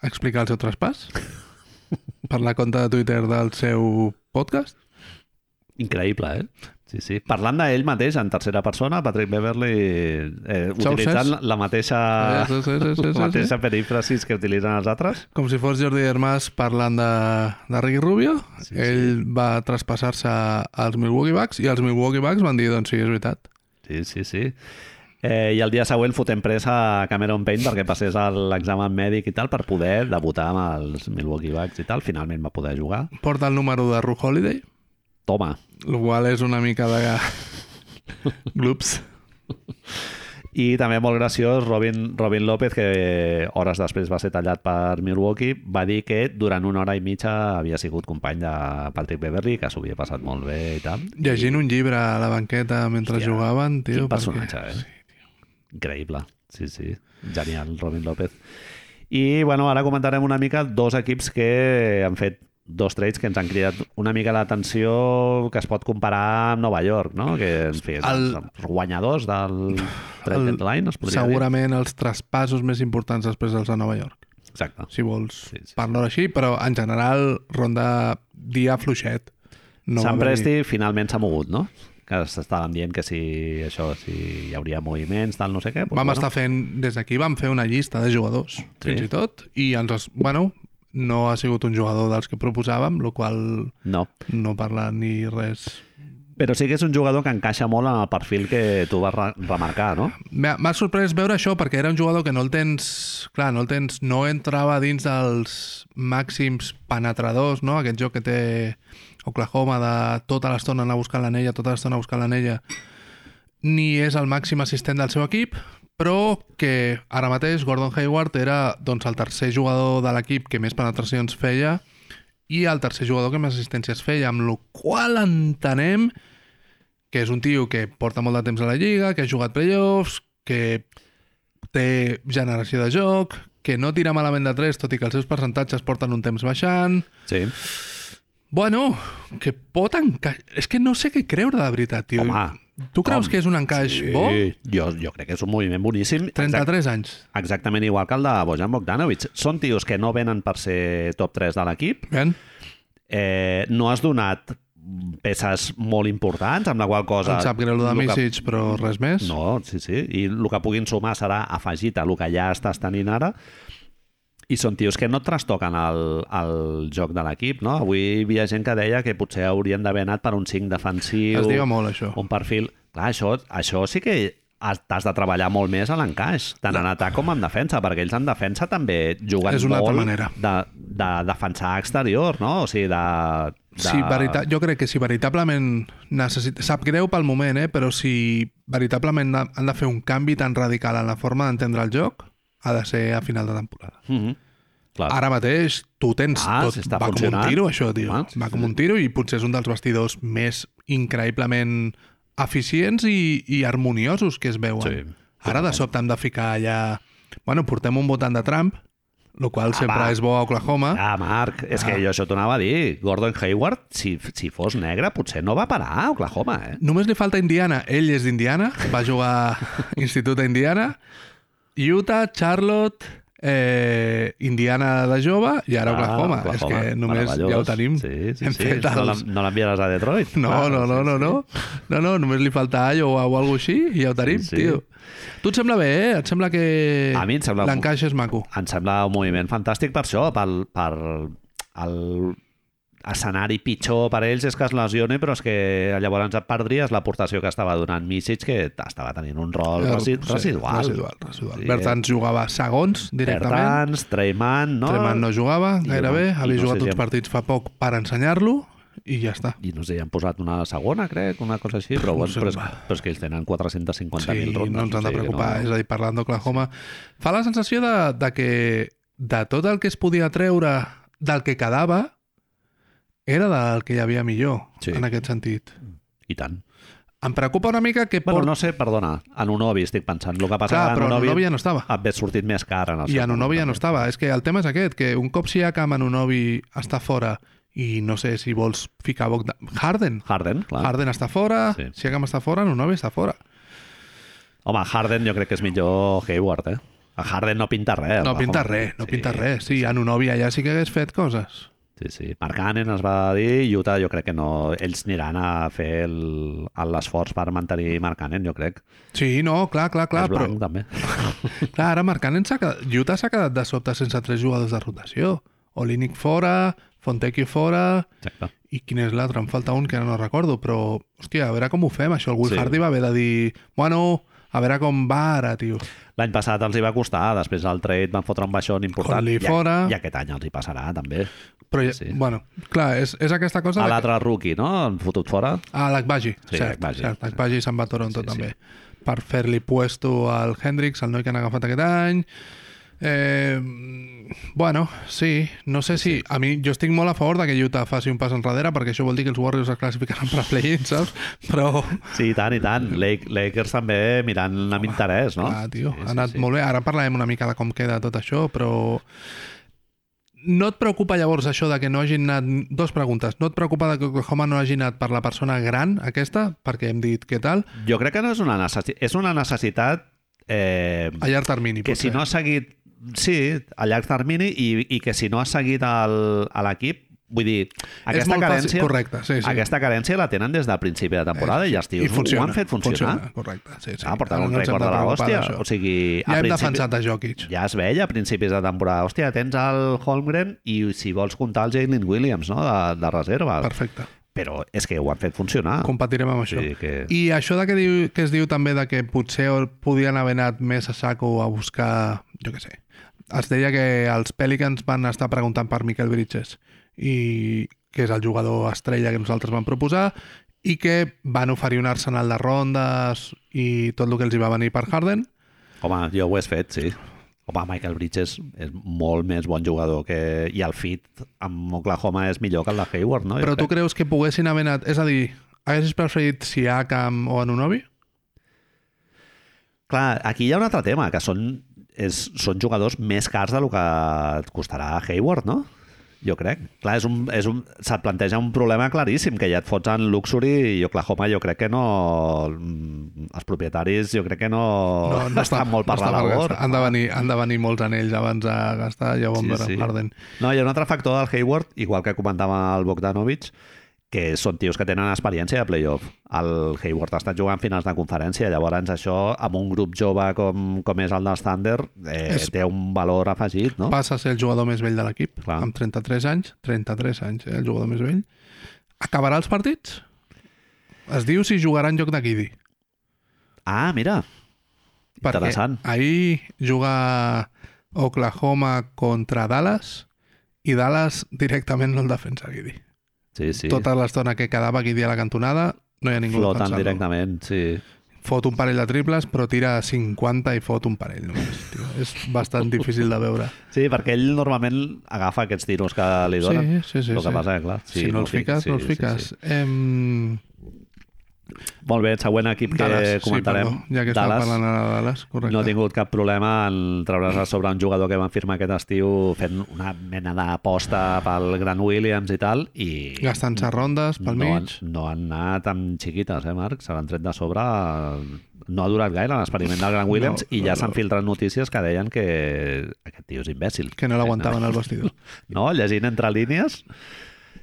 Speaker 2: explicar el seu traspàs per la compte de Twitter del seu podcast.
Speaker 1: Increïble, eh? Sí, sí. Parlant d'ell mateix, en tercera persona, Patrick Beverly, eh,
Speaker 2: Xau
Speaker 1: utilitzant
Speaker 2: Cesc.
Speaker 1: la mateixa,
Speaker 2: Sí, sí, sí, sí, sí,
Speaker 1: Ah. la mateixa
Speaker 2: sí.
Speaker 1: perífrasis que utilitzen els altres.
Speaker 2: Com si fos Jordi Hermàs parlant de, de Ricky Rubio,
Speaker 1: Sí, sí.
Speaker 2: sí, ell sí. va traspassar-se als Milwaukee Bucks i els Milwaukee Bucks van dir, doncs sí, és veritat.
Speaker 1: Sí, sí, sí. Eh, I el dia següent fotem pressa a Cameron Payne perquè passés a l'examen mèdic i tal per poder debutar amb els Milwaukee Bucks i tal. Finalment va poder jugar.
Speaker 2: Porta el número de Ru Holiday,
Speaker 1: Toma,
Speaker 2: el qual és una mica de... Glups.
Speaker 1: I també molt graciós Robin, Robin López, que hores després va ser tallat per Milwaukee, va dir que durant una hora i mitja havia sigut company de Patrick Beverly, que s'ho havia passat molt bé i tal.
Speaker 2: Llegint un llibre a la banqueta mentre
Speaker 1: Hòstia,
Speaker 2: jugaven, tio.
Speaker 1: Quin
Speaker 2: perquè-
Speaker 1: personatge, eh? Increïble. Sí, sí. Genial, Robin López. I, bueno, ara comentarem una mica dos equips que han fet dos trades que ens han cridat una mica l'atenció que es pot comparar amb Nova York, no? Que, en fi,
Speaker 2: El-
Speaker 1: els guanyadors del trade
Speaker 2: El-
Speaker 1: deadline, es podria dir.
Speaker 2: segurament els traspassos més importants després dels de Nova York,
Speaker 1: Exacte.
Speaker 2: si vols
Speaker 1: Sí,
Speaker 2: sí,
Speaker 1: sí,
Speaker 2: sí, parlar així, però en general ronda dia fluixet.
Speaker 1: No Sant
Speaker 2: va haver-hi-
Speaker 1: Presti finalment s'ha mogut, no? Que s'estaven dient que si això, si hi hauria moviments, tal, no sé què. doncs,
Speaker 2: Vam estar fent, des d'aquí vam fer una llista de jugadors, sí. fins i tot, i ens, es- bueno, no ha sigut un jugador dels que proposàvem, el qual
Speaker 1: No.
Speaker 2: no parla ni res
Speaker 1: Però sí que és un jugador que encaixa molt en el perfil que tu vas re- remarcar, no?
Speaker 2: M'ha m'ha sorprès veure això perquè era un jugador que no el tens... Clar, no el tens... No entrava dins dels màxims penetradors, no? Aquest joc que té Oklahoma de tota l'estona anar a buscar l'anella, tota l'estona a buscar l'anella. Ni és el màxim assistent del seu equip, però que ara mateix Gordon Hayward era doncs, el tercer jugador de l'equip que més penetracions feia i el tercer jugador que més assistències feia, amb la qual entenem que és un tio que porta molt de temps a la Lliga, que ha jugat playoffs, que té generació de joc, que no tira malament de 3, tot i que els seus percentatges porten un temps baixant.
Speaker 1: Sí.
Speaker 2: Bueno, que pot encaix... És que no sé què creure de veritat, tio.
Speaker 1: Home,
Speaker 2: tu creus
Speaker 1: com?
Speaker 2: que és un encaix
Speaker 1: Sí,
Speaker 2: bo?
Speaker 1: jo, jo crec que és un moviment boníssim. Exact-
Speaker 2: 33 anys.
Speaker 1: Exactament igual que el de Bojan Bogdanovic. Són tios que no venen per ser top 3 de l'equip.
Speaker 2: Ben?
Speaker 1: Eh, no has donat peces molt importants, amb la qual cosa...
Speaker 2: Em sap greu lo de
Speaker 1: el que-
Speaker 2: Misic, però res més.
Speaker 1: No, sí, sí. I el que puguin sumar serà afegit a el que ja estàs tenint ara. I són tios que no trastoquen el, el joc de l'equip, no? Avui hi havia gent que deia que potser haurien d'haver anat per un 5 defensiu,
Speaker 2: Es diu molt, això.
Speaker 1: un perfil... Clar, això, això sí que has- t'has de treballar molt més a l'encaix, tant en atac com en defensa, perquè ells en defensa també juguen
Speaker 2: És una altra
Speaker 1: molt
Speaker 2: manera.
Speaker 1: De, de defensar exterior, no? O sigui, de... de...
Speaker 2: Si verita... Jo crec que si veritablement necessit... Sap greu pel moment, eh? però si veritablement ha- han de fer un canvi tan radical en la forma d'entendre el joc, ha de ser a final de temporada.
Speaker 1: Mm -hmm. Clar.
Speaker 2: Ara mateix tu tens
Speaker 1: Ah,
Speaker 2: tot...
Speaker 1: s'està
Speaker 2: Va com un
Speaker 1: funcionant.
Speaker 2: tiro, això, tio.
Speaker 1: Ah, sí,
Speaker 2: Va com un tiro i potser és un dels vestidors més increïblement eficients i, i harmoniosos que es veuen.
Speaker 1: Sí,
Speaker 2: Ara de sobte hem de ficar allà... Bueno, portem un votant de Trump, el qual sempre
Speaker 1: Ah, va.
Speaker 2: és bo a Oklahoma.
Speaker 1: Ah, Marc, és que jo això t'ho anava a dir. Gordon Hayward, si, si fos negre, potser no va parar a Oklahoma, eh?
Speaker 2: Només li falta Indiana. Ell és d'Indiana, va jugar a Institut a Indiana, Utah, Charlotte, eh, Indiana de jove i ara Oklahoma. És que només
Speaker 1: Ah, meravellós.
Speaker 2: ja ho tenim.
Speaker 1: Sí, sí,
Speaker 2: Hem
Speaker 1: sí.
Speaker 2: fet
Speaker 1: No
Speaker 2: els-
Speaker 1: l'en- No l'enviaràs a Detroit.
Speaker 2: No,
Speaker 1: Clar,
Speaker 2: no, no,
Speaker 1: sí,
Speaker 2: no,
Speaker 1: sí.
Speaker 2: no. No, no, només li falta Iowa o alguna així i ja ho tenim,
Speaker 1: sí.
Speaker 2: sí, sí. tio. Tu et sembla bé, eh? Et sembla que
Speaker 1: A mi em sembla-
Speaker 2: l'encaix és maco.
Speaker 1: Em sembla un moviment fantàstic per això, pel, per el escenari pitjor per ells és que es lesione, però és que llavors et perdries l'aportació que estava donant Misic, que estava tenint un rol resi
Speaker 2: Eh, Sí,
Speaker 1: residual.
Speaker 2: Residual, residual.
Speaker 1: Sí,
Speaker 2: Sí,
Speaker 1: eh?
Speaker 2: Bertans jugava segons directament.
Speaker 1: Bertans, Treyman, no?
Speaker 2: Treman no jugava
Speaker 1: I
Speaker 2: gairebé,
Speaker 1: no- i
Speaker 2: havia
Speaker 1: no sé
Speaker 2: jugat
Speaker 1: si
Speaker 2: uns
Speaker 1: em-
Speaker 2: partits fa poc per ensenyar-lo i ja està.
Speaker 1: i no sé, hi han posat una segona, crec, una cosa així, però,
Speaker 2: No
Speaker 1: bueno,
Speaker 2: sé,
Speaker 1: però, és,
Speaker 2: va.
Speaker 1: però és que ells tenen 450.000
Speaker 2: Sí,
Speaker 1: rondes.
Speaker 2: no ens han de
Speaker 1: o sigui que
Speaker 2: preocupar. No. És a dir, parlant d'Oklahoma, fa la sensació de, de que de tot el que es podia treure del que quedava era del que hi havia millor,
Speaker 1: Sí.
Speaker 2: sí. en aquest sentit.
Speaker 1: I tant.
Speaker 2: Em preocupa una mica que
Speaker 1: Bueno,
Speaker 2: Port-
Speaker 1: no sé, perdona, en un ovi estic pensant. El que passa
Speaker 2: Clar,
Speaker 1: que Ah,
Speaker 2: però
Speaker 1: Anunobi
Speaker 2: Anunobi ja no estava.
Speaker 1: et ve sortit més car en el
Speaker 2: I
Speaker 1: seu
Speaker 2: Anunobi ja no
Speaker 1: moment,
Speaker 2: estava. És que el tema és aquest, que un cop si Akam Anunobi està fora i no sé si vols ficar Bogdan... Harden.
Speaker 1: també. Harden, clar.
Speaker 2: Harden està fora,
Speaker 1: Ah. Sí.
Speaker 2: sí. si Akam està fora, Anunobi està fora.
Speaker 1: Home, Harden jo crec que és millor Hayward, eh? A Harden no pinta res.
Speaker 2: No
Speaker 1: va,
Speaker 2: pinta
Speaker 1: home.
Speaker 2: res, no
Speaker 1: Sí,
Speaker 2: pinta res. Sí, Anunobi allà sí que hagués fet coses.
Speaker 1: Sí, sí. Mark Cannon es va dir, i Utah jo crec que no... Ells aniran a fer el- l'esforç per mantenir Mark Cannon, jo crec.
Speaker 2: Sí, no, clar, clar, clar,
Speaker 1: és blanc,
Speaker 2: però,
Speaker 1: també.
Speaker 2: Clar, ara Marcanen s'ha quedat... Utah s'ha quedat de sobte sense tres jugadors de rotació. Olinic fora, Fontecchi fora...
Speaker 1: Exacte.
Speaker 2: I quin és l'altre? Em falta un que ara no recordo, però... Hòstia, a veure com ho fem, això. El Will
Speaker 1: Sí.
Speaker 2: sí. Hardy va haver de dir... Bueno, a veure com va ara, tio.
Speaker 1: L'any passat els hi va costar, després del trade van fotre un baixón important.
Speaker 2: Conley
Speaker 1: I,
Speaker 2: fora.
Speaker 1: I aquest any els hi passarà, també.
Speaker 2: Però, ja,
Speaker 1: Sí.
Speaker 2: sí. bueno, clar, és, és aquesta cosa...
Speaker 1: A
Speaker 2: de que-
Speaker 1: l'altre rookie, no? Han fotut fora.
Speaker 2: A l'Akbagi,
Speaker 1: Sí,
Speaker 2: sí, Ah, cert,
Speaker 1: Agbaji.
Speaker 2: Agbaji. cert. Agbaji se'n va a Toronto,
Speaker 1: Sí,
Speaker 2: sí,
Speaker 1: sí.
Speaker 2: també. Per fer-li puesto al Hendrix, el noi que han agafat aquest any. Eh, bueno, sí, no sé si... A mi, jo estic molt a favor de que Utah faci un pas enrere, perquè això vol dir que els Warriors es classificaran per a play-in, saps? Però,
Speaker 1: Sí, i tant, i tant. Lake, Lakers també mirant amb interès, no?
Speaker 2: clar, tio,
Speaker 1: Sí,
Speaker 2: ha anat
Speaker 1: sí, sí.
Speaker 2: molt bé. Ara parlarem una mica de com queda tot això, però... No et preocupa llavors això de que no hagin anat... Dos preguntes. No et preocupa de que Oklahoma no hagi anat per la persona gran, aquesta? Perquè hem dit què tal.
Speaker 1: Jo crec que no és una necessitat... És una necessitat eh,
Speaker 2: A llarg termini,
Speaker 1: que si no ha seguit... Sí, a llarg termini i, i que si no ha seguit el, a l'equip, vull dir, aquesta
Speaker 2: molt fàcil,
Speaker 1: carència...
Speaker 2: correcte, sí, sí. Eh,
Speaker 1: Aquesta carència la tenen des del principi de temporada i els tios ho han fet funcionar.
Speaker 2: Funciona, correcte, sí, sí.
Speaker 1: Ah, portant
Speaker 2: Ara
Speaker 1: un
Speaker 2: no ens hem
Speaker 1: rècord de la
Speaker 2: preocupar
Speaker 1: hòstia.
Speaker 2: d'això.
Speaker 1: O sigui,
Speaker 2: ja hem
Speaker 1: principi-
Speaker 2: defensat a Jokic.
Speaker 1: ja es veia a principis de temporada. Hòstia, tens el Holmgren i si vols comptar el Jalen Williams, no?, de, de reserva.
Speaker 2: Perfecte.
Speaker 1: però és que ho han fet funcionar.
Speaker 2: Compatirem amb això.
Speaker 1: Ah. Sí, que-
Speaker 2: I això de que, diu, que es diu també de que potser el- podien haver anat més a saco a buscar... Jo què sé. Es deia que els Pelicans van estar preguntant per Miquel Bridges, i que és el jugador estrella que nosaltres vam proposar, i que van oferir un arsenal de rondes i tot el que els hi va venir per Harden.
Speaker 1: Home, jo ho he fet, sí. Home, Michael Bridges és molt més bon jugador que... I el fit amb Oklahoma és millor que el de Hayward, no? Jo
Speaker 2: Però tu
Speaker 1: crec.
Speaker 2: creus que poguessin haver anat... És a dir, haguessis preferit Siakam o Anunobi?
Speaker 1: Clar, aquí hi ha un altre tema, que són, és, són jugadors més cars del que et costarà Hayward, no? Jo crec. Clar, és un, és un, se't planteja un problema claríssim, que ja et fots en Luxury i Oklahoma jo crec que no... mm, Els propietaris jo crec que no, estan Oh, molt per la
Speaker 2: està per
Speaker 1: labor.
Speaker 2: gastar. Han de, venir, han de venir molts anells abans de gastar, ja ho vam sí, veure sí. amb Harden.
Speaker 1: No, hi ha un altre factor del Hayward, igual que comentava el Bogdanovic, que són tios que tenen experiència de playoff. El Hayward ha estat jugant finals de conferència, llavors això, amb un grup jove com, com és el dels Thunder, eh,
Speaker 2: És-
Speaker 1: té un valor afegit, no?
Speaker 2: Passa a ser el jugador més vell de l'equip,
Speaker 1: Clar.
Speaker 2: amb 33 anys, 33 anys, eh, el jugador més vell. Acabarà els partits? Es diu si jugarà en lloc de Guidi.
Speaker 1: Ah, mira, interessant.
Speaker 2: ahir juga Oklahoma contra Dallas i Dallas directament no el defensa Guidi.
Speaker 1: Sí, sí.
Speaker 2: Tota l'estona que quedava Guidi a la cantonada no hi ha ningú
Speaker 1: Floten
Speaker 2: defensant-lo.
Speaker 1: directament, sí.
Speaker 2: Fot un parell de triples, però tira 50 i fot un parell només. Tio. És bastant difícil de veure.
Speaker 1: Sí, perquè ell normalment agafa aquests tiros que li donen.
Speaker 2: sí, sí.
Speaker 1: el que
Speaker 2: sí.
Speaker 1: passa, clar, sí,
Speaker 2: si no els
Speaker 1: fi-
Speaker 2: fiques,
Speaker 1: sí,
Speaker 2: no els
Speaker 1: sí,
Speaker 2: fiques.
Speaker 1: sí.
Speaker 2: Em,
Speaker 1: Molt bé, el següent equip que
Speaker 2: Dallas,
Speaker 1: comentarem.
Speaker 2: sí, perdó, ja que estàvem
Speaker 1: Dallas.
Speaker 2: parlant ara de Dallas, correcte.
Speaker 1: No ha tingut cap problema en treure's a sobre un jugador que van firmar aquest estiu fent una mena d'aposta pel Gran Williams i tal, i
Speaker 2: Gastant-se rondes pel
Speaker 1: no, han,
Speaker 2: mig.
Speaker 1: no han anat amb xiquites, eh, Marc? Se l'han tret de sobre... No ha durat gaire l'experiment del Gran Williams i ja s'han filtrat notícies que deien que aquest tio és imbècil.
Speaker 2: Que no l'aguantaven al vestidor.
Speaker 1: No, llegint entre línies,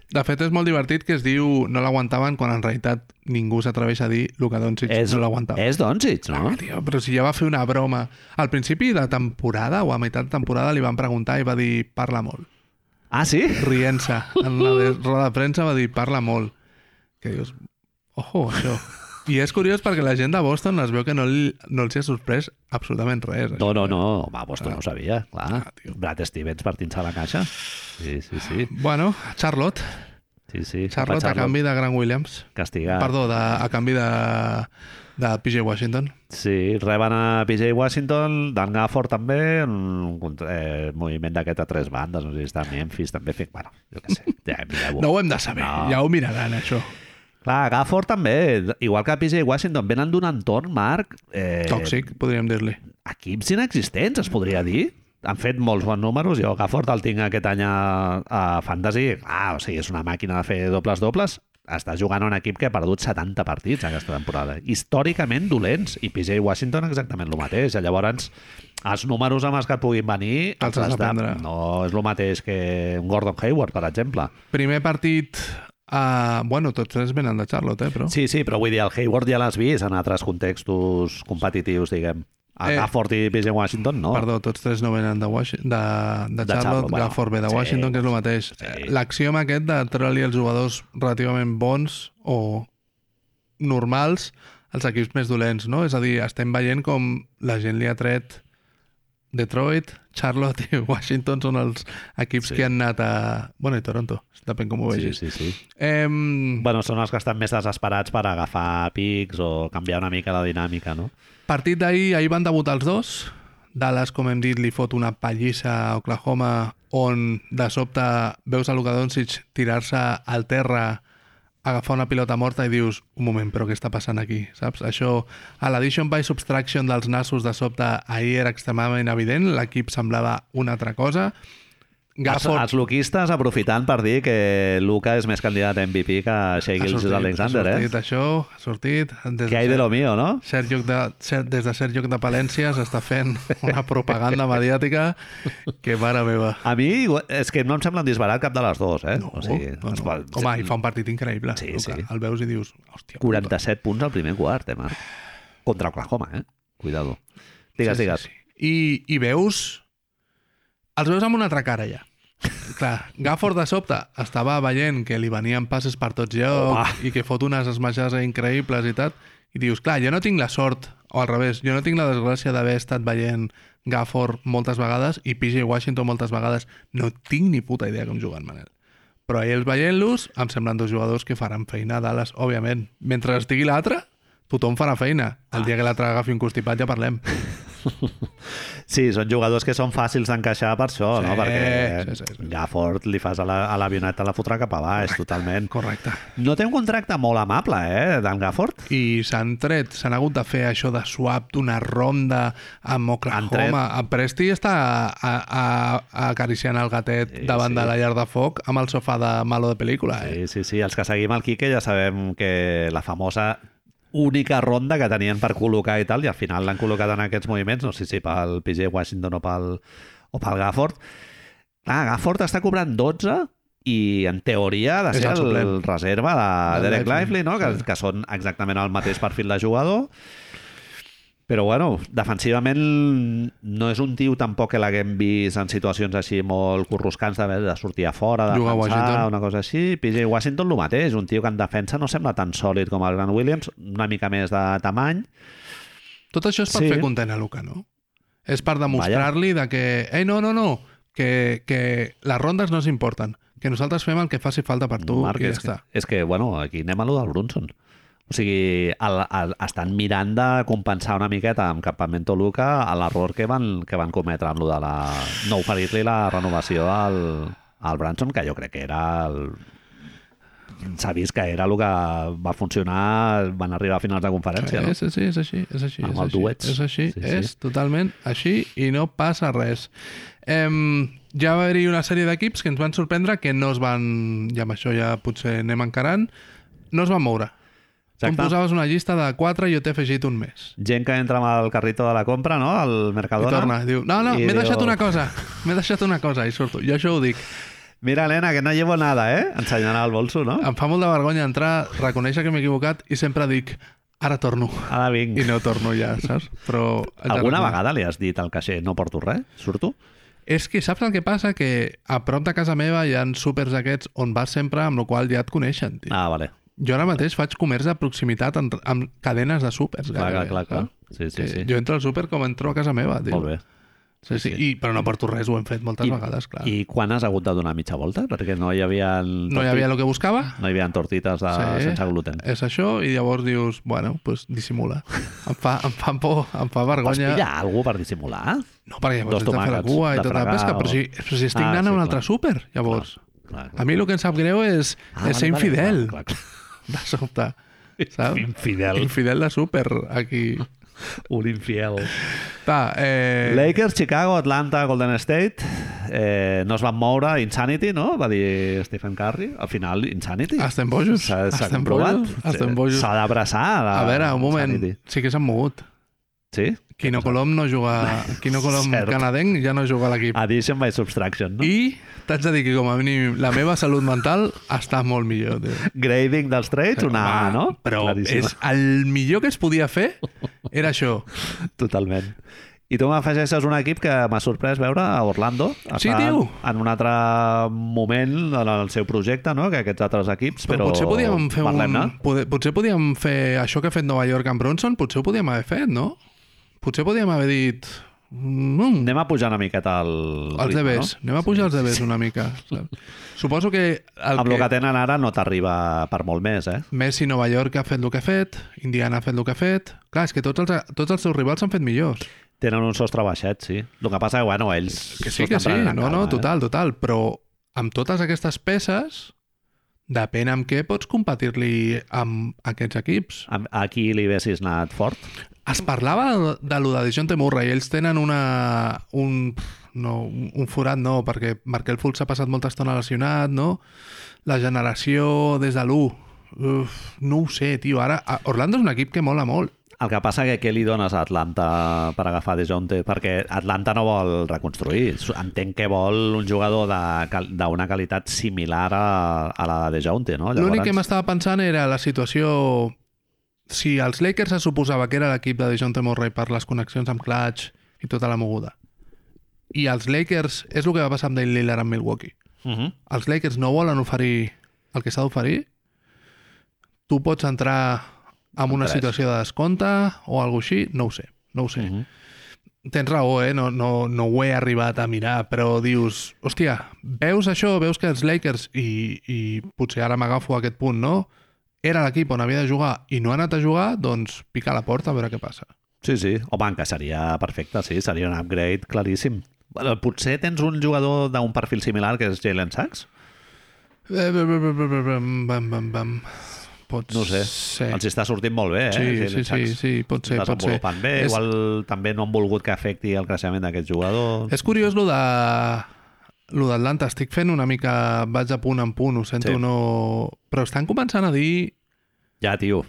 Speaker 2: De fet, és molt divertit que es diu no l'aguantaven quan en realitat ningú s'atreveix a dir el que Doncic
Speaker 1: és,
Speaker 2: no l'aguantava. Ah,
Speaker 1: és Doncic, no?
Speaker 2: Tio, però si ja va fer una broma. Al principi de temporada o a meitat de temporada li van preguntar i va dir parla molt.
Speaker 1: Ah, sí?
Speaker 2: Rient-se. En la de- roda de premsa va dir parla molt. Que dius, ojo, això. I és curiós perquè la gent de Boston es veu que no, li, no els hi ha sorprès absolutament res. això.
Speaker 1: No, no, no, home, Boston no ho sabia, clar.
Speaker 2: Ah, tio.
Speaker 1: Brad Stevens partint-se la caixa. Sí, sí, sí.
Speaker 2: Bueno, Charlotte.
Speaker 1: sí, sí.
Speaker 2: Charlotte a canvi de Grant Williams.
Speaker 1: Castigar.
Speaker 2: Perdó, de, a canvi de, de PJ Washington.
Speaker 1: Sí, reben a PJ Washington, Dan Gafford també, un cont- eh, moviment d'aquest a tres bandes, no sé si està a Memphis, també fic... Bueno, jo què sé, ja mireu-ho.
Speaker 2: No ho hem de saber,
Speaker 1: No.
Speaker 2: ja ho miraran, això.
Speaker 1: Clar, Gafford també, igual que PJ Washington, venen d'un entorn, Marc, eh,
Speaker 2: Tòxic, podríem dir-li.
Speaker 1: equips inexistents, es podria dir. Han fet molts bons números, jo Gafford el tinc aquest any a, a Fantasy, clar, o sigui, és una màquina de fer dobles-dobles, està jugant a un equip que ha perdut 70 partits aquesta temporada. Històricament dolents, i PJ Washington exactament el mateix. Llavors, els números amb els que et puguin venir...
Speaker 2: Els has de prendre.
Speaker 1: No és el mateix que un Gordon Hayward, per exemple.
Speaker 2: Primer partit... Uh, bueno, tots tres venen de Charlotte, eh, però...
Speaker 1: Sí, sí, però vull dir, el Hayward ja l'has vist en altres contextos competitius, diguem. A
Speaker 2: Eh.
Speaker 1: Gafford i PJ Washington, no.
Speaker 2: Perdó, tots tres no venen de, Washi- de, de,
Speaker 1: Oh. De
Speaker 2: Charlotte,
Speaker 1: Charlotte, bueno,
Speaker 2: Gafford ve de
Speaker 1: sí.
Speaker 2: Washington, que és el mateix. Eh,
Speaker 1: Sí.
Speaker 2: L'axioma aquest de treure-li els jugadors relativament bons o normals als equips més dolents, no? És a dir, estem veient com la gent li ha tret Detroit, Charlotte i Washington són els equips
Speaker 1: Sí.
Speaker 2: sí. que han anat a... Bueno, i Toronto, depèn com ho
Speaker 1: Sí,
Speaker 2: vegis. Sí, sí.
Speaker 1: sí, sí.
Speaker 2: Em,
Speaker 1: Bueno, són els que estan més desesperats per agafar pics o canviar una mica la dinàmica, no?
Speaker 2: Partit d'ahir, ahir van debutar els dos. Dallas, com hem dit, li fot una pallissa a Oklahoma, on de sobte veus a Luka Doncic tirar-se al terra, agafar una pilota morta i dius, un moment, però què està passant aquí, saps? Això, a l'addition by subtraction dels nassos de sobte ahir era extremadament evident, l'equip semblava una altra cosa.
Speaker 1: Els,
Speaker 2: Gafford,
Speaker 1: els luquistes aprofitant per dir que Luca és més candidat a MVP que Shea
Speaker 2: ha
Speaker 1: Gills
Speaker 2: sortit,
Speaker 1: Alexander,
Speaker 2: ha sortit
Speaker 1: eh?
Speaker 2: això, ha sortit... Des
Speaker 1: Que hay de lo mío, no?
Speaker 2: Cert lloc de, cert, des de cert lloc de Palència s'està fent una propaganda mediàtica que, mare meva...
Speaker 1: A mi igual- és que no em sembla un disbarat cap de les dues, eh?
Speaker 2: No,
Speaker 1: o sigui,
Speaker 2: no,
Speaker 1: es
Speaker 2: no.
Speaker 1: pot-
Speaker 2: Home, i fa un partit increïble.
Speaker 1: Sí,
Speaker 2: Luca.
Speaker 1: sí.
Speaker 2: El veus i dius... Hòstia,
Speaker 1: 47 punts al primer quart, eh, Marc? Contra Oklahoma, eh? Cuidado. Digues, digues.
Speaker 2: I, I veus... Els veus amb una altra cara, ja. Clar, Gafford de sobte estava veient que li venien passes per tots llocs
Speaker 1: Home.
Speaker 2: i que fot unes esmaixades increïbles i tal, i dius, clar, jo no tinc la sort, o al revés, jo no tinc la desgràcia d'haver estat veient Gafford moltes vegades i PJ Washington moltes vegades. No tinc ni puta idea com juguen, Manel. Però ells veient-los em semblen dos jugadors que faran feina a Dallas, òbviament. Mentre estigui l'altre, tothom farà feina.
Speaker 1: Ah.
Speaker 2: El dia que l'altre agafi un constipat ja parlem.
Speaker 1: Sí, són jugadors que són fàcils d'encaixar per això,
Speaker 2: Sí,
Speaker 1: no?
Speaker 2: sí,
Speaker 1: Perquè
Speaker 2: sí, sí.
Speaker 1: Gafford li fas a la- a l'avioneta la fotrà cap a baix, totalment.
Speaker 2: Correcte.
Speaker 1: No té un contracte molt amable, eh, d'en Gafford?
Speaker 2: i s'han tret, s'han hagut de fer això de swap d'una ronda amb
Speaker 1: Han tret.
Speaker 2: Oklahoma. En Presti està a, a, a acariciant el gatet
Speaker 1: Sí,
Speaker 2: davant
Speaker 1: sí.
Speaker 2: de la llar de foc amb el sofà de malo de pel·lícula.
Speaker 1: Sí,
Speaker 2: Eh?
Speaker 1: sí, sí. Els que seguim el Quique ja sabem que la famosa única ronda que tenien per col·locar i tal, i al final l'han col·locat en aquests moviments, no sé si pel PG Washington o pel, o pel Gafford. Clar, Gafford està cobrant 12 i en teoria ha de
Speaker 2: És
Speaker 1: ser el,
Speaker 2: el suplent.
Speaker 1: el reserva de
Speaker 2: Del
Speaker 1: Derek Lively,
Speaker 2: Lively,
Speaker 1: no? que,
Speaker 2: sí.
Speaker 1: que són exactament el mateix perfil de jugador. Però bueno, defensivament no és un tio tampoc que l'haguem vist en situacions així molt corroscants d'haver de sortir a fora, de
Speaker 2: Juga a
Speaker 1: defensar,
Speaker 2: Washington.
Speaker 1: una cosa així. PJ Washington el mateix, un tio que en defensa no sembla tan sòlid com el Grant Williams, una mica més de tamany.
Speaker 2: Tot això és per
Speaker 1: Sí.
Speaker 2: fer content a Luca, no? És per demostrar-li de que, ei, no, no, no, que, que les rondes no s'importen, que nosaltres fem el que faci falta per tu i ja
Speaker 1: és, que,
Speaker 2: està.
Speaker 1: és que, bueno, aquí anem a lo del Brunson. O sigui, el, el, estan mirant de compensar una miqueta amb Campamento Luca a l'error que, van, que van cometre amb lo de la... no oferir-li la renovació al, al Branson, que jo crec que era el, s'ha vist que era el que va funcionar, van arribar a finals de conferència, no?
Speaker 2: És, és, és així, és així.
Speaker 1: Amb
Speaker 2: és
Speaker 1: els
Speaker 2: així,
Speaker 1: duets.
Speaker 2: És així,
Speaker 1: Sí,
Speaker 2: sí,
Speaker 1: sí.
Speaker 2: és totalment així i no passa res. Em, ja va haver-hi una sèrie d'equips que ens van sorprendre que no es van... I amb això ja potser anem encarant. No es van moure. Tu em
Speaker 1: Exacte.
Speaker 2: posaves una llista de 4 i jo t'he afegit un més.
Speaker 1: gent que entra amb el carrito de la compra, no?, al
Speaker 2: I
Speaker 1: Mercadona.
Speaker 2: torna, diu, no, no,
Speaker 1: I
Speaker 2: m'he
Speaker 1: diu,
Speaker 2: deixat una cosa, m'he deixat una cosa, i surto. Jo això ho dic.
Speaker 1: Mira, Elena, que no llevo nada, eh? Ensenyant el bolso, no?
Speaker 2: Em fa molt de vergonya entrar, reconèixer que m'he equivocat i sempre dic, ara torno.
Speaker 1: Ara vinc.
Speaker 2: I no torno ja, saps? Però... haig de
Speaker 1: Alguna
Speaker 2: reconèixer.
Speaker 1: vegada li has dit al caixer no porto res? Surto?
Speaker 2: És que saps el que passa? Que a prop de casa meva hi ha súpers aquests on vas sempre, amb la qual cosa ja et coneixen. Tio. Ah.
Speaker 1: Ah, vale.
Speaker 2: Jo ara mateix faig comerç de proximitat amb, amb cadenes de súpers.
Speaker 1: Clar, clar,
Speaker 2: gairebé,
Speaker 1: clar. clar.
Speaker 2: saps?
Speaker 1: Sí, sí,
Speaker 2: Que
Speaker 1: sí.
Speaker 2: Jo entro al súper com entro a casa meva. Tio.
Speaker 1: Molt bé.
Speaker 2: Sí, sí. I, però no porto res, ho hem fet moltes
Speaker 1: I-
Speaker 2: I, vegades, clar. I,
Speaker 1: I quan has hagut de donar mitja volta? Perquè no hi havia...
Speaker 2: no hi havia el que buscava?
Speaker 1: No hi havia tortites de...
Speaker 2: Sí.
Speaker 1: Ah,
Speaker 2: Eh,
Speaker 1: sense gluten.
Speaker 2: És això, i llavors dius, bueno, doncs dissimula. Em fa, em fa por, em fa
Speaker 1: Pots
Speaker 2: vergonya.
Speaker 1: pillar alguna per dissimular?
Speaker 2: No, perquè llavors
Speaker 1: Dos
Speaker 2: has de fer la
Speaker 1: tomàquets
Speaker 2: cua i
Speaker 1: de
Speaker 2: tota la
Speaker 1: fregar
Speaker 2: pesca.
Speaker 1: o-
Speaker 2: Però si, però si estic
Speaker 1: Ah,
Speaker 2: ah, anant
Speaker 1: sí,
Speaker 2: a un
Speaker 1: clar.
Speaker 2: altre súper, llavors.
Speaker 1: Clar, clar.
Speaker 2: A mi el que em sap greu és, ah, és ser infidel,
Speaker 1: Clar, clar.
Speaker 2: de sobte. Saps?
Speaker 1: Infidel.
Speaker 2: Infidel de súper, aquí.
Speaker 1: Un infiel.
Speaker 2: Ta, eh,
Speaker 1: Lakers, Chicago, Atlanta, Golden State eh, no es van moure Insanity, no? Va dir Stephen Curry al final Insanity
Speaker 2: Estem bojos.
Speaker 1: s'ha s'ha
Speaker 2: Estem
Speaker 1: comprovat
Speaker 2: bojos. Estem bojos.
Speaker 1: s'ha d'abraçar la-
Speaker 2: a veure, un moment.
Speaker 1: Insanity.
Speaker 2: Sí que s'han mogut.
Speaker 1: sí?
Speaker 2: Quino Colom no juga... Quino Colom
Speaker 1: Cert.
Speaker 2: canadenc ja no juga a l'equip.
Speaker 1: Addition by subtraction no? I...
Speaker 2: I t'haig de dir que com a mínim la meva salut mental està molt millor. Tio.
Speaker 1: grading dels trades una A,
Speaker 2: Home,
Speaker 1: no?
Speaker 2: Però
Speaker 1: Claríssima.
Speaker 2: és el millor que es podia fer era això.
Speaker 1: Totalment. I tu m'afegeixes un equip que m'ha sorprès veure a Orlando.
Speaker 2: Sí,
Speaker 1: Estan
Speaker 2: tio.
Speaker 1: En un altre moment en el seu projecte, no?, que aquests altres equips,
Speaker 2: Però,
Speaker 1: però...
Speaker 2: potser podíem fer
Speaker 1: Parlem-ne.
Speaker 2: un... Poder, potser podíem fer això que ha fet Nova York amb Bronson, potser ho podíem haver fet, no? Potser podíem haver dit... Mm,
Speaker 1: Anem a pujar una miqueta el...
Speaker 2: els
Speaker 1: ritme,
Speaker 2: debers, no? anem a pujar els debers una mica. Saps? Suposo que el
Speaker 1: El amb el que
Speaker 2: que
Speaker 1: tenen ara no t'arriba per molt més, eh?
Speaker 2: Messi Nova York ha fet el que ha fet, Indiana ha fet el que ha fet... Clar, és que tots els, tots els seus rivals han fet millors.
Speaker 1: Tenen un sostre baixet, sí. El que passa que, bueno, ells...
Speaker 2: Que
Speaker 1: s'ho
Speaker 2: sí, que
Speaker 1: estan
Speaker 2: sí,
Speaker 1: prenent eh?
Speaker 2: no,
Speaker 1: en
Speaker 2: no,
Speaker 1: calma,
Speaker 2: total, total, però amb totes aquestes peces depèn amb què pots competir-li amb aquests equips.
Speaker 1: Eh? A- A qui li haguessis anat fort?
Speaker 2: Es parlava de lo de Dejounte Murray. Ells tenen una... Un, no, un forat no, perquè Markel Fultz ha passat molta estona lesionat, no? La generació des de l'1. Uf, no ho sé, tio. Ara, a- Orlando és un equip que mola molt.
Speaker 1: El que passa que què li dones a Atlanta per agafar Dejounte? Perquè Atlanta no vol reconstruir. Entenc que vol un jugador de cal- d'una qualitat similar a, a la de Dejounte, no?
Speaker 2: L'únic que m'estava pensant era la situació... Si els Lakers se suposava que era l'equip de Dejounte Murray per les connexions amb Clutch i tota la moguda, I els Lakers, és el que va passar amb Dale Lillard amb Milwaukee.
Speaker 1: Uh -huh.
Speaker 2: Els Lakers no volen oferir el que s'ha d'oferir. Tu pots entrar en una
Speaker 1: Tres.
Speaker 2: situació de descompte o alguna així, no ho sé, no ho sé.
Speaker 1: Mhm.
Speaker 2: Tens raó, eh? No, no, no ho he arribat a mirar, però dius, hòstia, veus això, veus que els Lakers, i, i potser ara m'agafo a aquest punt, no? Era l'equip on havia de jugar i no ha anat a jugar, doncs pica a la porta a veure què passa.
Speaker 1: Sí, sí. Home, que seria perfecte, sí. Seria un upgrade claríssim. Bueno, Potser tens un jugador d'un perfil similar que és Jalen Sachs?
Speaker 2: Eh, bam, bam, bam, bam, bam, bam, bam. Pot
Speaker 1: No ho sé.
Speaker 2: ser.
Speaker 1: Els està sortint molt bé, eh?
Speaker 2: Sí,
Speaker 1: Jalen
Speaker 2: sí, sí,
Speaker 1: Sachs.
Speaker 2: sí, pot ser, pot ser.
Speaker 1: desenvolupant bé,
Speaker 2: És-
Speaker 1: igual també no han volgut que afecti el creixement d'aquest jugador.
Speaker 2: És curiós lo de lo d'Atlanta, estic fent una mica vaig a punt en punt, ho sento,
Speaker 1: Sí.
Speaker 2: sí. no... Però estan començant a dir
Speaker 1: Ja, tio,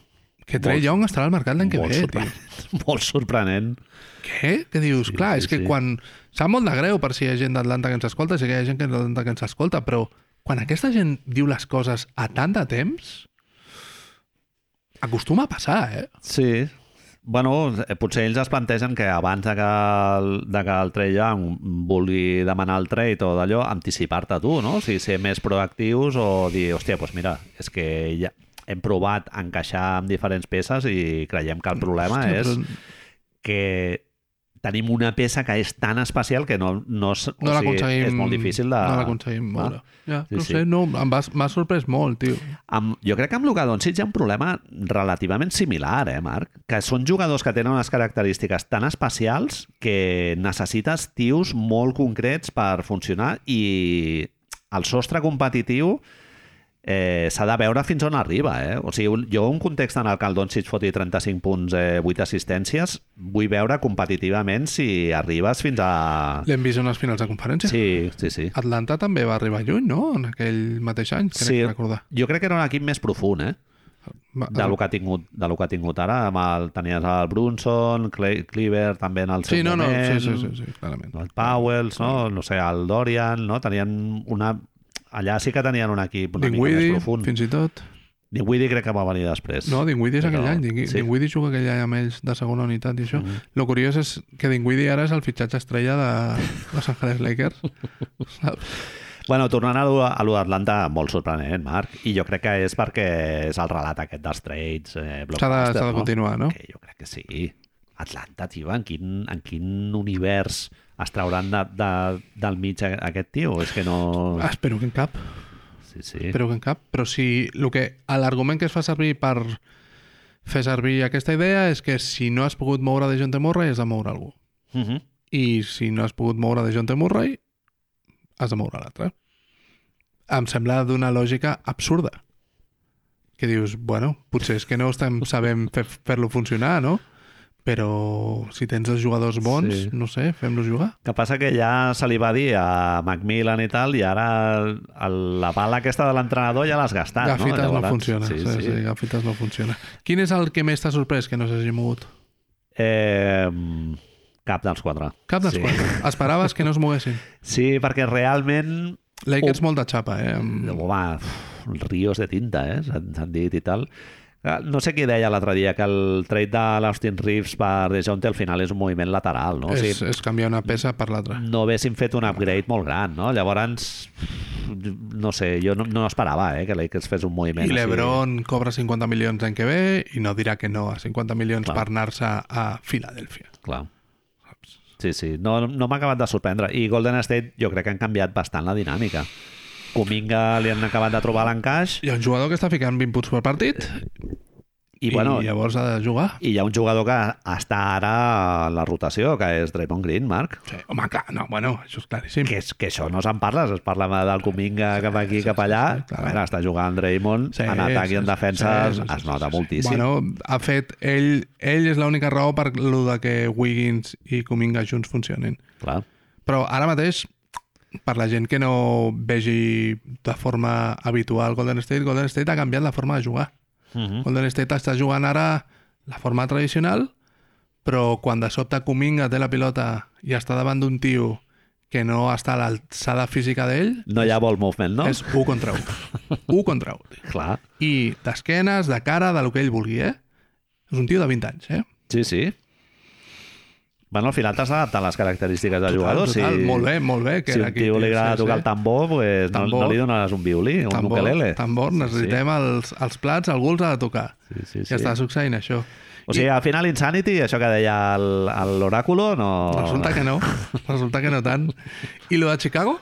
Speaker 2: que Trey
Speaker 1: Molt-
Speaker 2: Young estarà al mercat l'any que
Speaker 1: molt,
Speaker 2: ve, tio.
Speaker 1: sorprenent, molt sorprenent.
Speaker 2: Què? Què dius?
Speaker 1: Sí,
Speaker 2: Clar,
Speaker 1: sí,
Speaker 2: és que
Speaker 1: sí.
Speaker 2: quan... Sap molt de greu per si hi ha gent d'Atlanta que ens escolta, si hi ha gent que d'Atlanta que ens escolta, però quan aquesta gent diu les coses a tant de temps, acostuma a passar, eh?
Speaker 1: Sí. Bueno, eh, potser ells es plantegen que abans de que el, de que el trade Young vulgui demanar el trade o d'allò, anticipar-te tu, no? O sigui, ser més proactius o dir, hòstia, doncs mira, és que ja hem provat encaixar amb diferents peces i creiem que el problema
Speaker 2: Hòstia,
Speaker 1: Ah, és que tenim una peça que és tan especial que no, no, s-
Speaker 2: No
Speaker 1: o sigui,
Speaker 2: l'aconseguim...
Speaker 1: és molt difícil de... Ah.
Speaker 2: No l'aconseguim moure. Ja,
Speaker 1: Sí,
Speaker 2: no
Speaker 1: sí.
Speaker 2: sé, no, em va- m'ha sorprès molt, tio.
Speaker 1: Amb, jo crec que amb Luka Doncic hi ha un problema relativament similar, eh, Marc? Que són jugadors que tenen unes característiques tan especials que necessites tios molt concrets per funcionar i el sostre competitiu eh, s'ha de veure fins on arriba. Eh? O sigui, un- jo un context en el que el Doncic foti 35 punts, eh, 8 assistències, vull veure competitivament si arribes fins a...
Speaker 2: L'hem vist en les finals de conferència.
Speaker 1: Sí, sí, sí.
Speaker 2: Atlanta també va arribar lluny, no? En aquell mateix any, crec
Speaker 1: Sí.
Speaker 2: sí. recordar.
Speaker 1: Jo crec que era un equip més profund, eh?
Speaker 2: Va,
Speaker 1: de lo que ha tingut, de lo que ha tingut ara, amb el, tenies el Brunson, Cle Cleaver també en el seu
Speaker 2: Sí, no, no,
Speaker 1: moment,
Speaker 2: sí, sí, sí, sí clarament.
Speaker 1: el Powells, no? no sé, el Dorian, no? tenien una... Allà sí que tenien un equip una mica més
Speaker 2: Dinwiddie,
Speaker 1: profund. Fins...
Speaker 2: fins i tot.
Speaker 1: Dinwiddie crec que va venir després.
Speaker 2: No, Dinwiddie és
Speaker 1: Però-
Speaker 2: aquell any. Ding
Speaker 1: sí. Mm-hmm.
Speaker 2: Dinwiddie juga aquell any amb ells de segona unitat i això. Lo curiós és que Dinwiddie ara és el fitxatge estrella de Los Angeles Lakers. Saps?
Speaker 1: Bueno, tornant a lo- a lo d'Atlanta, molt sorprenent, Marc, i jo crec que és perquè és el relat aquest dels trades, eh,
Speaker 2: S'ha de,
Speaker 1: blockbuster,
Speaker 2: s'ha de
Speaker 1: no?
Speaker 2: continuar, no?
Speaker 1: Que jo crec que sí. Atlanta, tio, en quin, en quin univers es trauran de, de, del mig a- aquest tio? És que no...
Speaker 2: Ah, espero que en cap.
Speaker 1: Sí, sí.
Speaker 2: Espero que en cap. Però si lo que l'argument que es fa servir per fer servir aquesta idea és que si no has pogut moure de John T. Murray has de moure algú.
Speaker 1: Uh -huh.
Speaker 2: i si no has pogut moure de John T. Murray, has de moure l'altre. Em sembla d'una lògica absurda. Que dius, bueno, potser és que no estem sabem fer- fer-lo funcionar, no? Però si tens dos jugadors bons,
Speaker 1: Sí.
Speaker 2: sí. no sé, fem-los jugar.
Speaker 1: Que passa que ja se li va dir a Macmillan i tal, i ara el, la bala aquesta de l'entrenador ja l'has gastat. no,
Speaker 2: Gafitas no,
Speaker 1: Llavors,
Speaker 2: funciona. Sí, sí. sí, Gafitas no funciona. Quin és el que més t'ha sorprès que no s'hagi mogut?
Speaker 1: Eh, cap dels quatre.
Speaker 2: Cap dels
Speaker 1: sí. Oh.
Speaker 2: sí. quatre. Esperaves que no es moguessin.
Speaker 1: Sí, perquè realment
Speaker 2: Lakers molt de xapa, eh? Amb...
Speaker 1: Home, uf, rios de tinta, eh? S'han s'han dit i tal. Ah, No sé qui deia l'altre dia, que el trade de l'Austin Reeves per Dejounte al final és un moviment lateral, no? O
Speaker 2: és,
Speaker 1: sigui,
Speaker 2: és canviar una peça per l'altra.
Speaker 1: no haguessin fet un upgrade molt gran, no? Llavors, no sé, jo no, no esperava eh, que Lakers fes un moviment
Speaker 2: I l'Ebron cobra 50 milions l'any que ve i no dirà que no a 50 milions
Speaker 1: Clar.
Speaker 2: Clar. per anar-se a Filadèlfia.
Speaker 1: així. Clar. Sí, sí, no, no m'ha acabat de sorprendre. I Golden State jo crec que han canviat bastant la dinàmica. Cominga li han acabat de trobar l'encaix
Speaker 2: Hi ha un jugador que està ficant 20 punts per partit
Speaker 1: i, bueno,
Speaker 2: i llavors ha de jugar.
Speaker 1: I hi ha un jugador que està ara a la rotació, que és Draymond Green, Marc.
Speaker 2: Sí, home, clar, no, bueno, això és claríssim.
Speaker 1: Que, és, que això no se'n parla, es parla del Cominga cap aquí,
Speaker 2: sí,
Speaker 1: cap
Speaker 2: sí,
Speaker 1: allà.
Speaker 2: sí, clar.
Speaker 1: A veure, està jugant Draymond,
Speaker 2: Sí,
Speaker 1: en atac
Speaker 2: sí,
Speaker 1: i en
Speaker 2: sí,
Speaker 1: defensa
Speaker 2: sí, sí, sí,
Speaker 1: es nota
Speaker 2: sí, sí.
Speaker 1: moltíssim.
Speaker 2: Bueno, ha fet... Ell, ell és l'única raó per lo de que Wiggins i Cominga junts funcionin.
Speaker 1: Clar.
Speaker 2: Però ara mateix, per la gent que no vegi de forma habitual Golden State, Golden State ha canviat la forma de jugar.
Speaker 1: Mhm.
Speaker 2: Golden State està jugant ara la forma tradicional, però quan de sobte Cominga té la pilota i està davant d'un tio que no està a l'alçada física d'ell,
Speaker 1: No hi ha ball movement, no?
Speaker 2: no. és 1 contra 1. 1 contra 1.
Speaker 1: Clar.
Speaker 2: I d'esquenes, de cara, de lo que ell vulgui, eh? És un tio de 20 anys, eh?
Speaker 1: Sí, sí. Bueno, al final t'has d'adaptar a les característiques del
Speaker 2: Total,
Speaker 1: jugador.
Speaker 2: total,
Speaker 1: si,
Speaker 2: molt bé, molt bé, que
Speaker 1: si un
Speaker 2: aquí,
Speaker 1: tio li
Speaker 2: tio,
Speaker 1: agrada
Speaker 2: sí,
Speaker 1: tocar
Speaker 2: sí.
Speaker 1: el tambor, pues, No, no
Speaker 2: Tambor.
Speaker 1: li dones un violí, un
Speaker 2: Tambor,
Speaker 1: ukelele.
Speaker 2: tambor, necessitem els, els plats, algú els ha de tocar.
Speaker 1: Sí, sí, sí.
Speaker 2: I està succeint això.
Speaker 1: O sigui, al final Insanity, això que deia el- el- l'oràculo, no...
Speaker 2: Resulta que no, resulta que no tant. I lo de Chicago?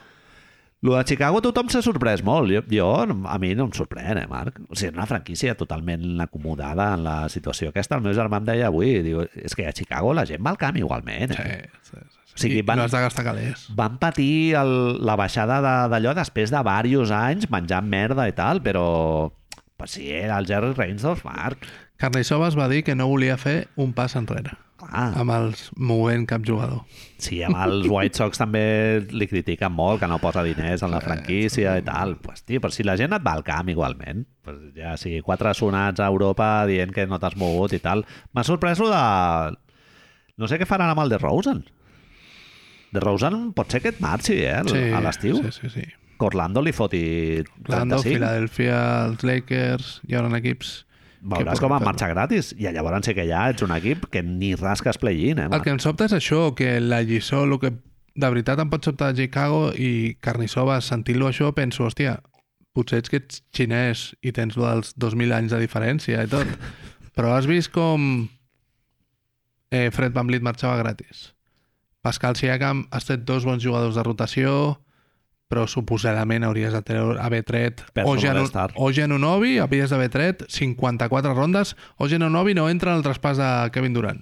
Speaker 1: Lo de Chicago tothom s'ha sorprès molt. Jo, jo, a mi no em sorprèn, eh, Marc? O sigui, és una franquícia totalment acomodada en la situació aquesta. El meu germà em deia avui, diu, és que a Chicago la gent va al camp igualment.
Speaker 2: Sí,
Speaker 1: Eh?
Speaker 2: sí, sí.
Speaker 1: O sigui,
Speaker 2: I
Speaker 1: van-
Speaker 2: no has de gastar calés.
Speaker 1: Van patir el, la baixada de- d'allò després de diversos anys menjant merda i tal, però... Però sí, era el Jerry Reinsdorf, Marc.
Speaker 2: Carnissova es va dir que no volia fer un pas enrere
Speaker 1: Clar.
Speaker 2: amb els movent cap jugador.
Speaker 1: Sí, amb els White Sox també li critiquen molt que no posa diners en la franquícia i tal. Pues, tio, però si la gent et va al camp igualment, pues, ja sigui quatre sonats a Europa dient que no t'has mogut i tal. M'ha sorprès lo de... No sé què faran amb el de Rosen. De Rosen pot ser que et marxi, eh,
Speaker 2: Sí,
Speaker 1: a l'estiu.
Speaker 2: Sí, sí, sí.
Speaker 1: Que Orlando li foti 35.
Speaker 2: Orlando, Filadèlfia, els Lakers, hi haurà equips... que
Speaker 1: Veuràs com
Speaker 2: poden
Speaker 1: en marxa gratis. I llavors sí que ja ets un equip que ni rasques play-in, eh,
Speaker 2: El
Speaker 1: Marc?
Speaker 2: que em sobta és això, que la lliçó, el que de veritat em pot sobtar de Chicago i Carnissova, sentint-lo això, penso, hòstia, potser ets que ets xinès i tens lo dels 2.000 anys de diferència i tot, però has vist com eh, Fred Van Vliet marxava gratis. Pascal Siakam has tret dos bons jugadors de rotació, però suposadament hauries de treure, haver tret
Speaker 1: Penso
Speaker 2: o,
Speaker 1: en
Speaker 2: Genu,
Speaker 1: All-Star.
Speaker 2: o Genonovi, hauries d'haver tret 54 rondes, o Genonovi no entra en el traspàs de Kevin Durant.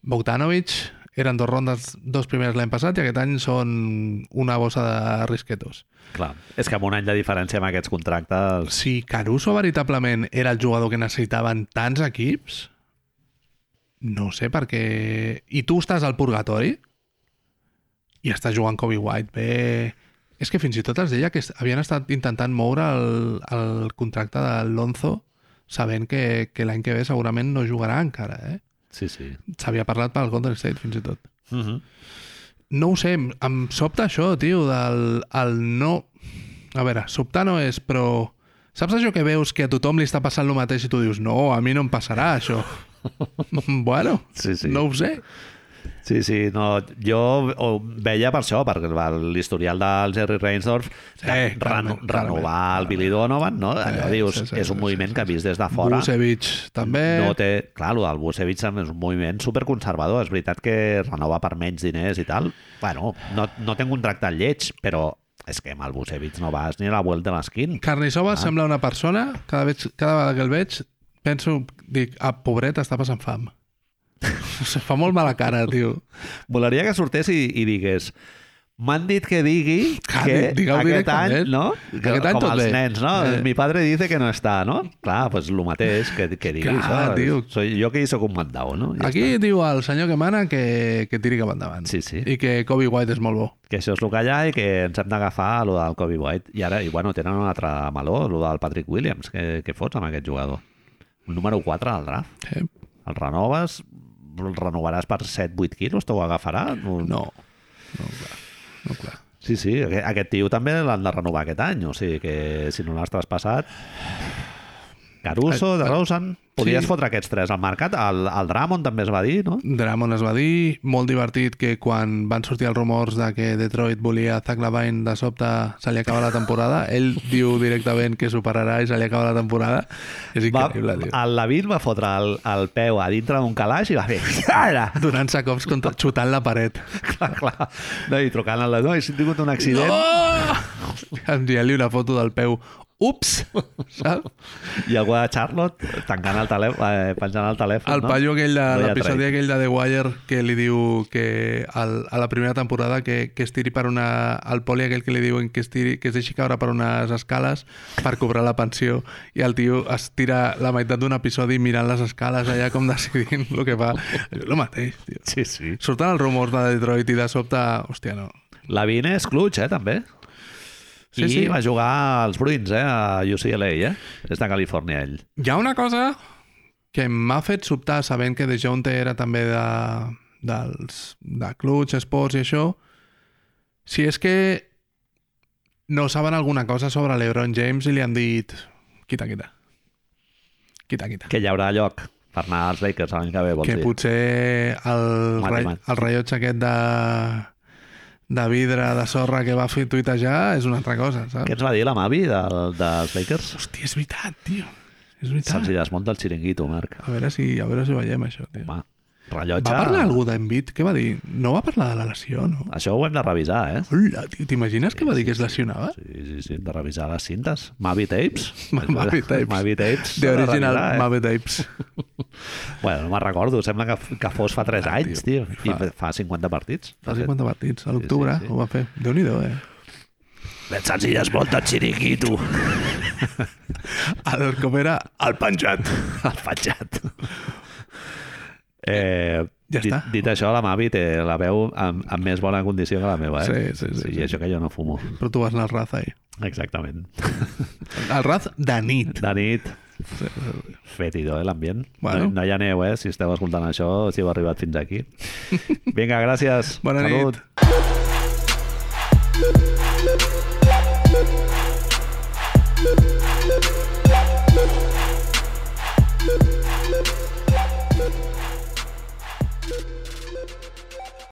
Speaker 2: Bogdanovic eren dos rondes, dos primers l'any passat i aquest any són una bossa de risquetos.
Speaker 1: Clar. És que amb un any de diferència amb aquests contractes...
Speaker 2: Si Caruso veritablement era el jugador que necessitaven tants equips, no sé per què... I tu estàs al purgatori i estàs jugant Kobe White bé... És que fins i tot es deia que es- havien estat intentant moure el, el contracte de Lonzo sabent que, que l'any que ve segurament no jugarà encara, eh?
Speaker 1: Sí, sí.
Speaker 2: S'havia parlat pel Golden State, fins i tot.
Speaker 1: Mm
Speaker 2: Mhm.
Speaker 1: -hmm.
Speaker 2: No ho sé, em- em sobta això, tio, del el no... A veure, sobtar no és, però... Saps això que veus que a tothom li està passant el mateix i tu dius, no, a mi no em passarà això. bueno,
Speaker 1: Sí, sí.
Speaker 2: no ho sé.
Speaker 1: Sí, sí, no, jo ho veia per això, perquè el- l'historial del Jerry Reinsdorf sí,
Speaker 2: clarament,
Speaker 1: reno,
Speaker 2: clarament,
Speaker 1: renovar el Billy Donovan, no? allò
Speaker 2: Sí,
Speaker 1: dius,
Speaker 2: sí, sí,
Speaker 1: és un
Speaker 2: sí,
Speaker 1: moviment
Speaker 2: sí,
Speaker 1: que vist des de fora
Speaker 2: Busevich també.
Speaker 1: no té... Clar, el Busevich també és un moviment superconservador, és veritat que renova per menys diners i tal. Bueno, no, no té un contracte lleig, però és que amb el Busevich no vas ni a la vuelta de l'esquín.
Speaker 2: Carnissova sembla una persona, cada, vez, cada vegada que el veig penso, dic, ah, pobret, està passant fam. Se fa molt mala cara, tio.
Speaker 1: Volaria que sortés i, i digués M'han dit que digui
Speaker 2: Clar,
Speaker 1: que
Speaker 2: digueu
Speaker 1: aquest
Speaker 2: directament.
Speaker 1: any, no?
Speaker 2: Aquest any
Speaker 1: com
Speaker 2: tot
Speaker 1: els
Speaker 2: bé.
Speaker 1: nens, no?
Speaker 2: Eh.
Speaker 1: Mi padre dice que no està, no? Clar, doncs pues, el mateix que, que diguis.
Speaker 2: Clar,
Speaker 1: no?
Speaker 2: tio.
Speaker 1: Soy, jo que hi soc un mandau, no? Ja
Speaker 2: Aquí diu el senyor que mana que, que tiri cap endavant.
Speaker 1: Sí, sí.
Speaker 2: I que Kobe White és molt bo.
Speaker 1: que això és el que hi ha i que ens hem d'agafar a lo del Kobe White. I ara, i bueno, tenen un altre meló, lo del Patrick Williams. Què, què fots amb aquest jugador? Número 4 al draft.
Speaker 2: Sí.
Speaker 1: El renoves? El renovaràs per 7-8 quilos? T'ho agafarà?
Speaker 2: No. No, clar. No, clar.
Speaker 1: Sí, sí, aqu- aquest tio també l'han de renovar aquest any, o sigui que si no l'has traspassat... Caruso, de Rosen... Podies
Speaker 2: Eh, sí.
Speaker 1: fotre aquests tres al mercat. El, el Dramon també es va dir, no?
Speaker 2: Dramon es va dir, molt divertit que quan van sortir els rumors de que Detroit volia Zach Lavine, de sobte se li acaba la temporada, ell diu directament que superarà i se li acaba la temporada. És
Speaker 1: Va,
Speaker 2: increïble, tio.
Speaker 1: el Lavín va fotre el, el peu a dintre d'un calaix i va fer... Ara!
Speaker 2: Donant-se cops contra, xutant la paret.
Speaker 1: Clar, clar. No, I trucant a la... No, he tingut un accident.
Speaker 2: Oh! Enviant-li una foto del peu. Ups! Saps?
Speaker 1: I algú de Charlotte tancant el telèfon, eh, penjant el telèfon,
Speaker 2: El
Speaker 1: no?
Speaker 2: paio aquell de
Speaker 1: No hi ha
Speaker 2: l'episodi
Speaker 1: trade.
Speaker 2: aquell de The Wire que li diu que al, a la primera temporada que, que es tiri per una... al poli aquell que li diuen que es, tiri, que es deixi caure per unes escales per cobrar la pensió i el tio es tira la meitat d'un episodi mirant les escales allà com decidint el que fa. És el mateix, tio.
Speaker 1: Sí, sí.
Speaker 2: Surten els rumors de Detroit i de sobte, hòstia, no.
Speaker 1: Lavín és clutch, eh, també.
Speaker 2: Sí,
Speaker 1: Sí, I
Speaker 2: sí.
Speaker 1: sí. va jugar als Bruins, eh, a UCLA, eh? És de Califòrnia, ell.
Speaker 2: Hi ha una cosa que m'ha fet sobtar sabent que DeJounte era també de, dels, de Clutch, Sports i això, si és que no saben alguna cosa sobre l'Ebron James i li han dit quita, quita. Quita, quita.
Speaker 1: Que hi haurà lloc Per anar als Lakers l'any que ve, vols
Speaker 2: que
Speaker 1: dir?
Speaker 2: potser el,
Speaker 1: Mate,
Speaker 2: ra-
Speaker 1: mate.
Speaker 2: el rellotge aquest de, de vidre, de sorra que va fer tuitejar és una altra cosa, saps?
Speaker 1: Què ens va dir la Mavi del- dels Lakers?
Speaker 2: Hòstia, és veritat, tio. És veritat.
Speaker 1: Se'ls hi desmunta el xiringuito, Marc.
Speaker 2: A veure si, a veure si veiem això, tio.
Speaker 1: Home, rellotge...
Speaker 2: Va parlar algú d'Envit? Què va dir? No va parlar de la lesió, no?
Speaker 1: Això ho hem de revisar, eh?
Speaker 2: Hola, tio, t'imagines que va dir que es lesionava?
Speaker 1: Sí, sí, sí, hem de revisar les cintes. Mavi Tapes.
Speaker 2: Mavi Tapes.
Speaker 1: Mavi Tapes.
Speaker 2: The original
Speaker 1: Revisar, eh?
Speaker 2: Mave Tapes.
Speaker 1: Bueno, no me'n recordo, sembla que, que fos fa 3 anys, tio.
Speaker 2: Ah,
Speaker 1: I
Speaker 2: tio, fa-
Speaker 1: fa 50 partits.
Speaker 2: Fa 50 partits, a l'octubre
Speaker 1: sí, sí.
Speaker 2: ho va fer. Déu-n'hi-do, eh?
Speaker 1: Pensats i desmunta el xiriquito.
Speaker 2: A veure com era el penjat.
Speaker 1: El fatxat. Eh,
Speaker 2: Ja
Speaker 1: dit,
Speaker 2: està.
Speaker 1: dit això, la Mavi té la veu amb, amb més bona condició que la meva, eh?
Speaker 2: Sí, sí, sí,
Speaker 1: I
Speaker 2: sí.
Speaker 1: això que jo no fumo.
Speaker 2: Però tu vas anar al Raz ahir.
Speaker 1: Exactament.
Speaker 2: Al Raz de nit.
Speaker 1: De nit, fétido, eh, l'ambient.
Speaker 2: Bueno.
Speaker 1: No, no hi ha neu, eh? Si esteu escoltant això, si heu arribat fins aquí. Vinga, gràcies.
Speaker 2: Bona
Speaker 1: Salut.
Speaker 2: nit.
Speaker 3: Thank you.